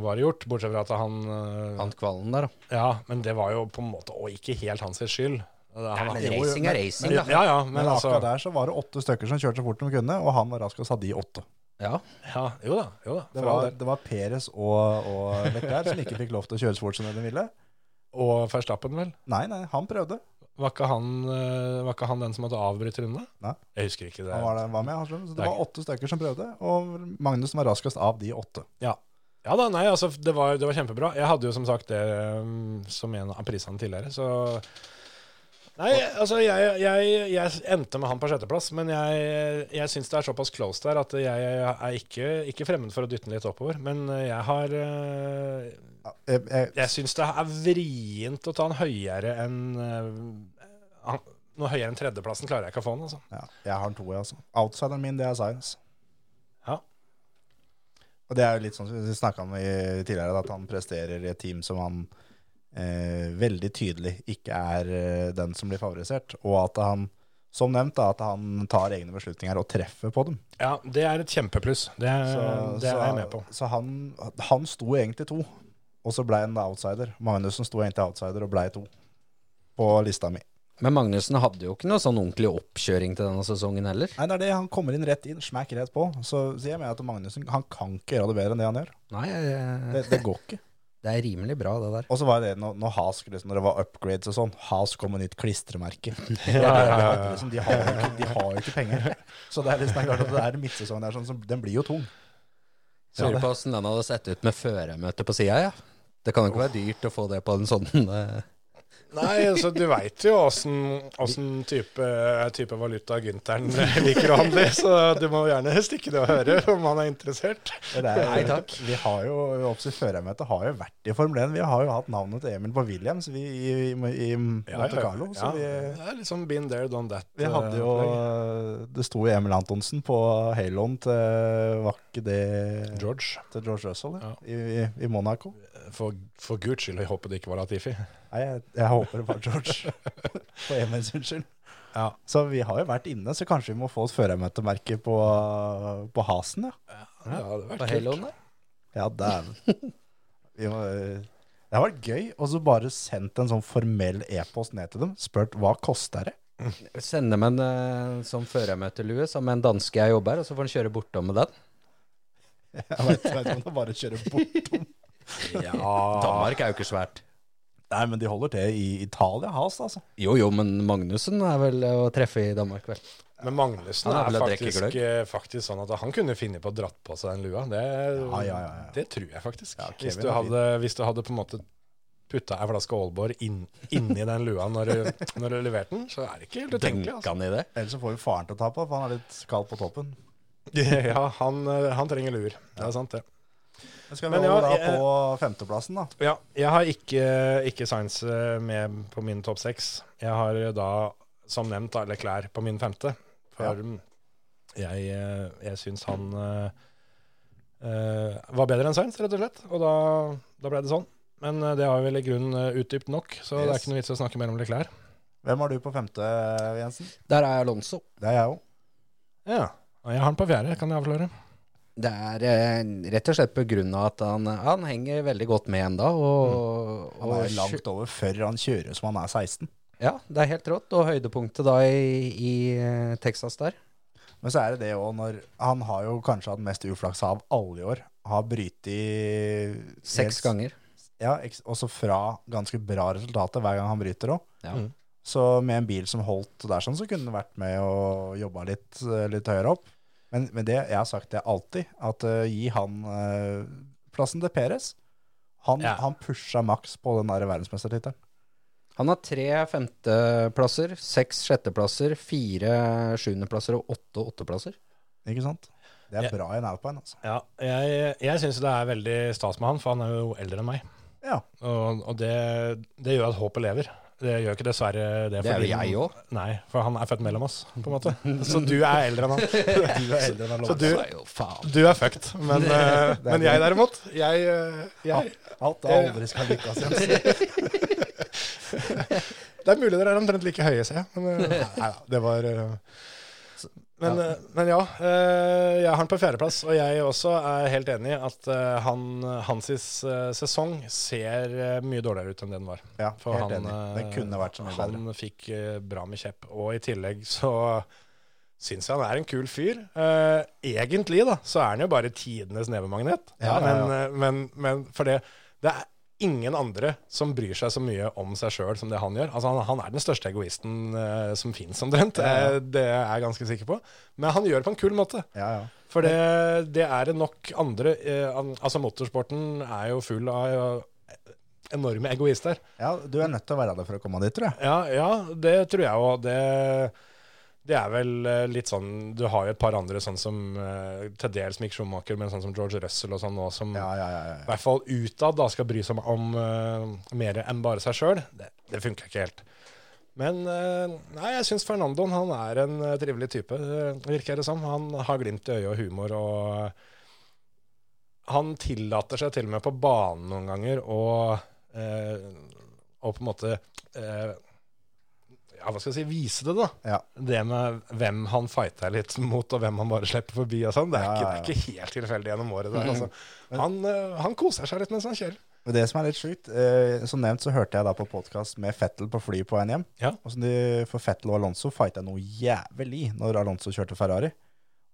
Speaker 3: var det gjort. Bortsett fra at han, eh,
Speaker 2: Vant kvalen der, da.
Speaker 3: Ja, men det var jo på en måte og ikke helt hans skyld. Han-
Speaker 2: Men
Speaker 3: jo, jo,
Speaker 2: racing er racing, da.
Speaker 3: Ja, ja, men,
Speaker 4: Men
Speaker 3: altså
Speaker 4: akkurat der så var det åtte stykker som kjørte så fort de kunne, og han var raskest av de åtte.
Speaker 2: Ja.
Speaker 3: ja, Jo da. jo da.
Speaker 4: Det
Speaker 3: for all
Speaker 4: var,
Speaker 3: del.
Speaker 4: det var Peres og, og Leclerc som ikke fikk lov til å kjøre så fort som de ville.
Speaker 3: Og Verstappen, vel?
Speaker 4: Nei, nei, han prøvde.
Speaker 3: Var ikke han, eh, var ikke han den som måtte avbryte runden?
Speaker 4: Nei.
Speaker 3: Jeg husker ikke det.
Speaker 4: Han var, der- var med, han skjønner. så det var åtte stykker som prøvde, og Magnussen var raskest av de åtte.
Speaker 3: Ja. Ja da, nei, altså det var, det var kjempebra. Jeg hadde jo som sagt det um, som en av prisene tidligere, så Nei, altså jeg, jeg, jeg endte med han på sjetteplass, men jeg, jeg syns det er såpass close der at jeg er ikke, ikke fremmed for å dytte den litt oppover. Men jeg har eh,
Speaker 4: Ja, Jeg, jeg,
Speaker 3: Jeg syns det er vrient å ta han høyere enn eh, han- Noe høyere enn tredjeplassen klarer jeg ikke å få han, altså.
Speaker 4: ja, jeg har en to, jeg, altså. Outsideren min, det er Science.
Speaker 3: Ja.
Speaker 4: Og det er jo litt sånn som vi snakka om i, tidligere, at han presterer i et team som han eh, veldig tydelig ikke er eh, den som blir favorisert, og at han, som nevnt, da, at han tar egne beslutninger og treffer på dem.
Speaker 3: Ja, det er et kjempepluss. Det,
Speaker 4: Så-
Speaker 3: det
Speaker 4: så-
Speaker 3: er jeg med på.
Speaker 4: Så han, han sto egentlig to, og så ble han da outsider. Magnussen sto egentlig outsider og blei to på lista mi.
Speaker 2: Men Magnussen hadde jo ikke noe sånn ordentlig oppkjøring til denne sesongen heller.
Speaker 4: Nei, det er det. Han kommer inn rett inn, smakk rett på. Så sier jeg meg at Magnussen han kan ikke gjøre det bedre enn det han gjør.
Speaker 2: Nei,
Speaker 4: Det,
Speaker 2: eh,
Speaker 4: det går ikke.
Speaker 2: det er rimelig bra, det der.
Speaker 4: Og så var det når, når Has skulle, liksom, når det var upgrades og sånn, Has kom med nytt klistremerke. Liksom, de, har jo ikke, de har jo ikke penger. Så det er liksom det er klart at det er midtsesongen der, sånn, som- den blir jo tung.
Speaker 2: Lurer på åssen den hadde sett ut med førermøte på sida, ja. Det kan jo ikke være dyrt å få det på en sånn eh,
Speaker 3: Nei, altså du veit jo åssen- åssen type, type valuta Gynteren liker å handle, så du må gjerne stikke det og høre om han er interessert.
Speaker 4: Det er, Nei, takk. Vi har jo, oppsett førermøtet har jo vært i Formel 1. Vi har jo hatt navnet til Emil på Williams vi, i, i, i Monte Carlo. Så vi,
Speaker 3: det er litt sånn been there, done that. eh,
Speaker 4: vi hadde jo Det sto jo Emil Antonsen på haloen til Var ikke det
Speaker 3: George.
Speaker 4: Til George Russell ja. i, i, i Monaco.
Speaker 3: For, for guds skyld, jeg håper det ikke var Latifi.
Speaker 4: Nei, jeg, jeg håper det var George. For Emils unnskyld.
Speaker 3: Ja.
Speaker 4: Så vi har jo vært inne, så kanskje vi må få et førermøtemerke på, på Hasen, ja.
Speaker 3: Ja, det hadde vært
Speaker 2: på
Speaker 3: kult.
Speaker 2: Haloen der.
Speaker 4: Ja, dæven. Vi må- Det har vært gøy, og så bare sendt en sånn formell e-post ned til dem. Spurt hva koster det?
Speaker 2: Sende med en eh, sånn førermøtelue sammen med en danske jeg jobber her, og så får han kjøre bortom med den.
Speaker 4: Jeg vet jeg vet ikke om de bare kjører bortom.
Speaker 3: Ah.
Speaker 2: Danmark er jo ikke svært.
Speaker 4: Nei, men de holder til i Italia, Has, altså.
Speaker 2: Jo, jo, men Magnussen er vel å treffe i Danmark, vel.
Speaker 3: Men Magnussen
Speaker 2: Han er
Speaker 3: er,
Speaker 2: vel å drikke
Speaker 3: faktisk,
Speaker 2: gløgg.
Speaker 3: eh, faktisk sånn at han kunne finne på å dratt på seg den lua. Det,
Speaker 4: Ja, ja, ja, ja.
Speaker 3: det tror jeg faktisk.
Speaker 4: Kevin
Speaker 3: hvis, du
Speaker 4: er fin.
Speaker 3: hadde, hvis du hadde på en måte putta ei flaske Aalborg inn, inni den lua når du, når du leverte den, så er det ikke helt utenkelig.
Speaker 2: Denka
Speaker 3: Altså.
Speaker 2: han i det?
Speaker 4: Ellers så får vi faren til å ta på, for han er litt kald på toppen.
Speaker 3: Ja, han, eh, han trenger luer. Det er sant, det.
Speaker 4: Men skal vi
Speaker 3: Men ja,
Speaker 4: holde da
Speaker 3: jeg-
Speaker 4: på femteplassen, da?
Speaker 3: Ja, jeg har ikke, ikke Sainz eh, med på min topp seks. Jeg har eh, da, som nevnt, da, Leclerc på min femte. For
Speaker 4: Ja.
Speaker 3: mm, jeg, eh, jeg syns han eh, eh, var bedre enn Sainz, rett og slett. Og da, da ble det sånn. Men eh, det har vi vel i grunnen eh, utdypt nok, så det er
Speaker 4: Yes.
Speaker 3: ikke noe vits i å snakke mer om Leclerc.
Speaker 4: Hvem har du på femte, Jensen?
Speaker 2: Der er Alonso.
Speaker 4: Det er jeg òg.
Speaker 3: Ja. Og jeg har han på fjerde, kan jeg avsløre.
Speaker 2: Det er eh, rett og slett på grunn av at han, han henger veldig godt med ennå. Og,
Speaker 4: Han
Speaker 2: og
Speaker 4: er
Speaker 2: sju-
Speaker 4: langt over før han kjører som han er 16.
Speaker 2: Ja, det er helt rått. Og høydepunktet da i, i eh, Texas der.
Speaker 4: Men så er det det òg når Han har jo kanskje hatt mest uflaks av alle i år. Har brytt i
Speaker 2: Seks ganger.
Speaker 4: Ja, eks- også fra ganske bra resultater hver gang han bryter òg.
Speaker 2: Ja.
Speaker 3: Mm.
Speaker 4: Så med en bil som holdt der sånn, så kunne han vært med og jobba litt, eh, litt høyere opp. Men, men det, jeg har sagt det alltid, at eh, gi han eh, plassen til Peres. Han,
Speaker 3: Ja.
Speaker 4: han pusha maks på den der verdensmestertittelen.
Speaker 2: Han har tre femteplasser, seks sjetteplasser, fire sjuendeplasser og åtte åtteplasser.
Speaker 4: Ikke sant? Det er
Speaker 3: Ja.
Speaker 4: bra i en Alpine, altså.
Speaker 3: Ja, jeg, jeg syns det er veldig stas med han, for han er jo eldre enn meg.
Speaker 4: Ja.
Speaker 3: Og, og det, det gjør at håpet lever. Det gjør ikke dessverre det.
Speaker 2: Det er
Speaker 3: fordi-
Speaker 2: jo jeg òg.
Speaker 3: Nei, for han er født mellom oss, på en måte. Så du er eldre enn han. Du er eldre enn han Så du, du er fucked. Men, eh, men jeg derimot, jeg, eh, jeg
Speaker 4: Alt er aldri skal lykkes igjen.
Speaker 3: Det er mulig dere er omtrent like høye, ser jeg. Men eh, nei da, det var eh, men, eh, men ja, eh, jeg har han på fjerdeplass, og jeg også er helt enig i at eh, han, hans eh, sesong ser eh, mye dårligere ut enn det den var.
Speaker 4: Ja,
Speaker 3: For
Speaker 4: helt
Speaker 3: han,
Speaker 4: enig. Den
Speaker 3: eh,
Speaker 4: kunne vært så mye bedre.
Speaker 3: Han fikk eh, bra med kjepp, og i tillegg så syns jeg han er en kul fyr. Eh, egentlig da, så er han jo bare tidenes nevemagnet,
Speaker 4: Ja, ja,
Speaker 3: men,
Speaker 4: ja.
Speaker 3: eh, men, men for det, det er ingen andre som bryr seg så mye om seg sjøl som det han gjør. Altså, han, han er den største egoisten eh, som fins, omtrent.
Speaker 4: Ja, ja.
Speaker 3: Eh, det er jeg ganske sikker på. Men han gjør det på en kul måte.
Speaker 4: Ja, ja.
Speaker 3: For det, det er det nok andre eh, an- Altså, motorsporten er jo full av eh, enorme egoister.
Speaker 4: ja, du er nødt til å være det for å komme dit, tror jeg.
Speaker 3: Ja, ja det tror jeg òg. Det, det er vel eh, litt sånn Du har jo et par andre, sånn som eh, til dels Mick Schumacher, men sånn som George Russell og sånn nå, som
Speaker 4: Ja, ja, ja, ja.
Speaker 3: i hvert fall utad da skal bry seg om, om eh, mer enn bare seg sjøl. Det, det funker ikke helt. Men eh, nei, jeg syns Fernandoen han er en eh, trivelig type, eh, virker det som. Han har glimt i øyet og humor og eh, Han tillater seg til og med på banen noen ganger å eh, å på en måte eh, Ja, hva skal jeg si Vise det, da.
Speaker 4: Ja.
Speaker 3: Det med hvem han fighter litt mot, og hvem han bare slipper forbi og sånn. Det, er
Speaker 4: Ja,
Speaker 3: ikke-
Speaker 4: ja,
Speaker 3: det er ikke helt tilfeldig gjennom året der, altså.
Speaker 4: Men-
Speaker 3: Han, eh, han koser seg litt mens han kjører.
Speaker 4: Men det som er litt sjukt, eh, som nevnt så hørte jeg da på podkast med Fettel på fly på veien hjem.
Speaker 3: Ja.
Speaker 4: Og så de, for Fettel og Alonso fighta noe jævlig når Alonso kjørte Ferrari.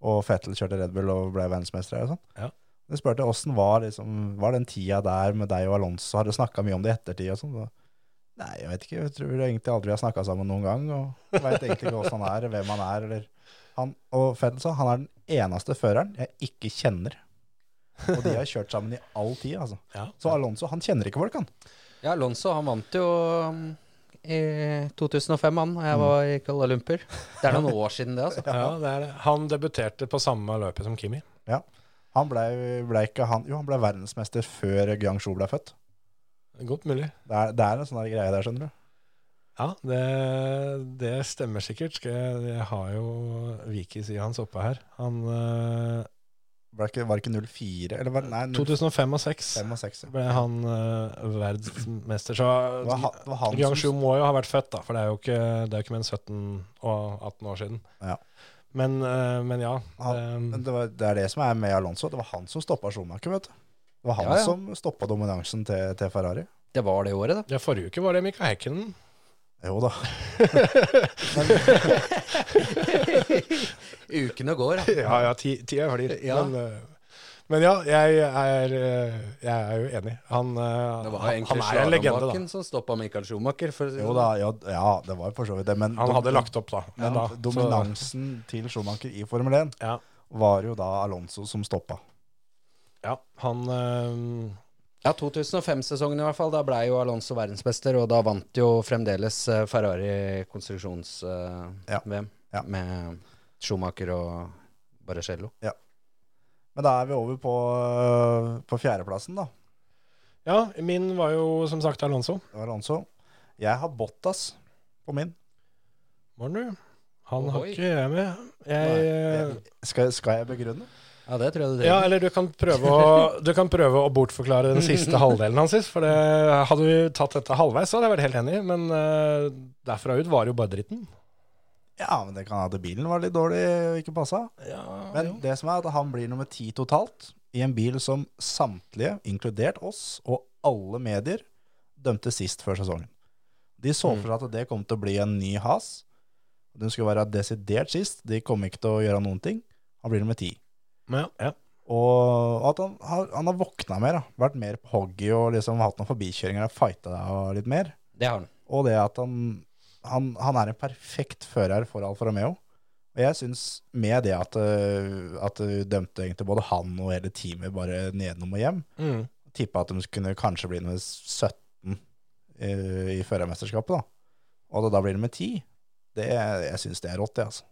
Speaker 4: Og Fettel kjørte Red Bull og ble verdensmester og sånn.
Speaker 3: Ja.
Speaker 4: De spurte åssen var, liksom, var den tida der med deg og Alonso, har du snakka mye om det i ettertid og sånn? Og, Nei, jeg vet ikke, jeg tror egentlig aldri vi har snakka sammen noen gang, og veit egentlig ikke åssen han er, hvem han er, eller han, Og Fettel sa han er den eneste føreren jeg ikke kjenner. Og de har kjørt sammen i all tid, altså. Så Alonso, han kjenner ikke folk, han.
Speaker 2: Ja, Alonso han vant jo um, i 2005, han. og Jeg var i Kuala Lumpur. Det er noen år siden det, altså.
Speaker 3: Ja, det er det. Han debuterte på samme løpet som Kimi.
Speaker 4: Han ble, ble ikke han, jo, han ble verdensmester før Guangzhou ble født.
Speaker 3: Godt mulig.
Speaker 4: Det er, det er en sånn der greie der, skjønner du.
Speaker 3: Ja, det, det stemmer sikkert. Skal Jeg, jeg har jo Vikis i hans oppe her. Han eh,
Speaker 4: Ble ikke, var det ikke 04, eller var,
Speaker 3: Mm.
Speaker 4: nei,
Speaker 3: 2005 og 2006
Speaker 4: 05 og 6.
Speaker 3: ble han eh, verdensmester, så
Speaker 4: Det var, han- det var han
Speaker 3: Guangzhou
Speaker 4: som,
Speaker 3: må jo ha vært født, da, for det er jo ikke, det er jo ikke mer enn 17 og 18 år siden.
Speaker 4: Ja.
Speaker 3: Men, eh, men ja.
Speaker 4: Han-
Speaker 3: eh,
Speaker 4: men det, var, det er det som er med Alonso, det var han som stoppa Schumacher, vet du. Det var han
Speaker 2: Ja, ja.
Speaker 4: som stoppa dominansen til, til Ferrari.
Speaker 2: Det var det året, da.
Speaker 3: ja, forrige uke var det Mika Häkkinen.
Speaker 4: Jo da.
Speaker 2: Ukene går. da.
Speaker 3: Ja, ja, ti, ti er verdier.
Speaker 2: Ja.
Speaker 3: Men, eh, men ja, jeg er, eh, jeg er jo enig. Han, eh,
Speaker 2: Det var
Speaker 3: han,
Speaker 2: egentlig
Speaker 3: han er en legende, da.
Speaker 2: Slalåmbakken som stoppa Michael Schumacher. For, å si det sånn.
Speaker 4: Jo da, ja, ja det var for så vidt det. Men,
Speaker 3: Han hadde lagt opp, da.
Speaker 4: ja,
Speaker 3: Men da så,
Speaker 4: dominansen til Schumacher i Formel 1
Speaker 3: Ja.
Speaker 4: var jo da Alonso som stoppa.
Speaker 3: ja, han eh,
Speaker 2: Ja, 2005-sesongen i hvert fall. Da ble jo Alonso verdensmester, og da vant jo fremdeles eh, Ferrari konstruksjons-VM
Speaker 4: Ja. Ja.
Speaker 2: med Schumacher og Barrichello.
Speaker 4: Men da er vi over på, på fjerdeplassen, da.
Speaker 3: Ja, min var jo som sagt Alonso.
Speaker 4: Det var Alonso. Jeg har Bottas på min.
Speaker 3: Morten, du. Han har
Speaker 2: Ohoi.
Speaker 3: ikke jeg med. Jeg, eh,
Speaker 4: Skal, skal jeg begrunne?
Speaker 2: Ja, det tror jeg du
Speaker 3: ja,
Speaker 2: trenger.
Speaker 3: eller du kan, prøve å, du kan prøve å bortforklare den siste halvdelen hans. sist, For det, hadde vi tatt dette halvveis, så hadde jeg vært helt enig. Men eh, derfra ut var det jo bare dritten.
Speaker 4: Ja, men det kan hende at bilen var litt dårlig og ikke passa. men det som er at han blir nummer ti totalt i en bil som samtlige, inkludert oss og alle medier, dømte sist før sesongen. De så for seg at det kom til å bli en ny has. De skulle være desidert sist. De kom ikke til å gjøre noen ting. Han blir nummer ti.
Speaker 3: Men ja, ja.
Speaker 4: Og at han har, han har våkna mer, da. vært mer på hoggy og liksom hatt noen forbikjøringer og fighta og litt mer.
Speaker 2: Det har han.
Speaker 4: Og det at han, han, han er en perfekt fører for Alfa Romeo. Og jeg syns med det at, øh, at du dømte egentlig både han og hele teamet bare nedenom og hjem,
Speaker 3: Mm.
Speaker 4: tippa at de kunne kanskje bli nummer 17 i, i førermesterskapet, da. Og da blir det med 10. Det, jeg syns det er rått, det, altså.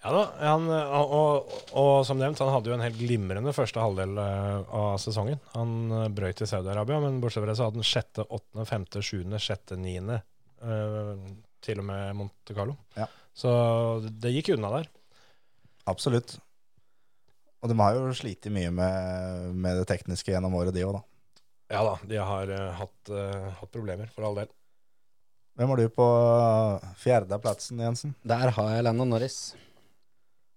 Speaker 3: Ja da, han, og, og, og som nevnt, han hadde jo en helt glimrende første halvdel eh, av sesongen. Han eh, brøt i Saudi-Arabia, men bortsett fra det så hadde han sjette, åttende, femte, sjuende, sjette, niende. eh, til og med Monte Carlo.
Speaker 4: Ja.
Speaker 3: Så det gikk unna der.
Speaker 4: Absolutt. Og de har jo slitt mye med, med det tekniske gjennom året, de òg, da.
Speaker 3: Ja da, de har eh, hatt, eh, hatt problemer, for all del.
Speaker 4: Hvem har du på fjerdeplassen, Jensen?
Speaker 2: Der har jeg Landon Norris.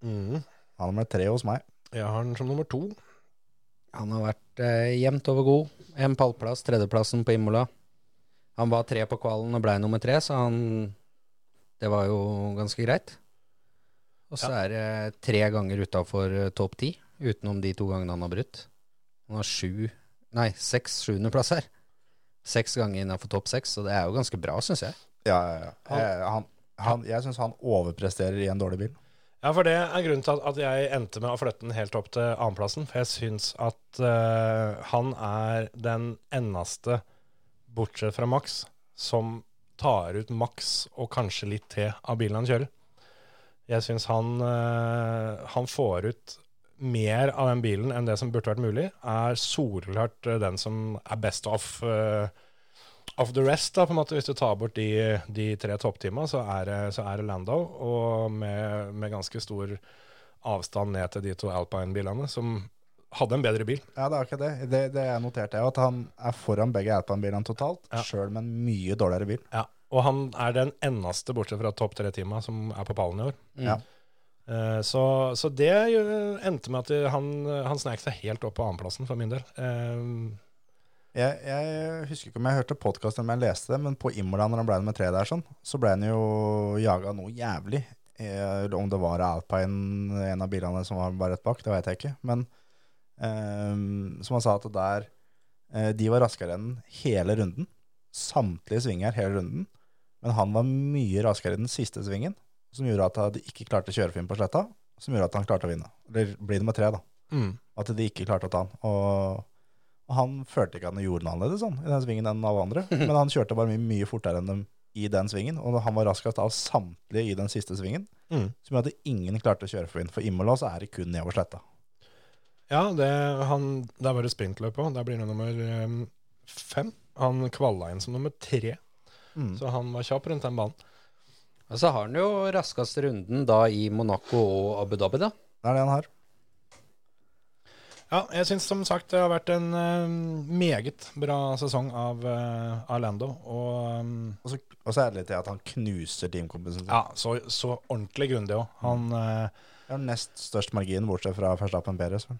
Speaker 3: Mm.
Speaker 4: Han er nummer tre hos meg.
Speaker 3: Jeg har den som nummer to.
Speaker 2: Han har vært eh, jevnt over god. En pallplass, tredjeplassen på Imola. Han var tre på kvalen og blei nummer tre, så han Det var jo ganske greit. Og så er det tre ganger utafor eh, topp ti, utenom de to gangene han har brutt. Han har sju Nei, seks sjuendeplasser. Seks ganger innafor topp seks, så det er jo ganske bra, syns jeg.
Speaker 4: Ja, ja, ja. Jeg, han, han, jeg syns han overpresterer i en dårlig bil.
Speaker 3: Ja, for det er grunnen til at, at jeg endte med å flytte den helt opp til annenplassen. For jeg syns at eh, han er den eneste, bortsett fra Max, som tar ut Max og kanskje litt til av bilen han kjører. Jeg syns han, eh, han får ut mer av den bilen enn det som burde vært mulig. Er soleklart eh, den som er best off, eh, of the rest, da, på en måte. Hvis du tar bort de, de tre topptimene, så, er det- så er det Lando. Og med, med ganske stor avstand ned til de to Alpine-bilene, som hadde en bedre bil.
Speaker 4: Ja, det er akkurat det. Det, det jeg noterte, er jo at han er foran begge Alpine-bilene totalt,
Speaker 3: Ja.
Speaker 4: sjøl med en mye dårligere bil.
Speaker 3: Ja, og han er den eneste, bortsett fra topp tre-tima, som er på pallen i år.
Speaker 4: Ja.
Speaker 3: Eh, Så, så det jo- endte med at det- han, han snek seg helt opp på annenplassen, for min del. Eh,
Speaker 4: Jeg, jeg husker ikke om jeg hørte podkasten eller om jeg leste det, men på Imola, når han ble nummer tre der, sånn, så ble han jo jaga noe jævlig. Eh, om det var Alpine, en av bilene som var bare rett bak, det veit jeg ikke. Men eh, som han sa, at det der eh, De var raskere enn hele runden. Samtlige svinger hele runden. Men han var mye raskere i den siste svingen, som gjorde at de ikke klarte å kjøre fin på sletta. Som gjorde at han klarte å vinne. Eller bli nummer tre, da.
Speaker 3: mm.
Speaker 4: At de ikke klarte å ta han. Og, og han følte ikke at han gjorde noe annerledes sånn, i den svingen enn alle andre. Men han kjørte bare mye, mye fortere enn dem i den svingen. Og han var raskest av samtlige i den siste svingen.
Speaker 3: Mm.
Speaker 4: Som gjorde at ingen klarte å kjøre forbi. For Imola så er det kun nedover sletta.
Speaker 3: Ja, det, han, der var det sprintløp òg. Der blir det nummer eh, fem. Han kvalla inn som nummer tre,
Speaker 4: Mm.
Speaker 3: så han var kjapp rundt den banen.
Speaker 2: Og så har han jo raskest runden da i Monaco og Abu Dhabi, da.
Speaker 4: Det er det han har.
Speaker 3: Ja, jeg syns som sagt det har vært en eh, meget bra sesong av, eh, av Lando. Og eh,
Speaker 4: Og så, og så er det litt det at han knuser teamkompisen sin.
Speaker 3: ja, så, så ordentlig grundig òg. Han eh,
Speaker 4: Det er den nest størst margin, bortsett fra Verstappen Perez. vel.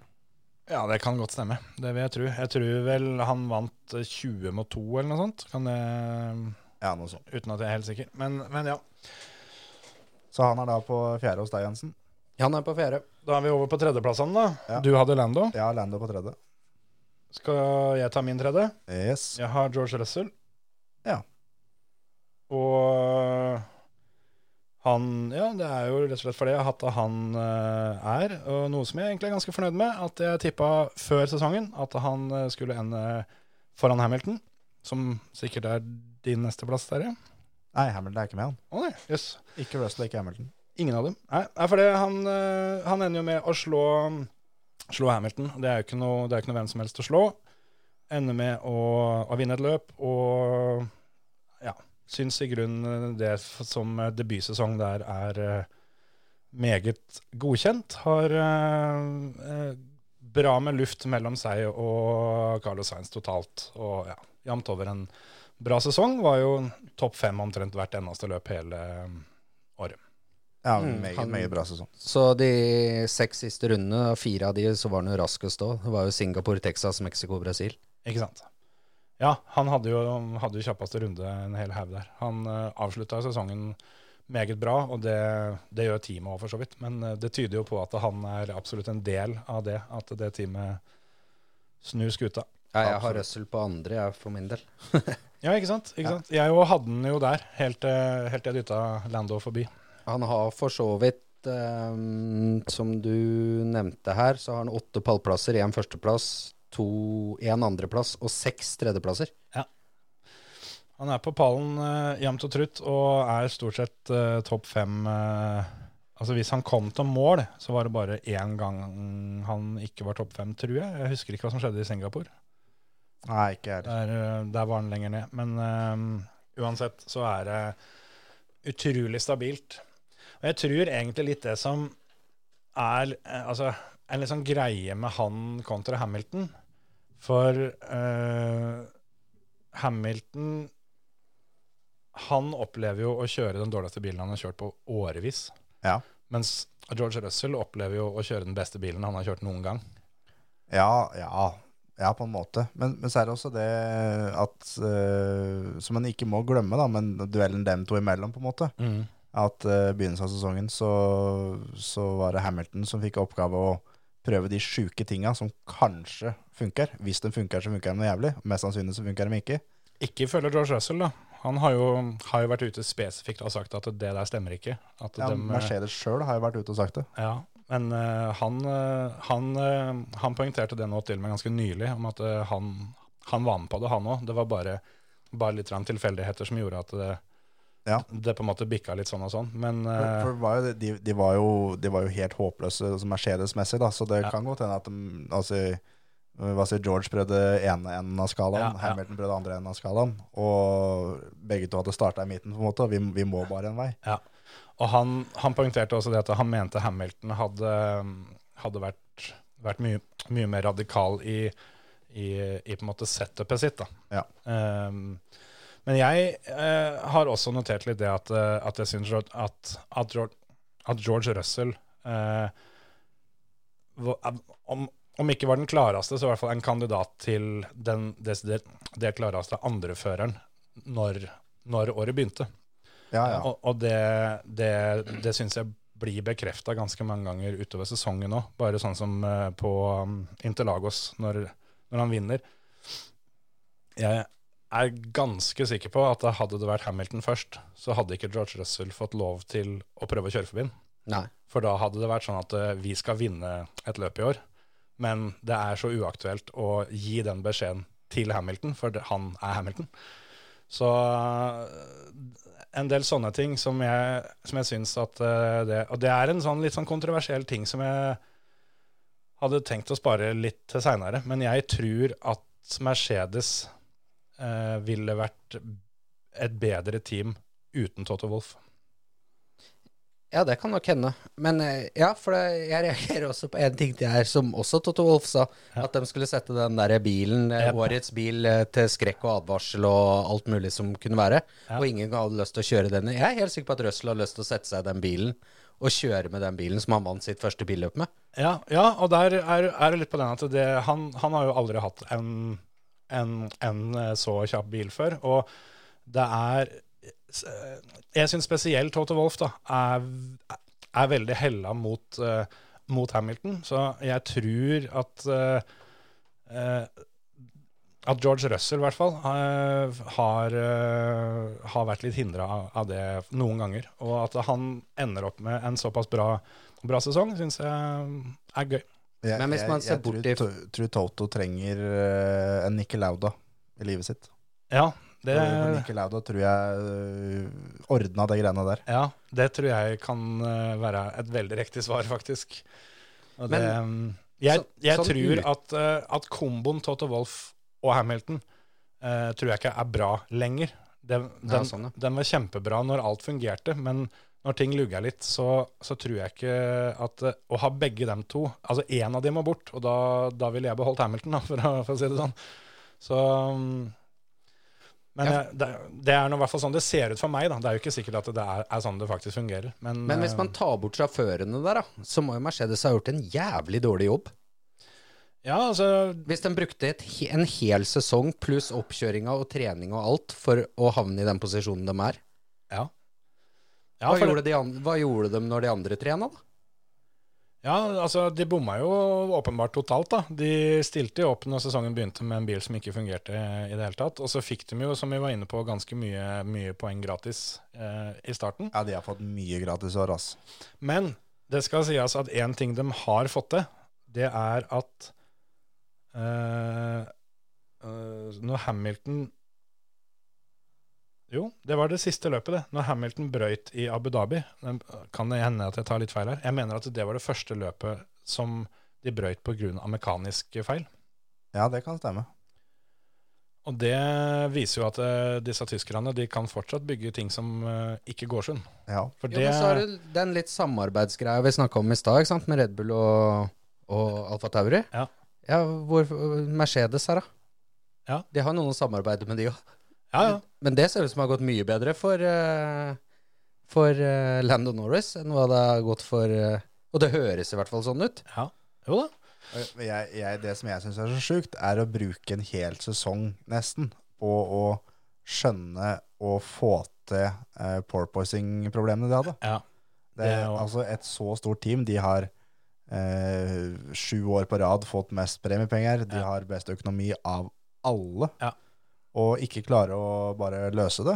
Speaker 3: Ja, det kan godt stemme. Det vil jeg tro. Jeg tror vel han vant eh, 20 mot 2 eller noe sånt. Kan jeg, ehm,
Speaker 4: Ja, noe sånt.
Speaker 3: uten at jeg er helt sikker. Men, men ja.
Speaker 4: Så han er da på fjerde hos deg, Jensen.
Speaker 2: Han er på fjerde.
Speaker 3: Da er vi over på tredjeplassene, da.
Speaker 4: Ja.
Speaker 3: Du hadde Lando.
Speaker 4: Ja, Lando på tredje.
Speaker 3: Skal jeg ta min tredje?
Speaker 4: Yes.
Speaker 3: Jeg har George Russell.
Speaker 4: Ja.
Speaker 3: Og øh, han Ja, det er jo rett og slett fordi jeg har hatt av han eh, er, og noe som jeg egentlig er ganske fornøyd med, at jeg tippa før sesongen at han eh, skulle ende foran Hamilton, som sikkert er din neste plass der, ja.
Speaker 4: Nei, Hamilton er ikke med, han.
Speaker 3: Å nei, jøss.
Speaker 4: Ikke Russell, ikke Hamilton.
Speaker 3: Ingen av dem. Nei, nei for det, han, eh, han ender jo med å slå, slå Hamilton. Det er jo ikke noe, det er ikke noe hvem som helst å slå. Ender med å, å vinne et løp og ja, syns i grunnen eh, det f- som debutsesong der er eh, meget godkjent. Har eh, eh, bra med luft mellom seg og Carlos Sainz totalt. Og ja, jevnt over en bra sesong. Var jo topp fem omtrent hvert eneste løp hele året.
Speaker 4: Ja,
Speaker 2: Mm,
Speaker 4: meget,
Speaker 2: han-
Speaker 4: meget bra sesong.
Speaker 2: Så de seks siste rundene, av fire av de, så var han jo raskest òg. Det var jo Singapore, Texas, Mexico, Brasil.
Speaker 3: Ikke sant. Ja, han hadde jo, hadde jo kjappeste runde en hel haug der. Han uh, avslutta sesongen meget bra, og det, det gjør teamet òg, for så vidt. Men eh, det tyder jo på at han er absolutt en del av det, at det teamet snur skuta.
Speaker 2: Ja, jeg har
Speaker 3: Absolutt.
Speaker 2: Russell på andre, jeg, for min del.
Speaker 3: Ja, ikke sant? Ikke sant? Jeg òg hadde den jo der, helt til helt til jeg dytta Lando forbi.
Speaker 2: Han har for så vidt, ehm, som du nevnte her, så har han åtte pallplasser, én førsteplass, to, én andreplass og seks tredjeplasser.
Speaker 3: Han er på pallen eh, jevnt og trutt og er stort sett eh, topp fem. eh, altså Hvis han kom til mål, så var det bare én gang han ikke var topp fem, tror jeg. Jeg husker ikke hva som skjedde i Singapore.
Speaker 4: Nei, ikke jeg.
Speaker 3: Der, eh, der var han lenger ned. Men eh, uansett så er det utrolig stabilt. Og jeg tror egentlig litt det som er eh, altså, en litt sånn greie med han kontra Hamilton. For eh, Hamilton Han opplever jo å kjøre den dårligste bilen han har kjørt på årevis.
Speaker 4: Ja.
Speaker 3: Mens George Russell opplever jo å kjøre den beste bilen han har kjørt noen gang.
Speaker 4: Ja, ja. Ja, på en måte. Men, men så er det også det at eh, Som en ikke må glemme, da, men duellen dem to imellom, på en måte.
Speaker 3: Mm.
Speaker 4: At eh, i begynnelsen av sesongen så, så var det Hamilton som fikk oppgave å prøve de sjuke tinga som kanskje funker. Hvis de funker, så funker de noe jævlig. Mest sannsynlig så funker de ikke.
Speaker 3: Ikke ifølge George Russell, da. Han har jo, har jo vært ute spesifikt og sagt at det der stemmer ikke. At
Speaker 4: Ja,
Speaker 3: dem, eh,
Speaker 4: Mercedes sjøl har jo vært ute og sagt det.
Speaker 3: ja. Men eh, han, eh, han, eh, han poengterte det nå til meg ganske nylig, om at eh, han, han var med på det, han òg. Det var bare, bare litt grann tilfeldigheter som gjorde at det,
Speaker 4: Ja.
Speaker 3: det på en måte bikka litt sånn og sånn. Men
Speaker 4: For,
Speaker 3: eh,
Speaker 4: for det var jo, de, de, var jo, de var jo helt håpløse altså Mercedes-messig, da, så det
Speaker 3: Ja.
Speaker 4: kan godt hende at de altså, hva sier George prøvde ene enden av skalaen,
Speaker 3: Ja, ja.
Speaker 4: Hamilton prøvde andre enden av skalaen, og begge to hadde starta i midten, på en måte. og Vi, vi må bare en vei.
Speaker 3: Ja, og han, han poengterte også det at han mente Hamilton hadde, hadde vært, vært mye, mye mer radikal i, i, i på en måte setupet sitt. Da.
Speaker 4: Ja.
Speaker 3: Ehm, men jeg eh, har også notert litt det at, eh, at jeg syns at, at, at, George, at George Russell eh, hva- om, om ikke var den klareste, så i hvert fall en kandidat til den desidert det klareste andreføreren når, når året begynte.
Speaker 4: Ja, ja.
Speaker 3: Og, og det, det, det syns jeg blir bekrefta ganske mange ganger utover sesongen òg. Bare sånn som eh, på um, Interlagos, når, når han vinner. Jeg er ganske sikker på at hadde det vært Hamilton først, så hadde ikke George Russell fått lov til å prøve å kjøre forbi han.
Speaker 2: Nei.
Speaker 3: For da hadde det vært sånn at eh, vi skal vinne et løp i år, men det er så uaktuelt å gi den beskjeden til Hamilton, for det- han er Hamilton. Så eh, en del sånne ting som jeg, som jeg syns at eh, det Og det er en sånn litt sånn kontroversiell ting som jeg hadde tenkt å spare litt til seinere, men jeg tror at Mercedes eh, ville vært et bedre team uten Toto Wolff.
Speaker 2: Ja, det kan nok hende. Men eh, ja, for det, jeg reagerer også på en ting til her, som også Toto Wolff sa.
Speaker 3: Ja.
Speaker 2: At de skulle sette den der bilen, eh,
Speaker 3: Yep.
Speaker 2: årets bil, eh, til skrekk og advarsel og alt mulig som kunne være.
Speaker 3: Ja.
Speaker 2: Og ingen hadde lyst til å kjøre denne. Jeg er helt sikker på at Russell har lyst til å sette seg i den bilen og kjøre med den bilen som han vant sitt første billøp med.
Speaker 3: Ja, ja og der er, er det litt på den at det, han, han har jo aldri hatt en, en, en eh, så kjapp bil før. Og det er eh, Jeg syns spesielt Toto Wolff da, er, er veldig hella mot, eh, mot Hamilton, så jeg tror at eh, eh, at George Russell i hvert fall eh, har, eh, har vært litt hindra av- av det noen ganger. Og at han ender opp med en såpass bra bra sesong, syns jeg er gøy.
Speaker 4: Jeg,
Speaker 2: Men hvis man ser
Speaker 4: jeg,
Speaker 2: bort
Speaker 4: jeg
Speaker 2: i-
Speaker 4: tror, to- tror Toto trenger eh, en Nicky Lauda i livet sitt.
Speaker 3: Ja, det,
Speaker 4: For Nicky Lauda tror jeg uh, ordna de greiene der.
Speaker 3: ja, det tror jeg kan eh, være et veldig riktig svar, faktisk. Og det, um, jeg
Speaker 2: så-
Speaker 3: jeg
Speaker 2: sånn
Speaker 3: tror
Speaker 2: ut-
Speaker 3: at, eh, at komboen Toto Wolff og Hamilton eh, tror jeg ikke er bra lenger. Den, den,
Speaker 2: Ja, sånn, ja.
Speaker 3: den var kjempebra når alt fungerte, men når ting lugga litt, så, så tror jeg ikke at eh, Å ha begge dem to Altså én av dem må bort, og da, da ville jeg beholdt Hamilton, da, for, å, for å si det sånn. Så mm, Men eh, det, det er nå i hvert fall sånn det ser ut for meg. da. Det er jo ikke sikkert at det er, er sånn det faktisk fungerer. Men, eh,
Speaker 2: Men hvis man tar bort sjåførene der, da, så må jo Mercedes ha gjort en jævlig dårlig jobb.
Speaker 3: eh, Ja, altså,
Speaker 2: Hvis den brukte et, he- en hel sesong pluss oppkjøringa og trening og alt for å havne i den posisjonen de er,
Speaker 3: ja. Ja,
Speaker 2: hva,
Speaker 3: for det-
Speaker 2: gjorde de an hva gjorde de når de andre trena, da?
Speaker 3: ja, altså de bomma jo åpenbart totalt, da. De stilte jo opp når sesongen begynte med en bil som ikke fungerte i det hele tatt. Og så fikk de jo, som vi var inne på, ganske mye, mye poeng gratis eh, i starten.
Speaker 4: Ja, de har fått mye gratis i år, ass.
Speaker 3: Men det skal sies at én ting de har fått til, det er at eh, eh, Når Hamilton Jo, det var det siste løpet, det. Når Hamilton brøyt i Abu Dhabi. Men eh, Kan det hende at jeg tar litt feil her? Jeg mener at det var det første løpet som de brøyt pga. mekaniske feil.
Speaker 4: Ja, det kan stemme.
Speaker 3: Og det viser jo at eh, disse tyskerne de kan fortsatt bygge ting som eh, ikke går sunn.
Speaker 4: Ja.
Speaker 3: For
Speaker 2: Jo, men så er det den litt samarbeidsgreia vi snakka om i stad, ikke sant, med Red Bull og, og Alfa Tauri.
Speaker 3: Ja.
Speaker 2: ja hvor, Mercedes her, da.
Speaker 3: Ja.
Speaker 2: De har noen å samarbeide med, de òg.
Speaker 3: ja, ja.
Speaker 2: Men det ser ut som det har gått mye bedre for, eh, for eh, Lando Norris enn hva det har gått for eh, Og det høres i hvert fall sånn ut.
Speaker 3: ja. Jo da.
Speaker 4: Og Jeg, jeg, det som jeg syns er så sjukt, er å bruke en hel sesong nesten på å skjønne og få til uh, porpoising-problemene de hadde.
Speaker 3: Ja.
Speaker 4: Det,
Speaker 3: Det er jo-
Speaker 4: altså Et så stort team. De har eh, sju år på rad fått mest premiepenger. De
Speaker 3: Ja.
Speaker 4: har best økonomi av alle.
Speaker 3: Ja.
Speaker 4: Og ikke klarer å bare løse det.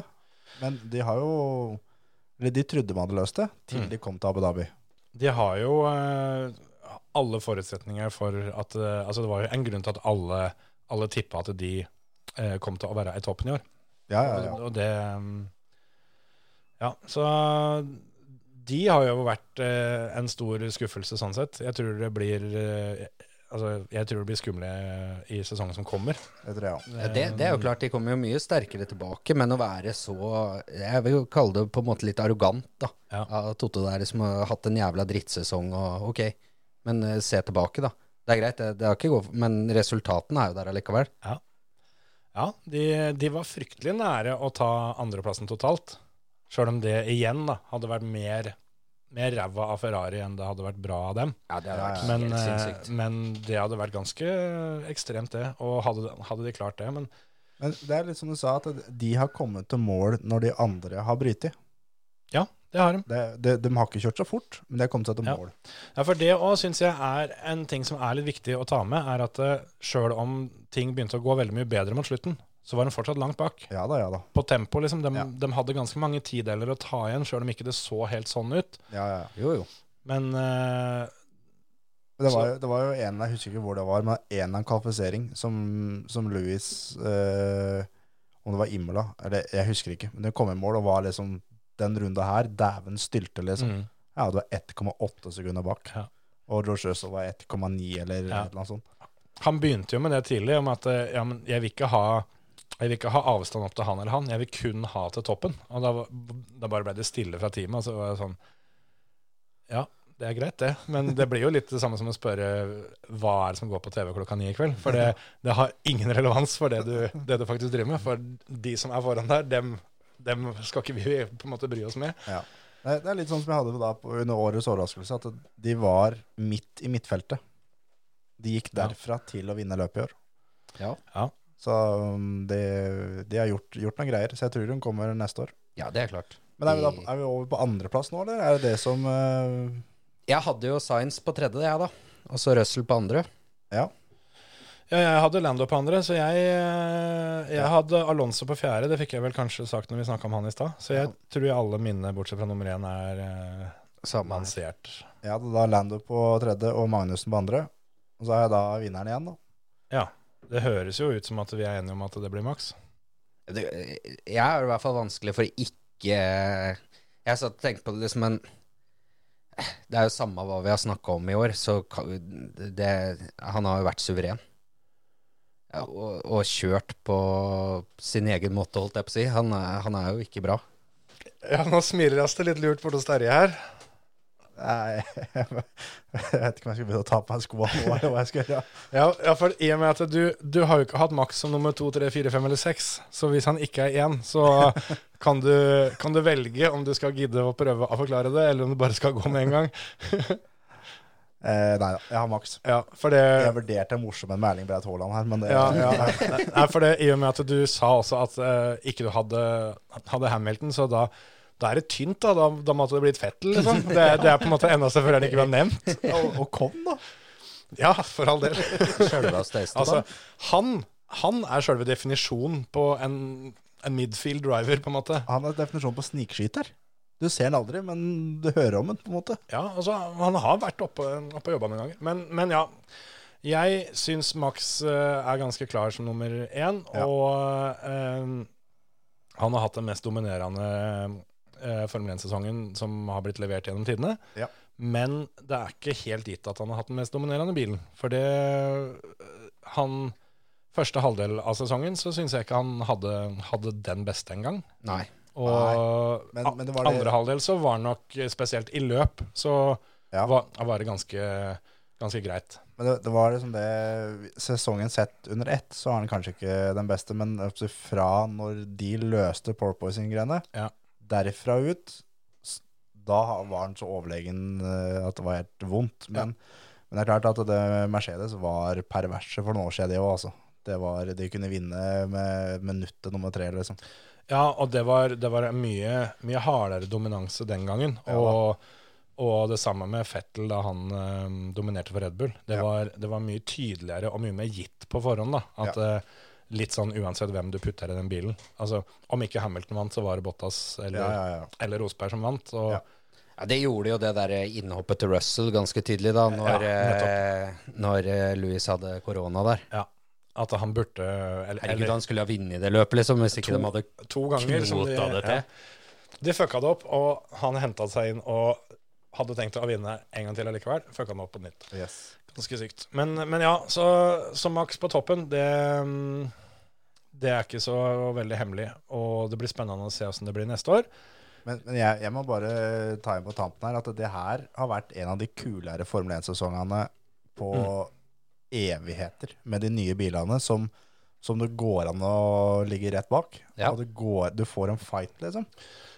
Speaker 4: Men de har jo Eller de trodde man hadde løst det, til
Speaker 3: Mm.
Speaker 4: de kom til Abu Dhabi.
Speaker 3: De har jo eh, alle forutsetninger for at eh, Altså, det var jo en grunn til at alle, alle tippa at de eh, kom til å være i toppen i år.
Speaker 4: Ja, ja, ja.
Speaker 3: Og, og det mm, Ja, så de har jo vært eh, en stor skuffelse sånn sett. Jeg tror det blir eh, Altså, jeg tror det blir skumle eh, i sesongen som kommer.
Speaker 4: Det tror jeg òg.
Speaker 2: Ja, Det, det
Speaker 4: Um,
Speaker 2: er jo klart, de kommer jo mye sterkere tilbake, men å være så Jeg vil jo kalle det på en måte litt arrogant, da.
Speaker 3: Ja.
Speaker 2: Av Totte der som har hatt en jævla drittsesong og ok, men eh, se tilbake, da. Det er greit, det, det har ikke gått, men resultatene er jo der allikevel.
Speaker 3: Ja, de, de var fryktelig nære å ta andreplassen totalt. Sjøl om det igjen da, hadde vært mer, mer ræva av Ferrari enn det hadde vært bra av dem.
Speaker 2: Ja, det har
Speaker 4: Ja,
Speaker 2: vært
Speaker 4: ja.
Speaker 3: Men,
Speaker 2: helt
Speaker 3: eh,
Speaker 2: sinnssykt.
Speaker 3: men det hadde vært ganske ekstremt, det. Og hadde, hadde de klart det, men
Speaker 4: Men det er litt som du sa, at de har kommet til mål når de andre har brytet.
Speaker 3: ja, det har de.
Speaker 4: Det, det, de har ikke kjørt så fort, men de har kommet seg til
Speaker 3: Ja.
Speaker 4: mål.
Speaker 3: Ja, For det òg syns jeg er en ting som er litt viktig å ta med, er at sjøl om ting begynte å gå veldig mye bedre mot slutten, så var de fortsatt langt bak.
Speaker 4: Ja da, ja da.
Speaker 3: På tempo, liksom. De,
Speaker 4: Ja.
Speaker 3: de hadde ganske mange tideler å ta igjen, sjøl om ikke det så helt sånn ut.
Speaker 4: Ja, ja, ja.
Speaker 2: Jo, jo.
Speaker 3: Men eh,
Speaker 4: Men Det, var, jo- det var jo en, jeg husker ikke hvor det var, men en eller annen kvalifisering som, som Louis eh, Om det var Imola, eller jeg husker ikke. Men det kom i mål og var liksom den runda her, dæven stylte, liksom.
Speaker 3: mm,
Speaker 4: Ja, det var 1,8 sekunder bak.
Speaker 3: Ja.
Speaker 4: Og Rocheuso var 1,9 eller et
Speaker 3: Ja.
Speaker 4: eller annet sånt.
Speaker 3: han begynte jo med det tidlig, om at eh, ja, men jeg vil ikke ha jeg vil ikke ha avstand opp til han eller han, jeg vil kun ha til toppen. Og da, var- da bare ble det stille fra teamet, og så var jeg sånn Ja, det er greit, det, men det blir jo litt det samme som å spørre hva er det som går på TV klokka ni i kveld? For det, det har ingen relevans for det du, det du faktisk driver med. For de som er foran der, dem, dem skal ikke vi på en måte bry oss med.
Speaker 4: Det, det er litt sånn som jeg hadde da på, under årets overraskelse, at de var midt i midtfeltet. De gikk
Speaker 3: Ja.
Speaker 4: derfra til å vinne løpet i år.
Speaker 2: Ja.
Speaker 4: Så um, de, de har gjort, gjort noen greier, så jeg tror hun kommer neste år.
Speaker 2: ja, det er klart.
Speaker 4: Men er vi,
Speaker 2: De-
Speaker 4: da, er vi over på andreplass nå, eller er det det som eh,
Speaker 2: Jeg hadde jo Science på tredje, jeg, da. Og så Russell på andre.
Speaker 3: Ja, jeg hadde Lando på andre, så jeg, eh, jeg hadde Alonso på fjerde. Det fikk jeg vel kanskje sagt når vi snakka om han i stad. Så jeg tror alle mine, bortsett fra nummer én, er eh,
Speaker 2: Samme her.
Speaker 3: mansert.
Speaker 4: Jeg hadde da Lando på tredje og Magnussen på andre. Og så har jeg da vinneren igjen, da.
Speaker 3: Det høres jo ut som at vi er enige om at det blir maks.
Speaker 2: det, jeg er i hvert fall vanskelig for ikke Jeg satt og tenkte på det liksom, men det er jo samme hva vi har snakka om i år, så kan- det, han har jo vært suveren. Ja, og, og kjørt på sin egen måte, holdt jeg på å si. Han er, han er jo ikke bra.
Speaker 3: Ja, nå smiler jeg oss det litt lurt borte hos Terje her.
Speaker 4: Nei, jeg vet ikke om jeg skal begynne å ta på meg skoa nå, eller hva jeg skal gjøre.
Speaker 3: Ja, ja, for i og med at du, du har jo ikke hatt maks som nummer to, tre, fire, fem eller seks, så hvis han ikke er én, så kan du, kan du velge om du skal gidde å prøve å forklare det, eller om du bare skal gå med en gang.
Speaker 4: Eh, nei da, jeg har maks.
Speaker 3: Ja, for det...
Speaker 4: Jeg vurderte en morsom en med Erling Breit Haaland her, men det,
Speaker 3: Ja, ja. Nei, for det, I og med at du sa også at eh, ikke du hadde, hadde Hamilton, så da, da er det tynt. Da Da, da måtte det blitt Fettel, liksom. Det, det er på en måte enda selvfølgelig ikke ble nevnt.
Speaker 4: Og, og kom, da.
Speaker 3: Ja, for all del.
Speaker 2: Sjølveste
Speaker 3: Altså,
Speaker 2: Esteban.
Speaker 3: han, han er selve definisjonen på en, en midfield driver, på en måte.
Speaker 4: Han er definisjonen på snikskyter. Du ser den aldri, men du hører om den, på en måte.
Speaker 3: Ja, altså, han har vært oppe, oppe og jobba noen ganger. Men, men ja. Jeg syns Max eh, er ganske klar som nummer én.
Speaker 4: Ja.
Speaker 3: Og eh, han har hatt den mest dominerende eh, Formel 1-sesongen som har blitt levert gjennom tidene.
Speaker 4: Ja.
Speaker 3: Men det er ikke helt gitt at han har hatt den mest dominerende bilen. For det eh, han Første halvdel av sesongen så syns jeg ikke han hadde, hadde den beste engang.
Speaker 2: Nei.
Speaker 3: Og
Speaker 4: men-
Speaker 3: a-
Speaker 4: men det var det-
Speaker 3: andre halvdel så var det nok eh, spesielt i løp, så
Speaker 4: Ja.
Speaker 3: var, var det ganske, ganske greit.
Speaker 4: Men det, det var liksom det Sesongen sett under ett, så er han kanskje ikke den beste, men altså fra når de løste porpoising-greiene,
Speaker 3: Ja.
Speaker 4: derfra ut, s- da ha- var han så overlegen eh, at det var helt vondt. Men, men det er klart at det Mercedes var perverse for noen år siden, det òg, altså. Det var, de kunne vinne med minuttet nummer tre, liksom.
Speaker 3: Ja, og det var, det var mye, mye hardere dominanse den gangen.
Speaker 4: Ja
Speaker 3: Og, og det samme med Fettel da han eh, dominerte for Red Bull. Det,
Speaker 4: Ja.
Speaker 3: var, det var mye tydeligere og mye mer gitt på forhånd. da, at eh, Litt sånn uansett hvem du putter i den bilen. Altså, Om ikke Hamilton vant, så var det Bottas eller,
Speaker 4: Ja, ja, ja.
Speaker 3: eller Rosberg som vant. Og,
Speaker 4: Ja.
Speaker 2: Ja, det gjorde jo det der innhoppet til Russell ganske tydelig, da, når, eh, når eh, Louis hadde korona der.
Speaker 3: Ja. At han burde eller,
Speaker 2: Herregud,
Speaker 3: eller-
Speaker 2: han skulle ha vunnet det løpet, liksom, hvis ikke de hadde
Speaker 3: to ganger. Som de,
Speaker 2: knota det til.
Speaker 3: Ja. de fucka det opp, og han henta seg inn og hadde tenkt å vinne en gang til allikevel. Fucka den opp på nytt.
Speaker 4: Yes.
Speaker 3: Ganske sykt. Men, men ja, så, så Max på toppen, det mm, det er ikke så veldig hemmelig, og det blir spennende å se åssen det blir neste år.
Speaker 4: Men, men jeg, jeg må bare ta inn på tampen her at det her har vært en av de kulere Formel 1-sesongene på evigheter med de nye bilene som, som det går an å ligge rett bak.
Speaker 2: Ja.
Speaker 4: Og det går, du får en fight, liksom.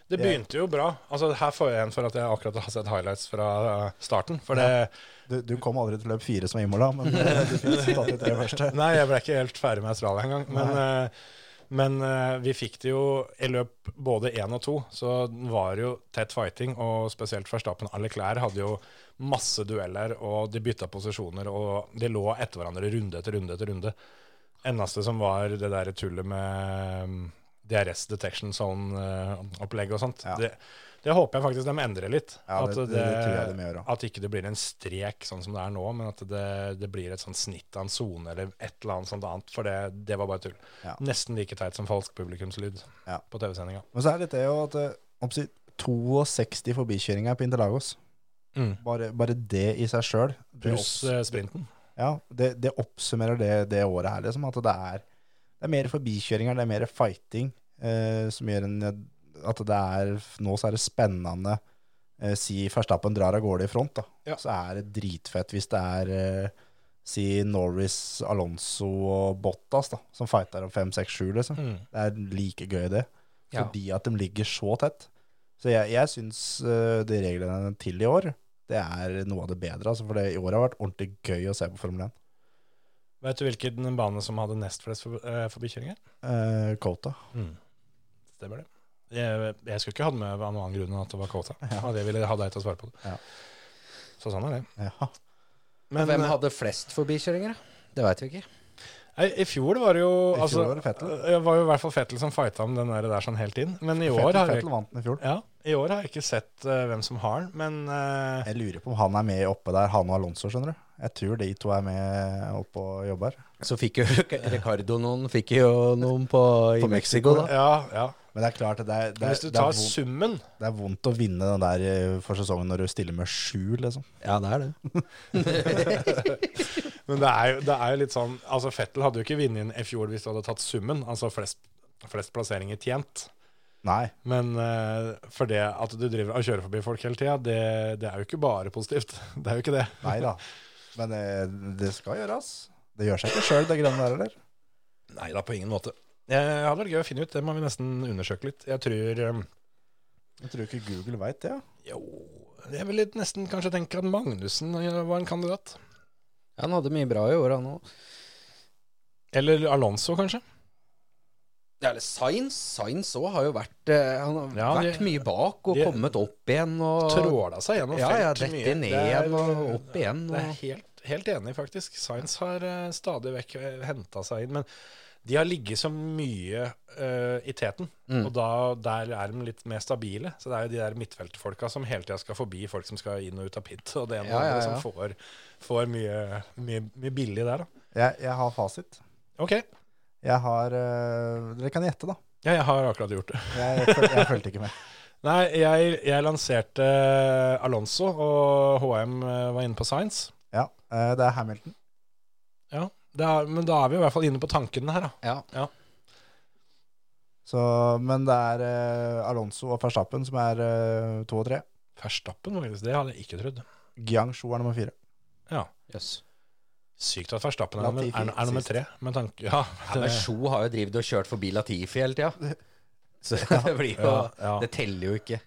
Speaker 3: Det begynte jo bra. Altså, her får jeg en for at jeg akkurat har sett highlights fra eh, starten. For det,
Speaker 4: Du, du kom aldri til løp fire som Imola, men eh, du fikk tatt de tre første.
Speaker 3: Nei, jeg ble ikke helt ferdig med Australia engang. Men, eh, men eh, vi fikk det jo i løp både én og to, så var det jo tett fighting. Og spesielt Verstappen alle klær hadde jo masse dueller, og de bytta posisjoner, og de lå etter hverandre runde etter runde etter runde. Eneste som var det der tullet med mm, DRS detection zone-opplegg og sånt.
Speaker 4: Ja.
Speaker 3: Det, det håper jeg faktisk de endrer litt.
Speaker 4: Ja, det- det- det tror jeg de må gjøre.
Speaker 3: At ikke det blir en strek sånn som det er nå, men at det, det blir et sånt snitt av en sone eller et eller annet sånt annet, for det, det var bare tull.
Speaker 4: Ja.
Speaker 3: Nesten like teit som falsk publikumslyd
Speaker 4: Ja.
Speaker 3: på TV-sendinga.
Speaker 4: Men så er det det jo at eh, om si, 62 forbikjøringer på Interlagos.
Speaker 3: Mm.
Speaker 4: Bare, bare det i seg sjøl.
Speaker 3: Pluss eh, sprinten.
Speaker 4: Ja, det, det oppsummerer det, det året her, liksom. At det er, det er mer forbikjøringer, det er mer fighting eh, som gjør en, at det er Nå så er det spennende. Eh, si Verstappen drar av gårde i front, da.
Speaker 3: Ja.
Speaker 4: Så er det dritfett hvis det er eh, Si Norris, Alonso og Bottas, da, som fighter om fem, seks, sju, liksom.
Speaker 3: Mm.
Speaker 4: Det er like gøy, det.
Speaker 2: Ja.
Speaker 4: Fordi at de ligger så tett. Så jeg, jeg syns eh, de reglene til i år, det er noe av det bedre. Altså, for det i år har vært ordentlig gøy å se på Formel 1.
Speaker 3: Vet du hvilken bane som hadde nest flest for, eh, forbikjøringer?
Speaker 4: Eh, Kota.
Speaker 3: Stemmer det. Jeg, jeg skulle ikke hatt med av noen annen grunn enn at det var Kota. Og det ville jeg ha deg til å svare på det.
Speaker 4: Ja.
Speaker 3: Så sånn er det.
Speaker 4: Ja.
Speaker 3: Men
Speaker 2: Hvem
Speaker 3: eh,
Speaker 2: hadde flest forbikjøringer, da? Det veit vi ikke.
Speaker 3: nei, i fjor var det jo
Speaker 4: I fjor
Speaker 3: altså,
Speaker 4: var det Vettel.
Speaker 3: eh, var jo i hvert fall Fettel som fighta om den der, der sånn helt inn. Men i år
Speaker 4: Fettel,
Speaker 3: har jeg,
Speaker 4: Fettel vant den i fjor.
Speaker 3: ja, i år har jeg ikke sett eh, hvem som har den, men eh,
Speaker 4: Jeg lurer på om han er med oppe der, han og Alonso, skjønner du. Jeg tror de to er med oppe og jobber.
Speaker 2: Så fikk jo Ricardo noen, fikk jo noen på, i
Speaker 4: På
Speaker 2: Mexico,
Speaker 4: Mexico,
Speaker 2: da.
Speaker 3: ja, ja.
Speaker 4: Men det er klart, det er, det
Speaker 3: Men
Speaker 4: er,
Speaker 3: hvis du
Speaker 4: det
Speaker 3: tar
Speaker 4: er, vondt,
Speaker 3: summen
Speaker 4: det er vondt å vinne den der eh, for sesongen når du stiller med sju, liksom.
Speaker 2: Ja, det er det.
Speaker 3: Men det er, jo, det er jo litt sånn Altså, Fettel hadde jo ikke vunnet inn i fjor hvis du hadde tatt summen, altså flest, flest plasseringer tjent.
Speaker 4: Nei.
Speaker 3: Men eh, for det at du driver og kjører forbi folk hele tida, det, det er jo ikke bare positivt. Det er jo ikke det.
Speaker 4: Nei da. Men det, det skal gjøres. Det gjør seg ikke sjøl, det greiene der heller.
Speaker 3: Nei da, på ingen måte. Det hadde vært gøy å finne ut. Det må vi nesten undersøke litt. Jeg tror eh,
Speaker 4: Jeg tror ikke Google veit det. Ja.
Speaker 3: Jo, jeg ville nesten kanskje tenke at Magnussen eh, var en kandidat.
Speaker 2: Han hadde mye bra i år, han òg.
Speaker 3: Eller Alonso, kanskje.
Speaker 2: Ja, eller Sainz. Sainz òg har jo vært eh, Han har
Speaker 3: Ja, de-
Speaker 2: vært mye bak og
Speaker 3: de-
Speaker 2: kommet opp igjen og
Speaker 3: Tråla seg gjennom
Speaker 2: Ja, ja,
Speaker 3: felt
Speaker 2: dette
Speaker 3: mye.
Speaker 2: ned
Speaker 3: Det er-
Speaker 2: igjen og opp igjen.
Speaker 3: Det er
Speaker 2: Og,
Speaker 3: helt, helt enig, faktisk. Science har eh, stadig vekk henta seg inn. Men de har ligget så mye eh, i teten,
Speaker 2: Mm.
Speaker 3: og da, der er de litt mer stabile. Så det er jo de der midtfeltfolka som hele tida skal forbi folk som skal inn og ut av pit, og det ene og
Speaker 2: Ja,
Speaker 3: det
Speaker 2: ja,
Speaker 3: andre
Speaker 2: ja.
Speaker 3: som får, får mye, mye, mye billig der, da.
Speaker 4: Jeg, jeg har fasit.
Speaker 3: OK.
Speaker 4: Jeg har eh, Dere kan gjette, da.
Speaker 3: Ja, jeg har akkurat gjort det.
Speaker 4: Jeg, føl- jeg fulgte ikke med.
Speaker 3: Nei, jeg, jeg lanserte eh, Alonso, og HM var inne på Science.
Speaker 4: Ja, eh, Det er Hamilton.
Speaker 3: Ja, det er, men da er vi i hvert fall inne på tankene her, da.
Speaker 2: ja.
Speaker 4: Så, men det er eh, Alonso og Verstappen som er eh, to og tre.
Speaker 3: Verstappen, faktisk. Det hadde jeg ikke trodd.
Speaker 4: Giang-Sjo er nummer fire.
Speaker 2: Jøss.
Speaker 3: Sykt at Verstappen er,
Speaker 4: Latifi
Speaker 3: er, er nummer
Speaker 4: sist.
Speaker 3: tre, med tanke Ja,
Speaker 2: Ja, men Sjo har jo drevet og kjørt forbi Latifi hele tida. Så det blir jo
Speaker 3: ja, ja.
Speaker 2: Det teller jo ikke.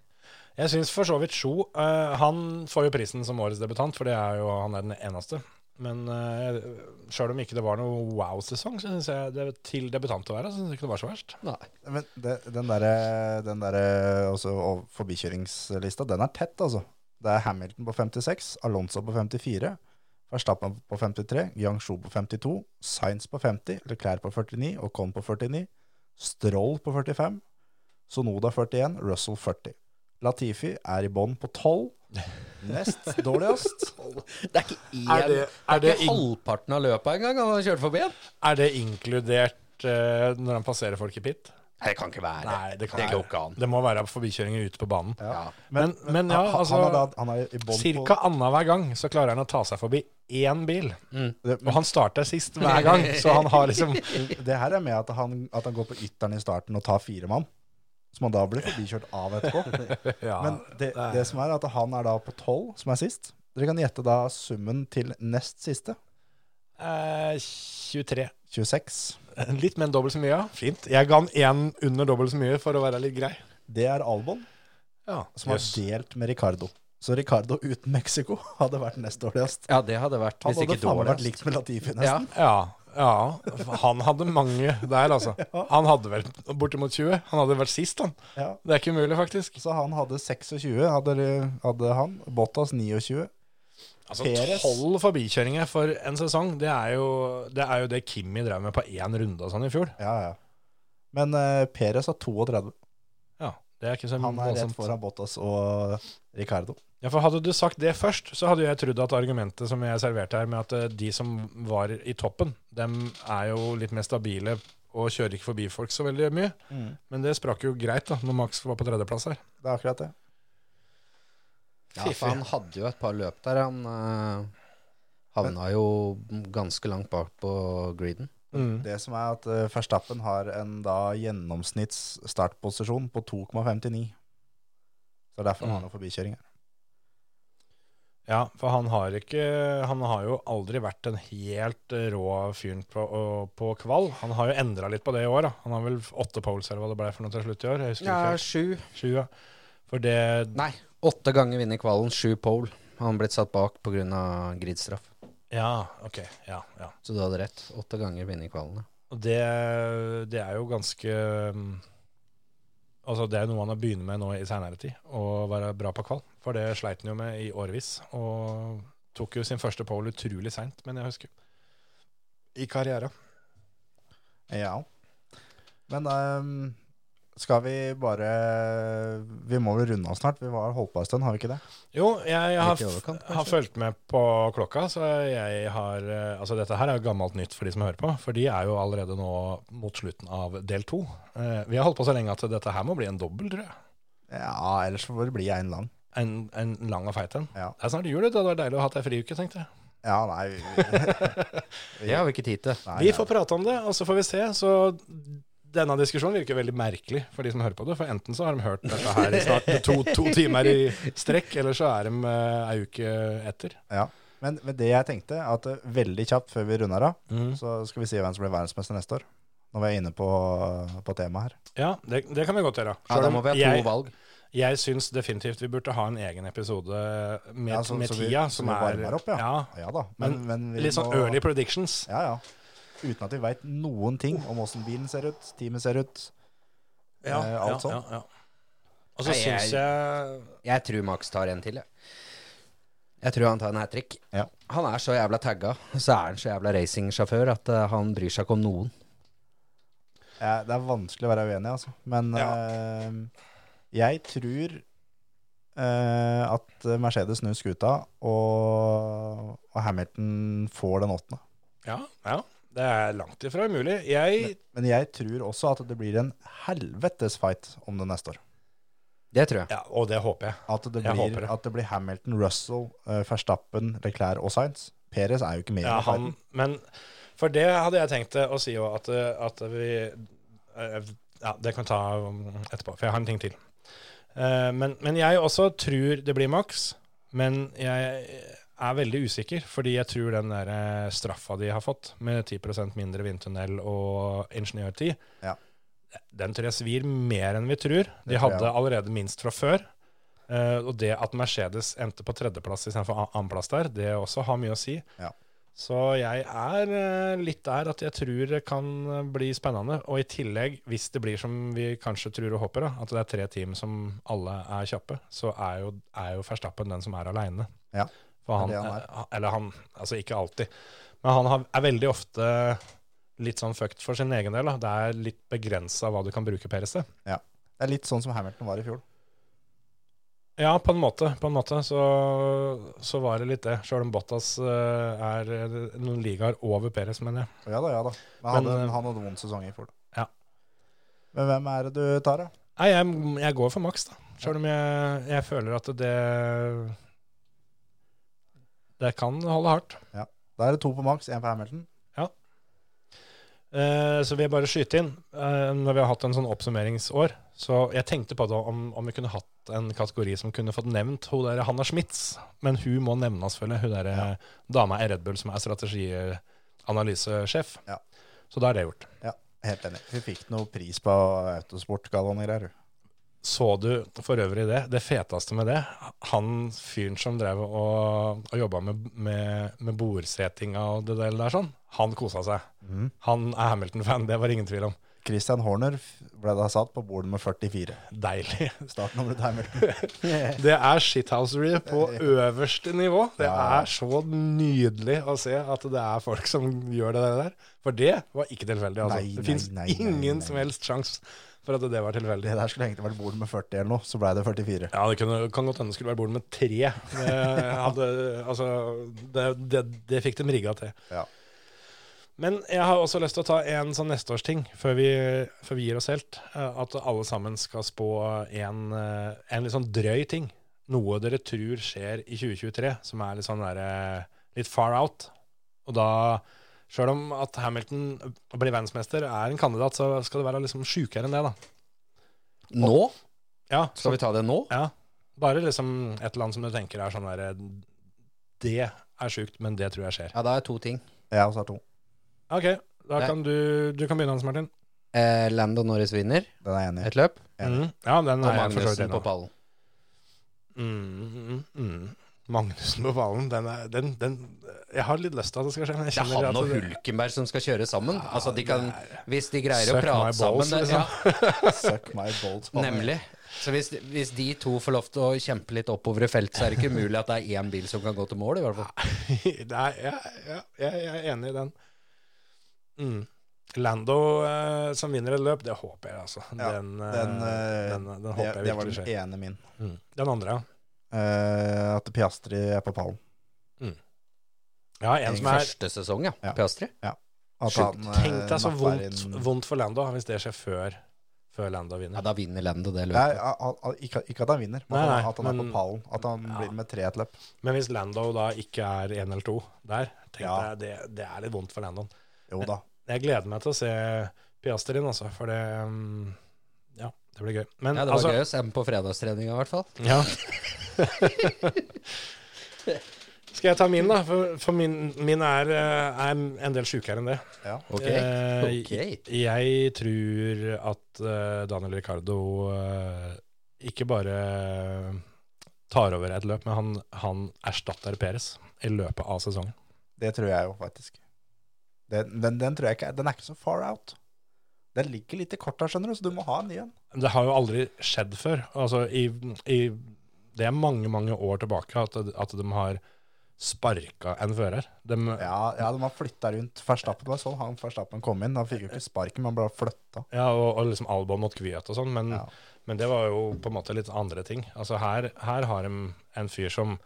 Speaker 3: Jeg syns for så vidt Sjo eh, Han får jo prisen som årets debutant, for det er jo han er den eneste. Men uh, sjøl om ikke det var noe wow-sesong, så syns jeg det til debutant å være, så syns jeg ikke det var så verst.
Speaker 2: Nei.
Speaker 4: Men det, den derre den der, også ov- forbikjøringslista, den er tett, altså. Det er Hamilton på 56, Alonso på 54, Verstappen på 53, Yang-Shu på 52, Sainz på 50, Leclerc på 49, Ocon på 49, Stroll på 45, Sonoda 41, Russell 40. Latifi er i bånn på 12. Nest dårligst.
Speaker 2: Det er ikke én
Speaker 3: Er det, er det,
Speaker 2: Ikke
Speaker 3: ing-
Speaker 2: halvparten av løpet engang han har kjørt forbi en.
Speaker 3: er det inkludert eh, når han passerer folk i pit?
Speaker 2: Det kan ikke være.
Speaker 3: Nei, det kan
Speaker 2: det går ikke
Speaker 3: ikke
Speaker 2: an.
Speaker 3: Det må være forbikjøringer ute på banen.
Speaker 2: Ja.
Speaker 3: Men, men ja,
Speaker 4: han,
Speaker 3: altså
Speaker 4: han er da, han er i bånn
Speaker 3: Cirka annenhver gang så klarer han å ta seg forbi én bil.
Speaker 2: Mm.
Speaker 4: på det,
Speaker 3: Og han starter sist hver gang, så han har liksom
Speaker 4: det her er med at han, at han går på ytteren i starten og tar fire mann, som han da blir forbikjørt av etterpå.
Speaker 3: ja,
Speaker 4: Men det,
Speaker 3: er-
Speaker 4: det som er at han er da på tolv, som er sist. Dere kan gjette da summen til nest siste.
Speaker 3: eh, 23.
Speaker 4: 26.
Speaker 3: Litt, men dobbelt så mye. ja. Fint. Jeg ga han én under dobbelt så mye for å være litt grei.
Speaker 4: Det er Albon,
Speaker 3: Ja,
Speaker 4: som har delt med Ricardo. Så Ricardo uten Mexico hadde vært nest dårligst.
Speaker 2: Ja, det hadde vært
Speaker 4: Han
Speaker 2: hvis
Speaker 4: hadde
Speaker 2: ikke
Speaker 4: faen meg vært
Speaker 2: dårligst.
Speaker 4: likt med Latifi,
Speaker 2: Ja.
Speaker 4: nesten.
Speaker 3: ja, ja. Han hadde mange der, altså. Han hadde vel bortimot 20. Han hadde vært sist, han.
Speaker 4: Ja.
Speaker 3: Det er ikke umulig, faktisk.
Speaker 4: Så han hadde 26, hadde, hadde han. Bottas 29.
Speaker 3: Altså,
Speaker 4: Perez.
Speaker 3: Tolv forbikjøringer for en sesong, det er jo det, er jo det Kimi drev med på én runde og sånn i fjor.
Speaker 4: Ja, ja. Men uh, Perez har 32.
Speaker 3: Ja, det er ikke så
Speaker 4: Han er rett
Speaker 3: Mm, voldsomt.
Speaker 4: foran Bottas og Ricardo.
Speaker 3: Ja, for Hadde du sagt det først, så hadde jeg trodd at argumentet som jeg serverte her, med at eh, de som var i toppen, dem er jo litt mer stabile og kjører ikke forbi folk så veldig mye. Men det sprakk jo greit da, når Max var på tredjeplass her.
Speaker 4: Det er akkurat det.
Speaker 2: Ja, for han hadde jo et par løp der. Han eh, havna jo ganske langt bak på greeden.
Speaker 3: Mm.
Speaker 4: Det som er at eh, Verstappen har en da gjennomsnitts startposisjon på 2,59. Så derfor har han noen forbikjøringer.
Speaker 3: Ja, for han har, ikke, han har jo aldri vært den helt eh, rå fyren på, og- på kval. Han har jo endra litt på det i år. da. Han har vel åtte poles eller hva det ble for noe til slutt i år. Jeg husker ikke helt.
Speaker 2: sju.
Speaker 3: Sju, ja. For det,
Speaker 2: Nei, åtte ganger vinner kvalen, sju pole. Han blitt satt bak pga. gridstraff.
Speaker 3: Ja, OK. Ja, ja.
Speaker 2: Så du hadde rett. Åtte ganger vinner kvalen. ja.
Speaker 3: Og det, det er jo ganske um, Altså Det er noe han har begynt med nå i seinere tid, å være bra på kval. For det sleit han jo med i årevis, og tok jo sin første pole utrolig seint, men jeg husker. I karriere.
Speaker 4: Ja. Men ehm, skal vi bare Vi må vel runde av snart? Vi har holdt på en stund, har vi ikke det?
Speaker 3: Jo, jeg har,
Speaker 2: Litt i overkant, kanskje?
Speaker 3: har fulgt med på klokka, så jeg har eh, Altså, dette her er jo gammelt nytt for de som hører på, for de er jo allerede nå mot slutten av del to. Eh, Vi har holdt på så lenge at dette her må bli en dobbel, tror jeg.
Speaker 4: Ja, ellers får det bli en lang.
Speaker 3: En, en lang og feit en.
Speaker 4: Ja.
Speaker 3: Det er snart jul, det hadde vært deilig å ha hatt ei friuke, tenkte jeg.
Speaker 4: Ja, nei, vi-
Speaker 2: Det har vi ikke tid til.
Speaker 4: nei
Speaker 3: Vi får prate om det, og så får vi se. Så denne diskusjonen virker veldig merkelig for de som hører på det. For enten så har de hørt dette her i snart to, to timer i strekk, eller så er de eh, ei uke etter.
Speaker 4: Ja. Men, men det jeg tenkte, er at eh, veldig kjapt før vi runder av, så skal vi si hvem som blir verdensmester neste år. Når vi er inne på, på temaet her.
Speaker 3: Ja, det, det kan vi godt gjøre.
Speaker 6: Ja,
Speaker 3: Selv
Speaker 6: da
Speaker 3: om
Speaker 6: må vi ha to
Speaker 3: jeg,
Speaker 6: valg.
Speaker 3: Jeg syns definitivt vi burde ha en egen episode med,
Speaker 4: Ja, så-
Speaker 3: med
Speaker 4: så vi-
Speaker 3: tida,
Speaker 4: så
Speaker 3: som
Speaker 4: vi
Speaker 3: er
Speaker 4: varmer opp, ja. Ja da. Men,
Speaker 3: Men
Speaker 4: men vi
Speaker 3: Litt sånn
Speaker 4: må-
Speaker 3: early predictions.
Speaker 4: Ja, ja. Uten at vi veit noen ting om åssen bilen ser ut, teamet ser ut. Eh, alt sånt.
Speaker 3: ja, ja. Og så
Speaker 2: Nei, jeg-
Speaker 3: syns jeg
Speaker 2: Jeg tror Max tar en til, jeg. Jeg tror han tar en hat trick.
Speaker 4: Ja.
Speaker 2: Han er så jævla tagga, og så er han så jævla racingsjåfør at eh, han bryr seg ikke om noen.
Speaker 4: Ja, det er vanskelig å være uenig, altså. Men eh, jeg tror eh, at Mercedes snur skuta, og, og Hamilton får den åttende.
Speaker 3: Ja, ja. Det er langt ifra umulig. Jeg
Speaker 4: Men jeg tror også at det blir en helvetes fight om det neste år.
Speaker 2: Det tror jeg.
Speaker 3: Ja, og det håper jeg.
Speaker 4: At det
Speaker 3: Jeg
Speaker 4: blir,
Speaker 3: håper det.
Speaker 4: At det blir Hamilton, Russell, eh, Verstappen, Leclerc og Sainz. Perez er jo ikke med. i
Speaker 3: Ja,
Speaker 4: den
Speaker 3: han,
Speaker 4: fighten.
Speaker 3: men for det hadde jeg tenkt å si òg, at, at vi eh, Ja, det kan vi ta um, etterpå, for jeg har en ting til. Eh, Men, men jeg også tror det blir Max, men jeg er veldig usikker, fordi jeg tror den der eh, straffa de har fått, med 10 mindre vindtunnel og ingeniørtid,
Speaker 4: Ja.
Speaker 3: den tror jeg svir mer enn vi tror. De
Speaker 4: Det tror jeg
Speaker 3: hadde allerede minst fra før. Eh, og det at Mercedes endte på tredjeplass istedenfor an- annenplass der, det også har mye å si.
Speaker 4: Ja.
Speaker 3: Så jeg er eh, litt der at jeg tror det kan eh, bli spennende. Og i tillegg, hvis det blir som vi kanskje tror og håper, da, at det er tre team som alle er kjappe, så er jo, er jo Verstappen den som er aleine.
Speaker 4: Ja,
Speaker 3: For han,
Speaker 4: det er det han er.
Speaker 3: eh, eller han, altså ikke alltid, men han har, er veldig ofte litt sånn fucked for sin egen del. Da. Det er litt begrensa hva du kan bruke Peres til.
Speaker 4: Det er litt sånn som Hamilton var i fjor.
Speaker 3: Ja, på en måte. På en måte så, så var det litt det. Sjøl om Bottas eh, er eh, noen ligaer over Perez, mener jeg.
Speaker 4: Ja da, ja da. Men han,
Speaker 3: Men,
Speaker 4: hadde,
Speaker 3: eh,
Speaker 4: han hadde vond sesong i fjor.
Speaker 3: Ja.
Speaker 4: Men hvem er det du tar, da?
Speaker 3: Nei, jeg, jeg går for Max, da. Sjøl om jeg, jeg føler at det Det kan holde hardt.
Speaker 4: Da er det to på maks, én på Hamilton.
Speaker 3: Eh, så vil jeg bare skyte inn, eh, når vi har hatt en sånn oppsummeringsår Så jeg tenkte på det om, om vi kunne hatt en kategori som kunne fått nevnt hun der Hanna Schmitz. Men hun må nevnes, føler jeg. Hun der eh, dama i Red Bull som er strategianalysesjef.
Speaker 4: Ja.
Speaker 3: Så da er det gjort.
Speaker 4: Helt enig. Hun fikk noe pris på Autosportgallaen i greier. hun.
Speaker 3: Så du for øvrig det? Det feteste med det? Han fyren som drev og, og jobba med, med, med bordsetinga og det der, der sånn, han kosa seg.
Speaker 4: Mm.
Speaker 3: Han er Hamilton-fan, det var ingen tvil om.
Speaker 4: Christian Horner f- ble da satt på bord nummer 44.
Speaker 3: Deilig.
Speaker 4: Startnummeret til Hamilton.
Speaker 3: Det er shithousery på øverste nivå. Det
Speaker 4: Ja.
Speaker 3: er så nydelig å se at det er folk som gjør det der. For det var ikke tilfeldig. Altså.
Speaker 4: Nei,
Speaker 3: det
Speaker 4: nei,
Speaker 3: fins
Speaker 4: nei, nei,
Speaker 3: ingen
Speaker 4: nei.
Speaker 3: som helst sjanse for at det var tilfeldig.
Speaker 4: Det der skulle egentlig vært bord nummer 40 eller noe, så ble det 44.
Speaker 3: Ja, det kunne, kan godt hende det skulle være bord med tre. Det, hadde, altså, det, det, det fikk de rigga til.
Speaker 4: Ja.
Speaker 3: Men jeg har også lyst til å ta en sånn nesteårsting før, vi- før vi gir oss helt. eh, At alle sammen skal spå en, eh, en litt sånn drøy ting. Noe dere tror skjer i 2023, som er litt sånn der, eh, litt far out. Og da, sjøl om at Hamilton blir verdensmester, er en kandidat, så skal det være liksom sjukere enn det, da.
Speaker 2: Nå?
Speaker 3: Ja,
Speaker 2: Skal vi ta det nå?
Speaker 3: ja. Bare liksom et eller annet som du tenker er sånn derre Det er sjukt, men det tror jeg skjer.
Speaker 2: Ja, da er to ting.
Speaker 4: Jeg også har to.
Speaker 3: OK, da
Speaker 2: Nei.
Speaker 3: kan du, du kan begynne, Hans Martin.
Speaker 2: Eh, Lando Norris vinner
Speaker 4: Den er jeg enig i.
Speaker 2: et løp,
Speaker 4: Enig.
Speaker 3: Mhm. Ja, den
Speaker 2: og
Speaker 3: er jeg for så vidt
Speaker 2: Magnussen
Speaker 3: enig
Speaker 2: på
Speaker 3: i.
Speaker 2: pallen.
Speaker 3: Mm, mm, mm. Magnussen på ballen, den er den, den, Jeg har litt lyst til at det skal skje, men jeg
Speaker 2: Det er
Speaker 3: kjenner
Speaker 2: han og
Speaker 3: at det,
Speaker 2: Hulkenberg som skal kjøre sammen. altså, de
Speaker 3: det
Speaker 2: kan, hvis de greier å
Speaker 3: Suck my
Speaker 2: prate
Speaker 3: balls,
Speaker 2: sammen det-
Speaker 4: Suck my balls.
Speaker 2: Ja,
Speaker 4: mann.
Speaker 2: nemlig. Så hvis, hvis de to får lov til å kjempe litt oppover i felt, så er det ikke umulig at det er én bil som kan gå til mål, i hvert fall.
Speaker 3: det er, ja, ja, jeg, jeg er enig i den. Mm. Lando eh, som vinner et løp, det håper jeg, altså.
Speaker 4: Ja,
Speaker 3: den, eh,
Speaker 4: den, eh,
Speaker 3: den, den
Speaker 4: Det,
Speaker 3: håper jeg
Speaker 4: det var
Speaker 3: virkelig
Speaker 4: den
Speaker 3: skjer.
Speaker 4: ene min.
Speaker 3: Mm. Den andre, ja.
Speaker 4: Eh, at Piastri er på pallen.
Speaker 3: Ja, en som er
Speaker 2: Første sesong, ja.
Speaker 4: Ja.
Speaker 2: Piastri.
Speaker 4: At
Speaker 2: Sjukt.
Speaker 4: han, eh,
Speaker 3: Tenk deg så
Speaker 4: napper
Speaker 3: vondt,
Speaker 4: inn-
Speaker 3: vondt for Lando hvis det skjer før, før Lando
Speaker 2: Ja,
Speaker 3: vinner.
Speaker 2: da vinner Lando det
Speaker 4: Nei,
Speaker 2: løpet.
Speaker 4: han- han- ikke, ikke at han vinner, men
Speaker 3: Nei,
Speaker 4: at han-
Speaker 3: nei,
Speaker 4: at han er
Speaker 3: men-
Speaker 4: på pallen. At han blir med tre et løp.
Speaker 3: Men hvis Lando da ikke er én eller to der, tenk
Speaker 4: Ja.
Speaker 3: deg, det, det er litt vondt for Landon.
Speaker 4: Jo da.
Speaker 3: Jeg gleder meg til å se Piastri inn, altså. For det mm, Ja, det blir gøy. Men
Speaker 2: Ja, det var
Speaker 3: altså
Speaker 2: gøy å se dem på fredagstreninga, i hvert fall.
Speaker 3: Ja. Skal jeg ta min, da? For, for min, min er, eh, er en del sjukere enn det.
Speaker 4: Ja.
Speaker 2: Ok.
Speaker 3: Eh,
Speaker 2: Ok.
Speaker 3: Jeg tror at eh, Daniel Ricardo eh, ikke bare eh, tar over et løp, men han, han erstatter Peres i løpet av sesongen.
Speaker 4: Det tror jeg jo, faktisk. Den, den, den tror jeg ikke, den er ikke så far out. Den ligger litt i korta, skjønner du, så du må ha en ny en.
Speaker 3: Det har jo aldri skjedd før. Altså, i, i, det er mange, mange år tilbake at, at de har sparka en fører. De,
Speaker 4: Ja, ja, de har flytta rundt. Verstappen var sånn, han Verstappen kom inn. Han fikk jo ikke sparken, men han ble flytta.
Speaker 3: Ja, og, og liksom Albon mot Kvyat og sånn, men,
Speaker 4: Ja.
Speaker 3: men det var jo på en måte litt andre ting. Altså her, her har de en fyr som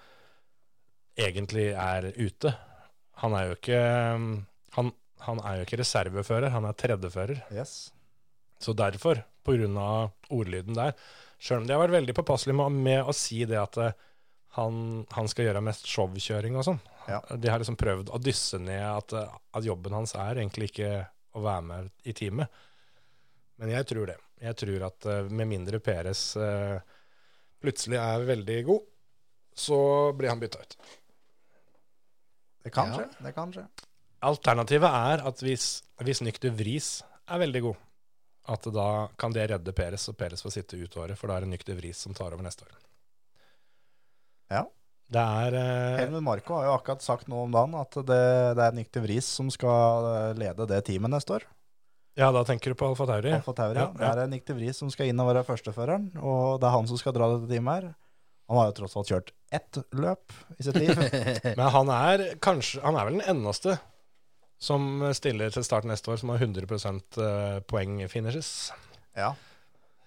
Speaker 3: egentlig er ute. Han er jo ikke mm, han, han er jo ikke reservefører, han er tredjefører.
Speaker 4: Yes.
Speaker 3: Så derfor, på grunn av ordlyden der, sjøl om de har vært veldig påpasselige med, med å si det at eh, han, han skal gjøre mest showkjøring og sånn.
Speaker 4: Ja.
Speaker 3: De har liksom prøvd å dysse ned at, eh, at jobben hans er egentlig ikke å være med i teamet. Men jeg tror det. Jeg tror at eh, med mindre Peres eh, plutselig er veldig god, så blir han bytta ut.
Speaker 4: Det kan
Speaker 2: Ja.
Speaker 4: skje. det kan skje.
Speaker 3: Alternativet er at hvis, hvis Nykter Vris er veldig god, at da kan det redde Peres, og Peres får sitte ut året, for da er det Nykter Vris som tar over neste år.
Speaker 4: Ja.
Speaker 3: Det er eh,
Speaker 4: Helmut Marko har jo akkurat sagt noe om dagen at det, det er Nykter Vris som skal eh, lede det teamet neste år.
Speaker 3: Ja, da tenker du på Alfa Tauri.
Speaker 4: Alfa Tauri.
Speaker 3: Ja, ja.
Speaker 4: Det er Nykter Vris som skal inn og være førsteføreren, og det er han som skal dra dette teamet her. Han har jo tross alt kjørt ett løp i sitt liv.
Speaker 3: Men han er kanskje Han er vel den eneste som stiller til start neste år, som har eh, 100 poeng-finishes.
Speaker 4: ja.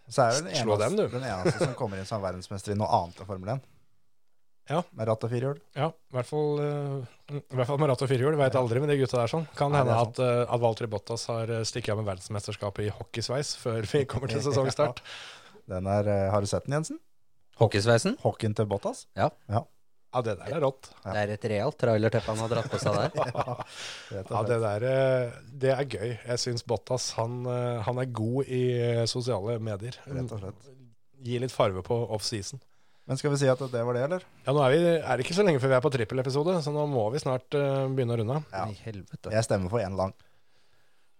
Speaker 4: Så er jo den
Speaker 3: Slå
Speaker 4: eneste,
Speaker 3: den, du.
Speaker 4: den eneste som kommer inn som verdensmester i noe annet enn Formel 1.
Speaker 3: Ja.
Speaker 4: Med ratt og firehjul.
Speaker 3: Ja, i hvert fall, eh, i hvert fall med ratt og firehjul. Veit aldri med de gutta der sånn. Kan
Speaker 4: Nei, det er
Speaker 3: hende at, eh, at Valtri Bottas har eh, stikket av med verdensmesterskapet i hockeysveis før vi kommer til sesongstart.
Speaker 4: Den er, eh, har du sett den, Jensen?
Speaker 2: Hockeysveisen.
Speaker 4: Hockeyen til Bottas?
Speaker 3: Ja, det der er rått.
Speaker 4: Ja.
Speaker 2: Det er et realt trailerteppe han har dratt på seg der.
Speaker 4: Rett
Speaker 3: Ja,
Speaker 4: og slett.
Speaker 3: det der eh, Det er gøy. Jeg syns Bottas han, eh, han er god i eh, sosiale medier.
Speaker 4: Rett og slett.
Speaker 3: Gir litt farve på offseason.
Speaker 4: Men skal vi si at det var det, eller?
Speaker 3: Ja, nå er, vi, er det ikke så lenge før vi er på trippelepisode, så nå må vi snart eh, begynne å runde av.
Speaker 4: Ja.
Speaker 2: I helvete.
Speaker 4: Jeg stemmer for én lang.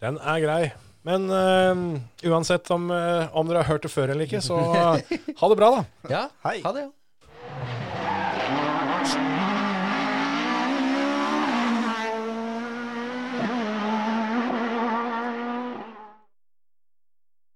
Speaker 3: Den er grei. Men eh, uansett om, eh, om dere har hørt det før eller ikke, så ha det bra, da.
Speaker 2: Ja,
Speaker 4: Hei.
Speaker 2: ha det. ja.